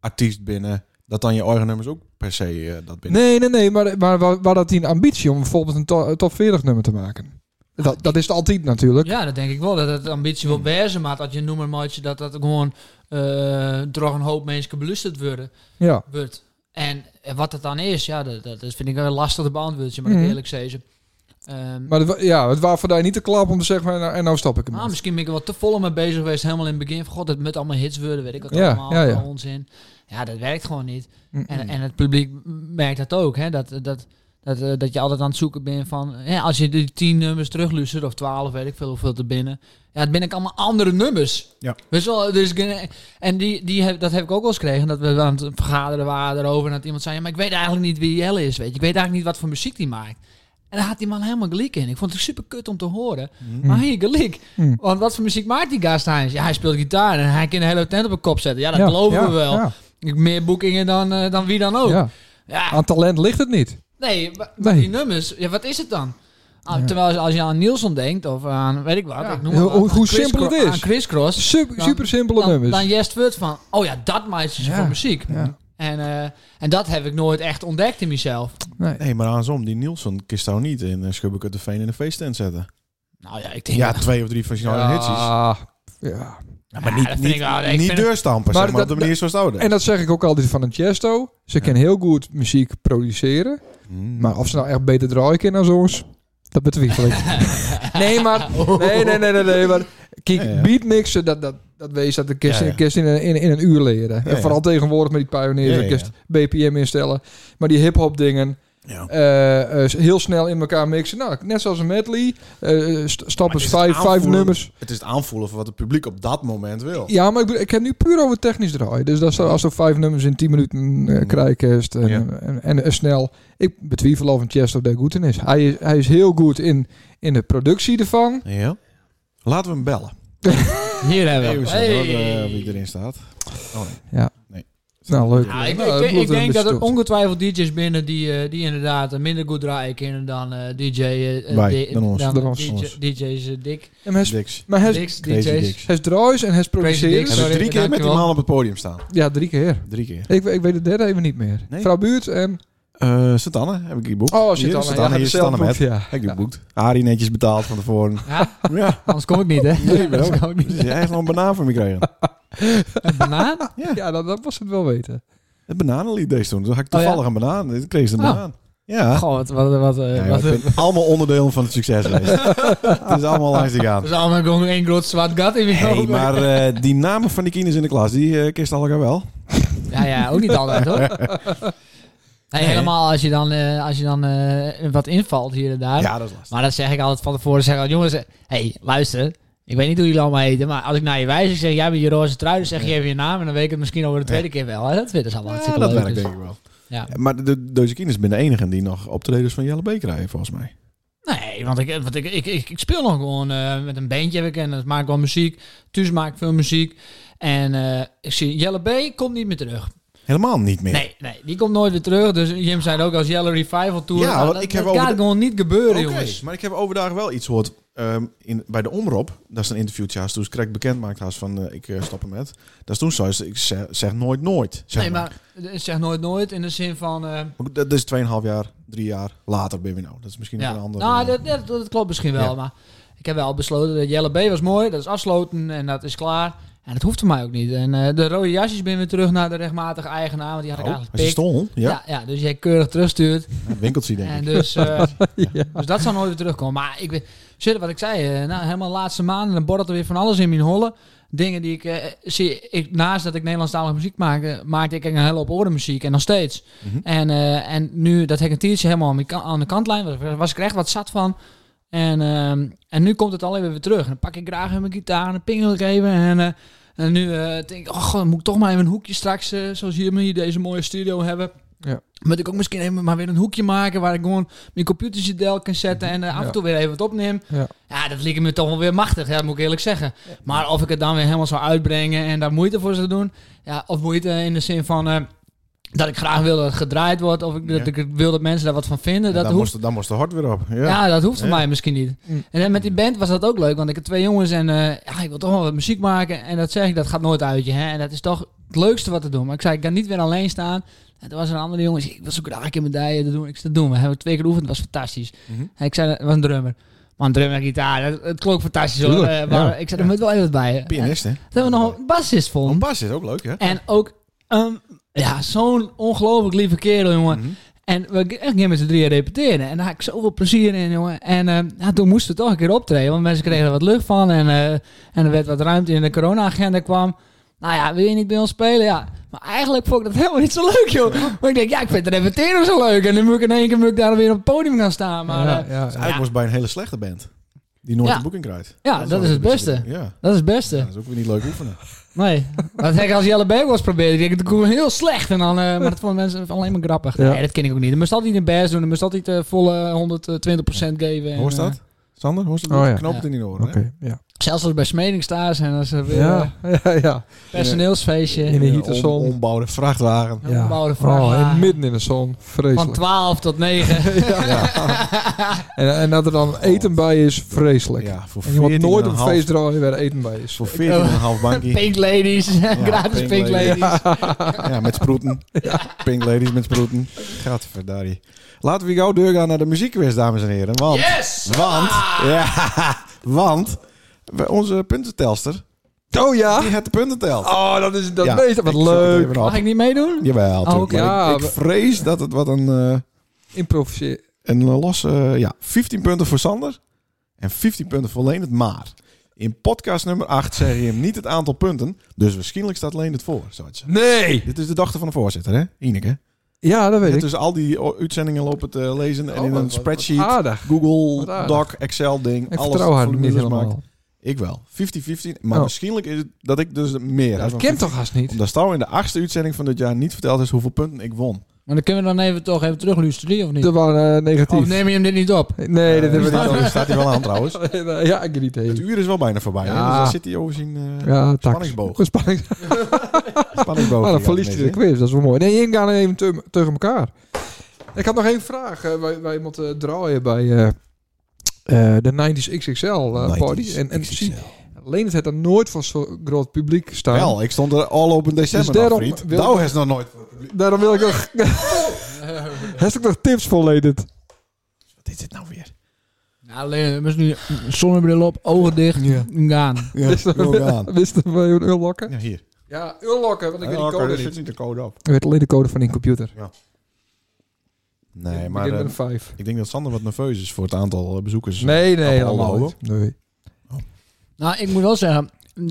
Speaker 1: artiest binnen, dat dan je eigen nummers ook per se eh, dat binnen.
Speaker 2: Nee, nee, nee, maar, maar waar, waar dat die een ambitie om bijvoorbeeld een to- top 40 nummer te maken? Dat, dat is het altijd natuurlijk.
Speaker 4: Ja, dat denk ik wel. Dat het ambitie
Speaker 2: Hmm.
Speaker 4: wil wezen, maar dat je noemer maatje dat dat gewoon eh door een hoop mensen belusterd worden,
Speaker 2: Ja.
Speaker 4: wordt. En eh, wat het dan is, ja, dat, dat is- vind ik een lastig te beantwoorden, maar ik
Speaker 2: Mhm.
Speaker 4: eerlijk zeggen. Ehm,
Speaker 2: Maar het, wa- ja, het was voor daar niet te klap om te zeggen, van, nou, en nou stap ik hem.
Speaker 4: maar Ah, misschien ben ik er wel te vol mee bezig geweest, helemaal in het begin. Van god, het met allemaal hits worden, weet ik wat
Speaker 2: Ja,
Speaker 4: allemaal,
Speaker 2: ja, ja.
Speaker 4: onzin. Ja, dat werkt gewoon niet. En, en het publiek merkt dat ook, hè? Dat, dat, dat, eh, dat je altijd aan het zoeken bent van... Hè, als je die tien nummers terugluistert, of twaalf, weet ik veel hoeveel te binnen... Ja, het ben ik allemaal andere nummers.
Speaker 1: Ja.
Speaker 4: Weet je wel, dus, ik- eh, en die, die heb, dat heb ik ook wel eens gekregen, dat we aan het vergaderen waren erover... en dat iemand zei, ja, maar ik weet eigenlijk niet wie Jelle is, weet je. Ik weet eigenlijk niet wat voor muziek die maakt. En daar had die man helemaal gelijk in. Ik vond het super kut om te horen.
Speaker 1: Mhm.
Speaker 4: Maar hier, gelijk.
Speaker 2: Mm.
Speaker 4: Want wat voor muziek maakt die gast Heinz? Ja, hij speelt gitaar en hij kan de hele tent op een kop zetten. Ja, dat geloven we wel.
Speaker 2: Ja,
Speaker 4: Ik- Meer boekingen dan, eh, dan wie dan ook.
Speaker 2: ja.
Speaker 4: Ja,
Speaker 2: Aan talent ligt het niet.
Speaker 4: nee, maar maar
Speaker 2: Nee.
Speaker 4: die nummers, ja, wat is het dan? Ah,
Speaker 2: Ja.
Speaker 4: Terwijl als je aan Nielsen denkt, of aan weet ik wat,
Speaker 2: Ja,
Speaker 4: ik noem
Speaker 2: hoe-
Speaker 4: maar wat,
Speaker 2: hoe-
Speaker 4: aan
Speaker 2: hoe
Speaker 4: Chris
Speaker 2: simpel het
Speaker 4: Cro-
Speaker 2: is.
Speaker 4: Aan Chris Cross,
Speaker 2: Super,
Speaker 4: Dan-
Speaker 2: super simpele
Speaker 4: dan,
Speaker 2: nummers.
Speaker 4: dan jest wordt van, oh ja, dat maakt is
Speaker 2: Ja,
Speaker 4: voor muziek.
Speaker 2: ja.
Speaker 4: En, eh, en dat heb ik nooit echt ontdekt in mezelf.
Speaker 2: nee.
Speaker 1: Nee, maar andersom, die Nielsen kist nou niet in uh, Schubbeke de Veen in de feesttent zetten.
Speaker 4: Nou ja, ik denk
Speaker 1: Ja,
Speaker 4: dat-
Speaker 1: twee of drie van zijn eigen hitsjes.
Speaker 2: ja, Ah, ja.
Speaker 1: Ja, maar
Speaker 4: Ja,
Speaker 1: niet,
Speaker 4: dat vind
Speaker 1: niet,
Speaker 4: ik wel- ik
Speaker 1: niet
Speaker 4: vind het-
Speaker 1: deurstampen,
Speaker 2: Maar
Speaker 1: zeg maar,
Speaker 2: dat-
Speaker 1: op de manier zoals het oude.
Speaker 2: En dat zeg ik ook altijd van een Chesto. Ze
Speaker 1: Ja.
Speaker 2: kan heel goed muziek produceren.
Speaker 1: Hmm.
Speaker 2: Maar of ze nou echt beter draaien kan dan zo's, dat betwijfel ik. nee, maar...
Speaker 1: Oh.
Speaker 2: Nee, nee, nee, nee. nee maar, kijk,
Speaker 1: Ja, ja.
Speaker 2: beatmixen, dat, dat, dat wees dat de kist,
Speaker 1: Ja, ja.
Speaker 2: kist in, een- in, in een uur leren.
Speaker 1: Ja,
Speaker 2: en
Speaker 1: ja.
Speaker 2: vooral tegenwoordig met die pioniers,
Speaker 1: Ja,
Speaker 2: de
Speaker 1: ja,
Speaker 2: kist BPM instellen. Maar die hip-hop dingen...
Speaker 1: Ja.
Speaker 2: eh, eh, heel snel in elkaar mixen. Nou, net zoals een medley. eh st-
Speaker 1: Maar
Speaker 2: stappen
Speaker 1: het is
Speaker 2: vijf,
Speaker 1: aanvoelen.
Speaker 2: vijf nummers.
Speaker 1: Het is het aanvoelen van wat het publiek op dat moment wil.
Speaker 2: Ja, maar ik, bedoel, ik heb nu puur over technisch draaien. Dus dat zou- als er vijf nummers in tien minuten eh
Speaker 1: Mm.
Speaker 2: krijg kerst en,
Speaker 1: Ja.
Speaker 2: en, en, en snel. Ik betwijfel of een Chester daar goed in is. Hij is, hij is heel goed in, in de productie ervan.
Speaker 1: Ja. Laten we hem bellen.
Speaker 4: Hier hebben we
Speaker 1: Even
Speaker 4: hem.
Speaker 1: zien hoor,
Speaker 4: Hey.
Speaker 1: eh, wie erin staat. Oh, nee.
Speaker 2: Ja.
Speaker 1: Nee.
Speaker 2: Nou, leuk.
Speaker 4: Ja,
Speaker 2: Ja,
Speaker 4: ik,
Speaker 2: nou,
Speaker 4: ik-
Speaker 2: dat
Speaker 4: ik
Speaker 2: bloedt een
Speaker 4: denk
Speaker 2: beetje
Speaker 4: dat er
Speaker 2: tot.
Speaker 4: ongetwijfeld DJ's binnen die, eh, die inderdaad eh, minder goed draaien kunnen dan eh, DJ.
Speaker 1: Wij,
Speaker 4: eh, eh, di-
Speaker 1: dan ons.
Speaker 2: Dan
Speaker 4: DJ
Speaker 1: ons.
Speaker 4: DJ's eh, Dick.
Speaker 2: En hij is-
Speaker 1: Dix.
Speaker 2: Maar hij is-
Speaker 4: Dick's,
Speaker 1: Crazy
Speaker 4: DJ's.
Speaker 1: Dicks.
Speaker 2: hij is draaien en hij is produceren.
Speaker 4: Dicks.
Speaker 1: Hebben
Speaker 4: Sorry,
Speaker 1: we drie keer met die
Speaker 4: dankjewel.
Speaker 1: man op het podium staan.
Speaker 2: Ja, drie keer.
Speaker 1: Drie keer.
Speaker 2: Ik, ik weet de derde even niet meer.
Speaker 1: Nee.
Speaker 2: Vrouw Buurt en...
Speaker 1: Eh Satanne, heb ik die boek.
Speaker 2: Oh, zit
Speaker 1: Hier,
Speaker 2: al
Speaker 1: Satanne, hier, Satanne met.
Speaker 2: Ja.
Speaker 1: Heb ik die boekt. Arie netjes betaald van tevoren.
Speaker 4: Ja,
Speaker 1: ja.
Speaker 4: anders kom ik niet, hè?
Speaker 1: Nee, maar
Speaker 4: anders
Speaker 1: ook.
Speaker 4: kom ik
Speaker 1: Dus
Speaker 4: niet.
Speaker 1: jij heeft nog een banaan voor me gekregen.
Speaker 4: Een banaan?
Speaker 2: Ja, dat, dat was het wel weten.
Speaker 1: Het bananenlied deze toen. Toen had ik
Speaker 4: Oh, ja?
Speaker 1: toevallig een banaan. Ik kreeg ze een
Speaker 4: Oh.
Speaker 1: banaan. Ja.
Speaker 4: Goh, wat, wat, wat, eh,
Speaker 1: Ja, joh,
Speaker 4: wat
Speaker 1: ik ben allemaal onderdeel van het succes geweest. het is allemaal langs te gaan.
Speaker 4: er is allemaal gewoon één groot zwart gat in mijn
Speaker 1: Hey,
Speaker 4: ogen.
Speaker 1: maar eh, die namen van die kinderen in de klas, die eh kist elkaar wel.
Speaker 4: Ja, ja, ook niet altijd, hoor. Nee, helemaal als je dan, eh, als je dan eh, wat invalt hier en daar.
Speaker 1: Ja, dat is lastig.
Speaker 4: Maar dat zeg ik altijd van tevoren. Zeg ik altijd, jongens, hé, hey, luister. Ik weet niet hoe jullie allemaal heten, maar als ik naar je wijs, ik zeg, jij bent je roze trui, dan zeg je even je naam en dan weet ik het misschien over de tweede keer wel. Hè? Dat vinden ze allemaal
Speaker 1: Ja,
Speaker 4: hartstikke
Speaker 1: dat
Speaker 4: leuk.
Speaker 1: werkt
Speaker 4: dus-
Speaker 1: denk ik wel.
Speaker 4: Ja.
Speaker 1: Maar de- de, deze kinderen zijn de enigen die nog optredens van Jelle B krijgen, volgens mij.
Speaker 4: Nee, want, ik, want ik, ik, ik, ik speel nog gewoon eh, met een bandje heb ik en dat maak ik wel muziek. Thuis maak ik veel muziek. En eh, ik zie, Jelle B komt niet meer terug.
Speaker 1: Helemaal niet meer.
Speaker 4: Nee, nee, die komt nooit weer terug. Dus Jim zei het ook als Jelle Revival Tour.
Speaker 1: Ja,
Speaker 4: nou,
Speaker 1: want
Speaker 4: dat,
Speaker 1: ik heb
Speaker 4: dat
Speaker 1: over
Speaker 4: gaat
Speaker 1: de-
Speaker 4: gewoon niet gebeuren,
Speaker 1: Oké,
Speaker 4: jongens.
Speaker 1: maar ik heb overdag wel iets gehoord ehm, in, bij de omroep. Dat is een interviewtje haast toen ze krijg bekend maakt haast van eh, ik eh, stop er met. Dat is toen zo is, ik zeg, zeg nooit nooit. Zeg
Speaker 4: Nee, maar eh, zeg nooit nooit in de zin van... eh,
Speaker 1: Maar goed, Dat is 2,5 jaar, drie jaar later ben je nou. Dat is misschien nog een andere.
Speaker 4: Nou, dat, dat, dat klopt misschien wel,
Speaker 1: Ja.
Speaker 4: maar... Ik heb wel besloten dat Jelle B was mooi, dat is afsloten en dat is klaar. En dat hoeft voor mij ook niet. En eh, de rode jasjes ben weer terug naar de rechtmatige eigenaar, want die had ik
Speaker 1: Oh,
Speaker 4: eigenlijk
Speaker 1: als je
Speaker 4: pikt.
Speaker 1: stond, ja,
Speaker 4: Ja, ja, dus jij keurig terugstuurt.
Speaker 1: ja, winkeltje denk ik.
Speaker 4: En dus, eh,
Speaker 2: Ja.
Speaker 4: dus dat zou nooit weer terugkomen. Maar ik weet, shit, wat ik zei, eh, nou, helemaal de laatste maanden, dan borrelt er weer van alles in mijn holle. Dingen die ik eh, zie, ik, naast dat ik Nederlandstalige muziek maakte, maakte ik een hele hoop orenmuziek en nog steeds.
Speaker 1: Mhm.
Speaker 4: En, eh, en nu, dat hekentiertje helemaal aan, mijn kan- aan de kantlijn, was, was ik er echt wat zat van. En, ehm, en nu komt het alweer weer terug. En dan pak ik graag even mijn gitaar en dan pingel ik even. En, eh, en nu eh, denk ik, oh god, moet ik toch maar even een hoekje straks, eh, zoals hier, hier deze mooie studio hebben.
Speaker 2: Ja.
Speaker 4: Moet ik ook misschien even maar weer een hoekje maken waar ik gewoon mijn computertje del kan zetten en eh, af en
Speaker 2: Ja.
Speaker 4: toe weer even wat opneem.
Speaker 2: Ja.
Speaker 4: Ja, dat liep me toch wel weer machtig, ja, dat moet ik eerlijk zeggen. Maar of ik het dan weer helemaal zou uitbrengen en daar moeite voor zou doen. Ja, of moeite in de zin van eh, dat ik graag wil dat het gedraaid wordt. Of ik, dat
Speaker 1: Ja.
Speaker 4: ik het wil dat mensen daar wat van vinden.
Speaker 1: Ja,
Speaker 4: dat
Speaker 1: dan,
Speaker 4: hoeft
Speaker 1: moest, dan moest de hart weer op. Ja.
Speaker 4: ja, dat hoeft voor
Speaker 1: Ja.
Speaker 4: mij misschien niet.
Speaker 2: Mm.
Speaker 4: En dan met die band was dat ook leuk, want ik heb twee jongens en eh, ja, ik wil toch wel wat muziek maken. En dat zeg ik, dat gaat nooit uit je. Hè? En dat is toch het leukste wat te doen. Maar ik zei, ik kan niet weer alleen staan. En toen was er een andere jongen, die zei, ik wil zo graag een keer medaille dat doen. Ik zei, dat doen we. Hebben we twee keer oefend, dat was fantastisch.
Speaker 1: Mhm.
Speaker 4: En ik zei, dat was een drummer. Maar een drummer en gitaar, dat, het klonk fantastisch hoor.
Speaker 2: Tuurlijk,
Speaker 4: Eh, maar
Speaker 2: ja.
Speaker 4: ik zei, er moet wel even wat bij. En
Speaker 1: Pianist, hè?
Speaker 4: Toen hebben we nog een bassist vol.
Speaker 1: Een bas is ook leuk, hè?
Speaker 4: En ook, ehm, ja, zo'n ongelooflijk lieve kerel, jongen.
Speaker 1: Mhm.
Speaker 4: En we g- gingen met z'n drieën repeteren. En daar had ik zoveel plezier in, jongen. En eh, ja, toen moesten we toch een keer optreden. Want mensen kregen er wat lucht van. En, eh, en er werd wat ruimte in de corona-agenda kwam. Nou ja, wil je niet bij ons spelen? Ja. Maar eigenlijk vond ik dat helemaal niet zo leuk, joh. Maar ik denk, ja, ik vind het repeteren zo leuk. En dan moet ik in één keer moet ik daar weer op het podium gaan staan.
Speaker 2: ja,
Speaker 4: Maar eh,
Speaker 2: ja,
Speaker 1: Dus
Speaker 2: ja.
Speaker 1: eigenlijk
Speaker 4: Ja.
Speaker 1: moest bij een hele slechte band. Die nooit
Speaker 4: Ja.
Speaker 1: een boeking krijgt.
Speaker 4: Ja, dat is
Speaker 1: wel
Speaker 4: het
Speaker 1: een beetje
Speaker 4: beste.
Speaker 1: de- Ja.
Speaker 4: dat is het
Speaker 1: Ja,
Speaker 4: beste.
Speaker 1: dat is ook weer niet leuk oefenen.
Speaker 4: Nee. Dat heb ik als Jelle Berg was proberen. Ik denk, dat kon heel slecht. En dan, eh, maar dat vonden mensen alleen maar grappig.
Speaker 2: Ja.
Speaker 4: Nee, dat ken ik ook niet. Dan moest altijd een best doen. Dan moest altijd eh, volle 120% geven. En,
Speaker 1: Hoorst
Speaker 4: eh,
Speaker 1: dat? Sander, hoorst dat?
Speaker 2: Oh, ja.
Speaker 1: Knoop het
Speaker 4: Ja.
Speaker 1: in die oren,
Speaker 2: Oké,
Speaker 1: hè?
Speaker 2: ja.
Speaker 4: Zelfs als bij Smedingstaars en als er weer eh,
Speaker 2: Ja, ja, ja.
Speaker 4: personeelsfeestje.
Speaker 2: In de
Speaker 1: Een
Speaker 2: hitte
Speaker 1: om-
Speaker 2: zon.
Speaker 1: Ombouwde vrachtwagen.
Speaker 4: Ja. Ombouwde vraag.
Speaker 2: Oh, en midden in de zon.
Speaker 4: Van
Speaker 2: Vreselijk.
Speaker 4: 12 tot 9.
Speaker 2: En, en dat er dan eten bij is, vreselijk.
Speaker 1: Ja, voor
Speaker 2: En je moet
Speaker 1: 14,5
Speaker 2: nooit op een feest draaien waar eten bij is.
Speaker 1: Voor 14,5 bankje.
Speaker 4: pink ladies. Gratis pink,
Speaker 1: pink ladies.
Speaker 4: ladies.
Speaker 1: Ja, met sproeten. Pink ladies met sproeten. Gadverdari. Laten we gauw doorgaan naar de muziekquiz, dames en heren. Want,
Speaker 4: Yes!
Speaker 1: want, ja, want we- onze puntentelster,
Speaker 2: Oh ja?
Speaker 1: die heeft de punten telt.
Speaker 2: Oh, dat is dat
Speaker 1: Ja,
Speaker 2: meest. Wat
Speaker 1: ik zoek het
Speaker 2: leuk.
Speaker 1: even op.
Speaker 4: Mag ik niet meedoen?
Speaker 1: Jawel,
Speaker 4: Oh,
Speaker 1: natuurlijk.
Speaker 4: oké.
Speaker 1: Maar ik,
Speaker 2: Ja,
Speaker 1: ik vrees dat het wat een, eh,
Speaker 2: Improviseer.
Speaker 1: een losse... eh, ja, 15 punten voor Sander en 15 punten voor Leendert. Maar in podcast nummer 8 zeg je hem niet het aantal punten. Dus waarschijnlijk staat Leendert voor, zou het zeggen.
Speaker 2: Nee!
Speaker 1: Dit is de dochter van de voorzitter, hè? Ineke.
Speaker 2: Ja, dat
Speaker 1: Je hebt
Speaker 2: weet ik.
Speaker 1: dus al die o- uitzendingen lopen te lezen en
Speaker 2: Oh,
Speaker 1: in
Speaker 2: wat-
Speaker 1: een
Speaker 2: wat- wat
Speaker 1: spreadsheet...
Speaker 2: Aardig.
Speaker 1: Google,
Speaker 2: Wat aardig.
Speaker 1: Doc, Excel ding.
Speaker 2: Ik
Speaker 1: alles
Speaker 2: vertrouw haar niet
Speaker 1: formules
Speaker 2: helemaal.
Speaker 1: maakt. Ik wel. 50-50. Maar
Speaker 2: Oh.
Speaker 1: waarschijnlijk is het dat Oh, ik dus meer heb.
Speaker 2: dat
Speaker 1: Want
Speaker 2: kent toch haast niet?
Speaker 1: Omdat Stouw in de achtste uitzending van dit jaar niet verteld is hoeveel punten ik won.
Speaker 4: Maar dan kunnen we dan even toch even terugluisteren, of niet?
Speaker 2: Dat waren eh, negatief.
Speaker 4: Of neem je hem dit niet op?
Speaker 2: Nee, dat
Speaker 1: Oh, Eh,
Speaker 2: hebben we
Speaker 1: staat,
Speaker 2: niet.
Speaker 1: er- staat hij wel aan trouwens.
Speaker 2: Nee, Ja, ik niet
Speaker 1: Het
Speaker 2: heen.
Speaker 1: uur is wel bijna voorbij. hè?
Speaker 2: Ja.
Speaker 1: Dus daar zit hij over zijn eh,
Speaker 2: Ja, tax.
Speaker 1: spanningsboog.
Speaker 2: Een Spanning.
Speaker 1: spanningsboog.
Speaker 2: Maar Ah, dan
Speaker 1: Ja,
Speaker 2: verliest
Speaker 1: nee,
Speaker 2: hij de
Speaker 1: hè?
Speaker 2: quiz. Dat is wel mooi. Nee, je gaan even te- tegen elkaar. Ik had nog één vraag. eh, wij, wij moeten draaien bij eh, eh, de 90s XXL eh,
Speaker 1: 90s
Speaker 2: party. En, en
Speaker 1: XXL.
Speaker 2: zie, Leen het er nooit voor zo'n groot publiek staan.
Speaker 1: Wel, ik stond er al op een december
Speaker 2: Dus daarom
Speaker 1: af, vriend.
Speaker 2: wil-
Speaker 1: Nou, is nog nooit.
Speaker 2: Daarom wil ik nog... Heeft ik nog tips voor Leen?
Speaker 1: Wat is dit nou weer?
Speaker 4: Nou, alleen, we nu zonnebril op, ogen dicht,
Speaker 2: Ja.
Speaker 4: gaan.
Speaker 1: Ja,
Speaker 2: Wist
Speaker 1: wil gaan.
Speaker 2: Wist je een unlocken?
Speaker 1: Ja, hier.
Speaker 2: Ja, unlocken, want ik weet die
Speaker 1: Oké,
Speaker 2: code
Speaker 1: daar
Speaker 2: niet.
Speaker 1: zit niet de code op.
Speaker 2: Ik weet alleen de code van die computer.
Speaker 1: Nee,
Speaker 2: Ik
Speaker 1: maar
Speaker 2: begin
Speaker 1: eh,
Speaker 2: met een 5.
Speaker 1: ik denk dat Sander wat nerveus is voor het aantal eh, bezoekers.
Speaker 2: Nee, nee,
Speaker 1: Appel
Speaker 2: allemaal
Speaker 1: houden.
Speaker 2: niet. Nee.
Speaker 1: Hmm.
Speaker 4: Nou, ik moet wel zeggen,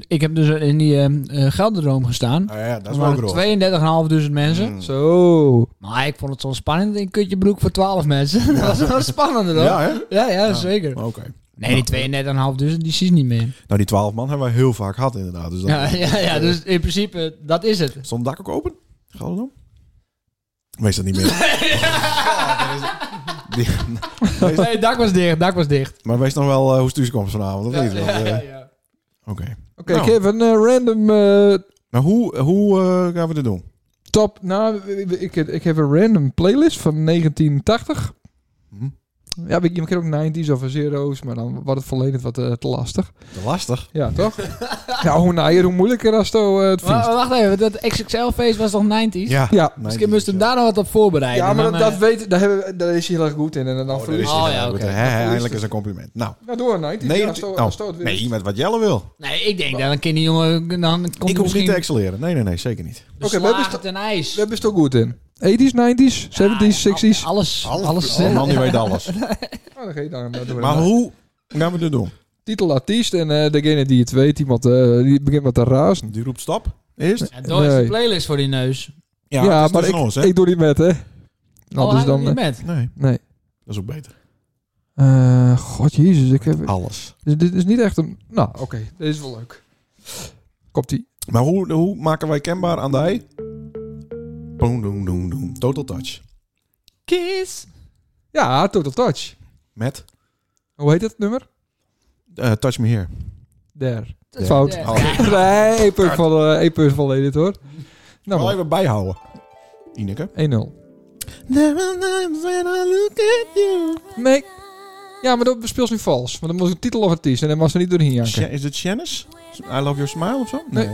Speaker 4: ik heb dus in die eh eh, Gelderdroom gestaan.
Speaker 1: Ah ja, dat
Speaker 4: Er
Speaker 1: is wel groot.
Speaker 4: waren 32.500 mensen.
Speaker 1: Mm.
Speaker 2: Zo.
Speaker 4: Maar ik vond het zo spannend in kutje broek voor 12 mensen. dat was wel spannender hoor.
Speaker 1: Ja,
Speaker 4: Ja,
Speaker 1: hè?
Speaker 4: ja, zeker.
Speaker 1: Oké.
Speaker 4: Nee, die 32.500, die zie je niet meer.
Speaker 1: Nou, die 12 man hebben wij heel vaak gehad, inderdaad. Dus dat,
Speaker 4: Ja, ja, ja, dus in principe, dat is het.
Speaker 1: Stond het dak ook open? Gaat het om? Wees dat niet meer. Die-
Speaker 4: Nee, het dak was dicht, het dak was dicht.
Speaker 1: maar wees nog wel eh, hoe stuurs komt vanavond, dat weet je wel.
Speaker 4: Ja, ja,
Speaker 1: eh.
Speaker 4: ja.
Speaker 1: Oké.
Speaker 2: Oké,
Speaker 1: Nou.
Speaker 2: ik heb een eh, random eh,
Speaker 1: Nou, hoe, hoe eh, gaan we dit doen?
Speaker 2: top. Nou, ik, ik heb een random playlist van 1980.
Speaker 1: Hm?
Speaker 2: Ja, je je kan ook 90s of zero's, maar dan wordt het volledig wat eh, te lastig.
Speaker 1: Te lastig.
Speaker 2: Ja, toch? ja, hoe naaier, hoe moeilijker als het eh, het
Speaker 4: Wa-
Speaker 2: vies.
Speaker 4: Wacht even, dat XXL-feest was nog 90s?
Speaker 1: Ja.
Speaker 2: Ja.
Speaker 4: Misschien moest hem daar nog wat op voorbereiden.
Speaker 2: Ja, maar dat,
Speaker 4: oh. dan, eh,
Speaker 2: dat weet, daar, hebben, we- daar is hij heel erg goed in. En dan
Speaker 1: Oh, daar is
Speaker 4: Oh,
Speaker 1: hij.
Speaker 4: ja,
Speaker 1: Nou,
Speaker 4: oké.
Speaker 1: goed, hè, hè, Eindelijk is een compliment. Nou,
Speaker 2: Nou, door, 90s.
Speaker 1: nee,
Speaker 2: ja, als het-
Speaker 1: oh,
Speaker 2: als het het weer is.
Speaker 1: nee, met wat Jelle wil.
Speaker 4: eh, Nee, ik denk dat een kinderjongen... Dan komt hij
Speaker 1: ik hoef
Speaker 4: misschien
Speaker 1: niet te excelleren. Nee, nee, nee, zeker niet.
Speaker 2: Oké, we hebben
Speaker 4: beslagen ten ijs.
Speaker 2: We hebben het ook goed in. 80s, 90s, 70s, 60s.
Speaker 4: Ja, Alles. Alles.
Speaker 1: oh, man, die weet alles.
Speaker 2: Oh, dan ga je daar- daar doen we
Speaker 1: Maar
Speaker 2: dan.
Speaker 1: hoe gaan we dit doen?
Speaker 2: Titelartiest en eh, degene die het weet, iemand, eh, die begint met te razen.
Speaker 1: Die roept stap. Eerst?
Speaker 4: Ja, door is de
Speaker 2: Nee.
Speaker 4: playlist voor die neus.
Speaker 1: Ja, het is
Speaker 2: maar ik,
Speaker 1: tussen ons, hè?
Speaker 2: ik doe niet met, hè. Nou,
Speaker 4: Oh,
Speaker 2: dus dan...
Speaker 4: hij doet niet
Speaker 2: eh,
Speaker 4: met.
Speaker 1: Nee,
Speaker 2: nee.
Speaker 1: dat is ook beter.
Speaker 2: Eh, God, jezus, ik heb...
Speaker 1: Alles.
Speaker 2: Dus dit is niet echt een... Nou, oké, dit is wel leuk. Komt-ie.
Speaker 1: Maar hoe, hoe maken wij kenbaar aan de ei? Boom, doem, doem, doem. Total touch.
Speaker 4: Kiss.
Speaker 2: Ja, Total Touch.
Speaker 1: Met
Speaker 2: Hoe heet het nummer?
Speaker 1: eh, Touch Me Here.
Speaker 2: Daar.
Speaker 1: Ja.
Speaker 2: Fout.
Speaker 4: Ja.
Speaker 1: Oh.
Speaker 2: Nee, één punt van, eh, één punt van dit, hoor.
Speaker 1: Wel
Speaker 2: Nou, maar,
Speaker 1: even bijhouden. Ineke.
Speaker 2: 1-0.
Speaker 1: There are times when I look at you.
Speaker 2: Nee. Ja, maar dat speelt nu vals. Want dan was een titel of artiest en dan was ze niet doorheen janken.
Speaker 1: Sha- Is het Shannis? I Love Your Smile of zo?
Speaker 2: Nee.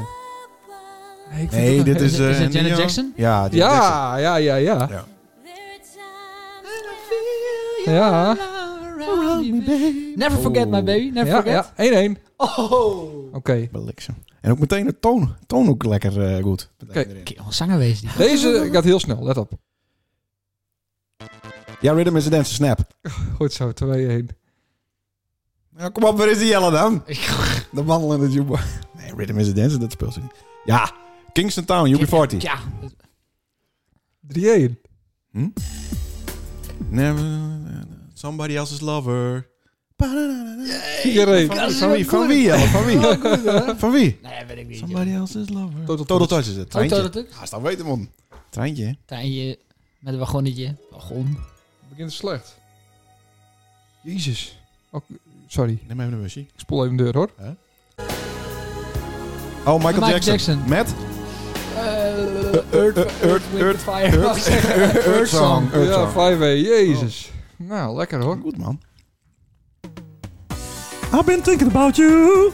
Speaker 2: Nee, ik vind het wel-
Speaker 1: dit is...
Speaker 4: Is het- is
Speaker 1: eh,
Speaker 4: het Janet
Speaker 1: Neo.
Speaker 4: Jackson?
Speaker 1: Ja, Janet Jackson.
Speaker 2: Ja, ja, ja, ja. Ja.
Speaker 4: Never forget
Speaker 1: Oh.
Speaker 4: my baby. Never
Speaker 2: Ja,
Speaker 4: forget.
Speaker 2: ja. 1-1.
Speaker 4: Oh.
Speaker 2: Oké.
Speaker 1: Bliksem. En ook meteen de toon. Toon ook lekker eh, goed. Meteen
Speaker 2: Oké.
Speaker 1: erin.
Speaker 4: Kerel, zanger wees die.
Speaker 2: Deze gaat heel snel, let op.
Speaker 1: Ja, Rhythm is a Dance, snap.
Speaker 2: Goed zo, 2-1.
Speaker 1: Nou, kom op, waar is die Jelle dan? De mandel in de jukebox. Nee, Rhythm is a Dance, dat speelt ze niet. Ja, Kingston Town, UB40.
Speaker 4: Ja.
Speaker 2: 3-1.
Speaker 1: Never, somebody else's lover.
Speaker 2: Iedereen.
Speaker 1: Van wie? Van wie, Jelle? Van wie? Van wie?
Speaker 4: Nee, weet ik niet.
Speaker 1: Somebody else's lover.
Speaker 2: Total
Speaker 1: Total
Speaker 2: Touch.
Speaker 1: Touch is het.
Speaker 4: joh. Oh,
Speaker 1: Treintje.
Speaker 4: dat het?
Speaker 1: Ja, is dan weten, man. Treintje, hè?
Speaker 4: Tijnje met een wagonnetje. Wagon.
Speaker 2: Het begint slecht. Jezus. Oké, sorry,
Speaker 1: Neem even een busje.
Speaker 2: ik spoel even de deur hoor.
Speaker 1: Oh, Michael,
Speaker 4: Michael
Speaker 1: Jackson.
Speaker 4: Jackson.
Speaker 1: Met?
Speaker 4: Eh, Earth,
Speaker 1: Earth, Earth, Earth,
Speaker 4: Fire. Wou ik zeggen.
Speaker 1: Earth Song. Earth
Speaker 2: ja,
Speaker 1: Song.
Speaker 2: 5-1. Jezus. Nou, lekker hoor.
Speaker 1: Goed, man. I've been thinking about you,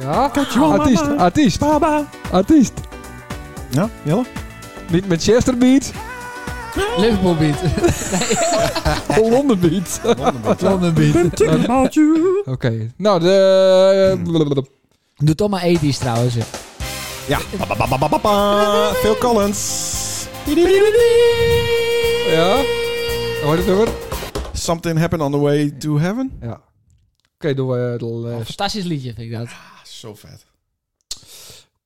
Speaker 2: Ja.
Speaker 1: you on my
Speaker 2: Artiest,
Speaker 1: mind.
Speaker 2: artiest,
Speaker 1: Baba.
Speaker 2: artiest.
Speaker 1: Ja, Jelle?
Speaker 2: Niet Manchester Beat,
Speaker 4: Liverpool beat.
Speaker 2: Londen Beat.
Speaker 4: London beat.
Speaker 1: thinking about you.
Speaker 2: Oké, nou de... eh,
Speaker 4: Doe toch maar 80s trouwens. hè.
Speaker 1: Ja. Ba, ba, ba, ba, ba, ba. Phil Collins.
Speaker 2: Ja? Hoor je het nummer?
Speaker 1: Something happened on the way to heaven.
Speaker 2: Ja. Oké, doen we de
Speaker 4: Een
Speaker 2: les.
Speaker 4: Fantastisch liedje vind ik dat.
Speaker 1: Ah, zo vet.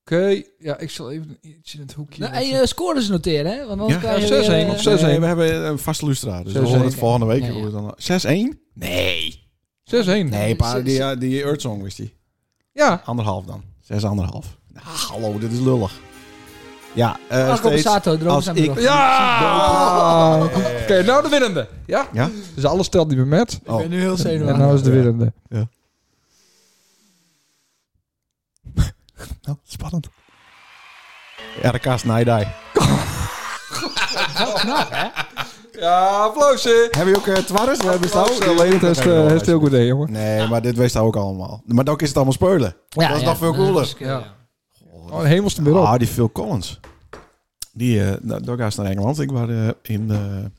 Speaker 2: Oké, ja, ik zal even iets in het hoekje.
Speaker 4: Nou,
Speaker 1: eh,
Speaker 2: zetten.
Speaker 4: en je scores noteren, hè? Want anders
Speaker 1: Ja.
Speaker 4: krijg je
Speaker 2: Ja, 6-1
Speaker 4: weer,
Speaker 2: op
Speaker 4: eh,
Speaker 2: 6. 6-1.
Speaker 1: Nee, we hebben een vaste lustraar. Dus we
Speaker 2: 6-1.
Speaker 1: horen het volgende week.
Speaker 4: Ja, ja.
Speaker 1: hoe het dan- 6-1? Nee.
Speaker 2: 6-1.
Speaker 1: Nee, pa, die, eh, die Earth Song wist hij.
Speaker 2: Ja.
Speaker 1: Anderhalf dan. 6,5. Ah, hallo, dit is lullig. Ja, eh
Speaker 4: Marco
Speaker 1: steeds.
Speaker 4: Borsato, droom
Speaker 1: als
Speaker 4: zijn
Speaker 1: ik-
Speaker 4: droom.
Speaker 2: Ja! Oké, nou de winnende. Ja?
Speaker 1: Ja?
Speaker 2: Dus alles telt niet meer met.
Speaker 1: Oh.
Speaker 4: Ik ben nu heel
Speaker 2: En
Speaker 4: zenuwachtig.
Speaker 2: nou is de winnende.
Speaker 1: Nou, spannend. RK's Night Eye.
Speaker 2: Ja, applausje!
Speaker 1: Heb je ook uh, Twarres? We hebben
Speaker 2: Applaus, eh, Leonard heeft eh, heeft heel goed idee, jongen.
Speaker 1: Nee, maar dit wist hij ook allemaal. Maar dan is het allemaal speulen.
Speaker 4: Ja,
Speaker 1: dat is
Speaker 4: ja,
Speaker 1: nog veel cooler.
Speaker 4: is-
Speaker 2: Ja. Oh, een hemelste middel.
Speaker 1: Ah, die Phil Collins. Die, eh nou, daar ga ik naar Engeland. Ik was eh, in de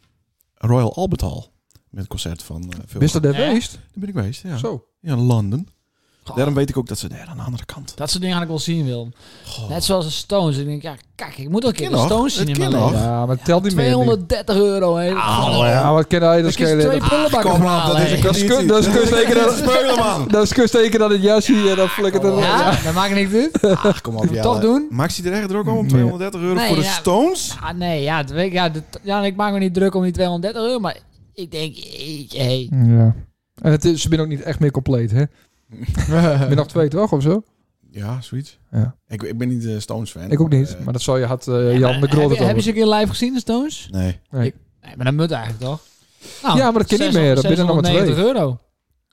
Speaker 1: Royal Albert Hall. Met een concert van eh, Phil
Speaker 2: Wist
Speaker 1: Collins.
Speaker 2: dat daar
Speaker 4: Ja.
Speaker 2: geweest?
Speaker 1: Daar ben ik geweest, ja.
Speaker 2: Zo.
Speaker 1: Ja, in Londen.
Speaker 4: Goh,
Speaker 1: Daarom weet ik ook dat ze daar aan de andere kant.
Speaker 4: Dat soort dingen had ik wel zien, Wil.
Speaker 1: Goh.
Speaker 4: Net zoals de Stones. Ik denk, ja, kijk, ik moet ook een keer
Speaker 1: kan
Speaker 4: de
Speaker 1: nog.
Speaker 4: Stones zien
Speaker 1: Het
Speaker 4: in mijn
Speaker 1: kan
Speaker 4: leven.
Speaker 1: nog.
Speaker 2: Ja, maar het telt niet meer.
Speaker 4: 230 euro, hè.
Speaker 1: Hallo.
Speaker 2: Ja, wat ken hij? Dat is
Speaker 4: Ik kies twee
Speaker 2: geen-
Speaker 4: prullenbakken
Speaker 1: Ah, Kom
Speaker 4: van
Speaker 1: op, dat is een
Speaker 4: halen, hè.
Speaker 2: Dat is
Speaker 1: competitie.
Speaker 2: kun- dat is
Speaker 1: Dit
Speaker 2: kunststeken, dat
Speaker 1: dit
Speaker 2: is-
Speaker 1: speulen, man.
Speaker 2: Dat is kusteken dat het jasje en dat flikkert er...
Speaker 4: Ja, dat maakt niks uit.
Speaker 1: Ach, kom op, ja.
Speaker 4: toch doen?
Speaker 1: Max die er echt druk om? om
Speaker 2: Nee.
Speaker 1: 230 euro
Speaker 4: Nee,
Speaker 1: voor de
Speaker 4: ja.
Speaker 1: Stones?
Speaker 4: Ah, nee, ja, dat weet ik, ja, dat- ja, ik maak me niet druk om die 230 euro, maar ik denk, jeetje, hey.
Speaker 2: Ja. En het is, ze zijn ook niet echt meer compleet, hè? Ik ben nog twee, toch? Of zo?
Speaker 1: Ja, zoiets.
Speaker 2: Ja.
Speaker 1: Ik, ik ben niet de Stones-fan.
Speaker 2: Ik ook niet.
Speaker 1: eh,
Speaker 2: Maar dat zal je had eh, Jan de Groot het
Speaker 4: Heb je- Hebben
Speaker 2: over.
Speaker 4: ze een keer live gezien, de Stones?
Speaker 1: Nee.
Speaker 4: Nee, maar dat moet eigenlijk toch? Nou,
Speaker 2: Ja, maar dat kan niet meer. Dat binnen nog maar twee.
Speaker 4: 690 euro.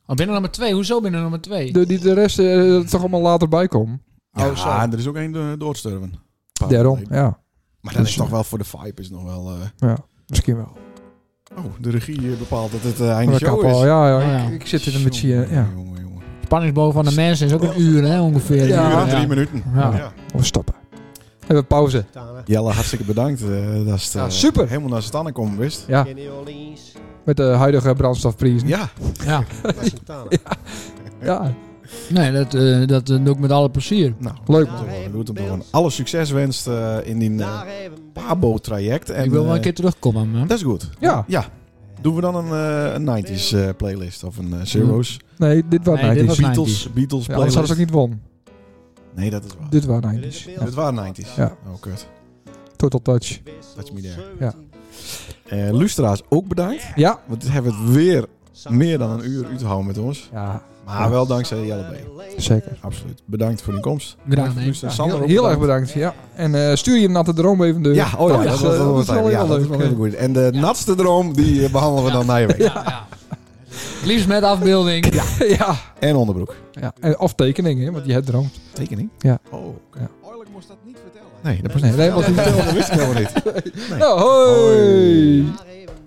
Speaker 4: Oh, binnen nummer 2? Hoezo binnen nummer 2?
Speaker 2: De, die, de rest eh, dat toch allemaal later bij komen.
Speaker 1: Ja,
Speaker 2: Oh, zo.
Speaker 1: er is ook één eh, doodsterven. Een paar
Speaker 2: Daarom,
Speaker 1: weken.
Speaker 2: ja.
Speaker 1: Maar dat is toch wel voor de vibe is nog wel... eh,
Speaker 2: ja. Misschien wel.
Speaker 1: Oh, de regie eh, bepaalt dat het eh, einde
Speaker 2: Dat
Speaker 1: show
Speaker 2: kap
Speaker 1: is.
Speaker 2: al, ja, ja,
Speaker 5: Ja, ja.
Speaker 2: Ik, ik zit in een beetje... eh, Ja.
Speaker 1: Jongen, jongen.
Speaker 5: Spanningsboog van de mensen is ook een uur, hè, ongeveer.
Speaker 2: Ja.
Speaker 1: Uur en
Speaker 2: Ah,
Speaker 1: drie minuten.
Speaker 5: Ja.
Speaker 1: Ja.
Speaker 2: We stoppen. Even pauze.
Speaker 3: Montana.
Speaker 1: Jelle, hartstikke bedankt. eh, dat is
Speaker 2: Ja, super.
Speaker 1: Helemaal naar Stannen komen, wist.
Speaker 2: Ja,
Speaker 3: In New Orleans.
Speaker 2: met de huidige brandstofprijzen. Ja.
Speaker 1: Ja,
Speaker 5: Ja.
Speaker 3: Masentana.
Speaker 5: Nee, dat, eh, dat eh, doe ik met alle plezier.
Speaker 1: nou.
Speaker 2: leuk.
Speaker 1: dat is wel goed om te horen. Alle succes wenst eh, in die eh,
Speaker 3: Daar hebben we-
Speaker 1: Pabo-traject. En,
Speaker 5: ik wil wel een
Speaker 1: eh,
Speaker 5: keer terugkomen, man.
Speaker 1: Dat is goed.
Speaker 2: Ja,
Speaker 1: Doen we dan een, eh, een 90s eh, playlist of een eh, Zero's?
Speaker 2: nee, dit was
Speaker 5: Nee,
Speaker 2: nee,
Speaker 5: dit was-
Speaker 2: Ja,
Speaker 1: Beatles, Beatles
Speaker 2: anders
Speaker 1: playlist?
Speaker 2: hadden ze ook niet won.
Speaker 1: Nee, dat is waar.
Speaker 2: Dit was
Speaker 3: Er is
Speaker 2: 90's.
Speaker 3: een
Speaker 2: Ja.
Speaker 3: beeld.
Speaker 1: Dit waren 90s.
Speaker 2: Dus- Ja.
Speaker 1: Oh, kut.
Speaker 2: Total touch.
Speaker 1: Dat is me there.
Speaker 2: Ja.
Speaker 1: Eh luisteraars, ook bedankt.
Speaker 2: Ja.
Speaker 1: Want dit hebben we het weer meer dan een uur uitgehouden met ons.
Speaker 2: Ja,
Speaker 1: Maar Ah, wel dankzij Jelle B.
Speaker 2: zeker.
Speaker 1: Absoluut. Bedankt voor de komst.
Speaker 5: Graag, nee.
Speaker 1: Luisteraars,
Speaker 2: Ja,
Speaker 1: Sander
Speaker 2: heel,
Speaker 1: ook
Speaker 2: heel erg bedankt. Ja. En eh, stuur je natte droom even de...
Speaker 1: Ja, oh ja, dat,
Speaker 2: eh,
Speaker 1: was, dat was
Speaker 2: wel
Speaker 1: ja,
Speaker 2: heel
Speaker 1: dat
Speaker 2: leuk.
Speaker 1: was heel goed. En de natste droom, die eh, behandelen we dan na je week.
Speaker 4: Ja, ja. Het Liefst met afbeelding. Ja.
Speaker 2: ja.
Speaker 1: En onderbroek.
Speaker 2: ja. En, of tekeningen, hè, want je hebt droomt.
Speaker 1: Tekening?
Speaker 2: Ja.
Speaker 1: Oh, oké.
Speaker 2: Ja.
Speaker 6: moest dat niet vertellen.
Speaker 1: Nee, dat was
Speaker 2: Nee, wij
Speaker 1: Dat
Speaker 2: moeten...
Speaker 1: vertelde, wist ik helemaal niet.
Speaker 2: Nou, hoi.
Speaker 3: Daar hebben we-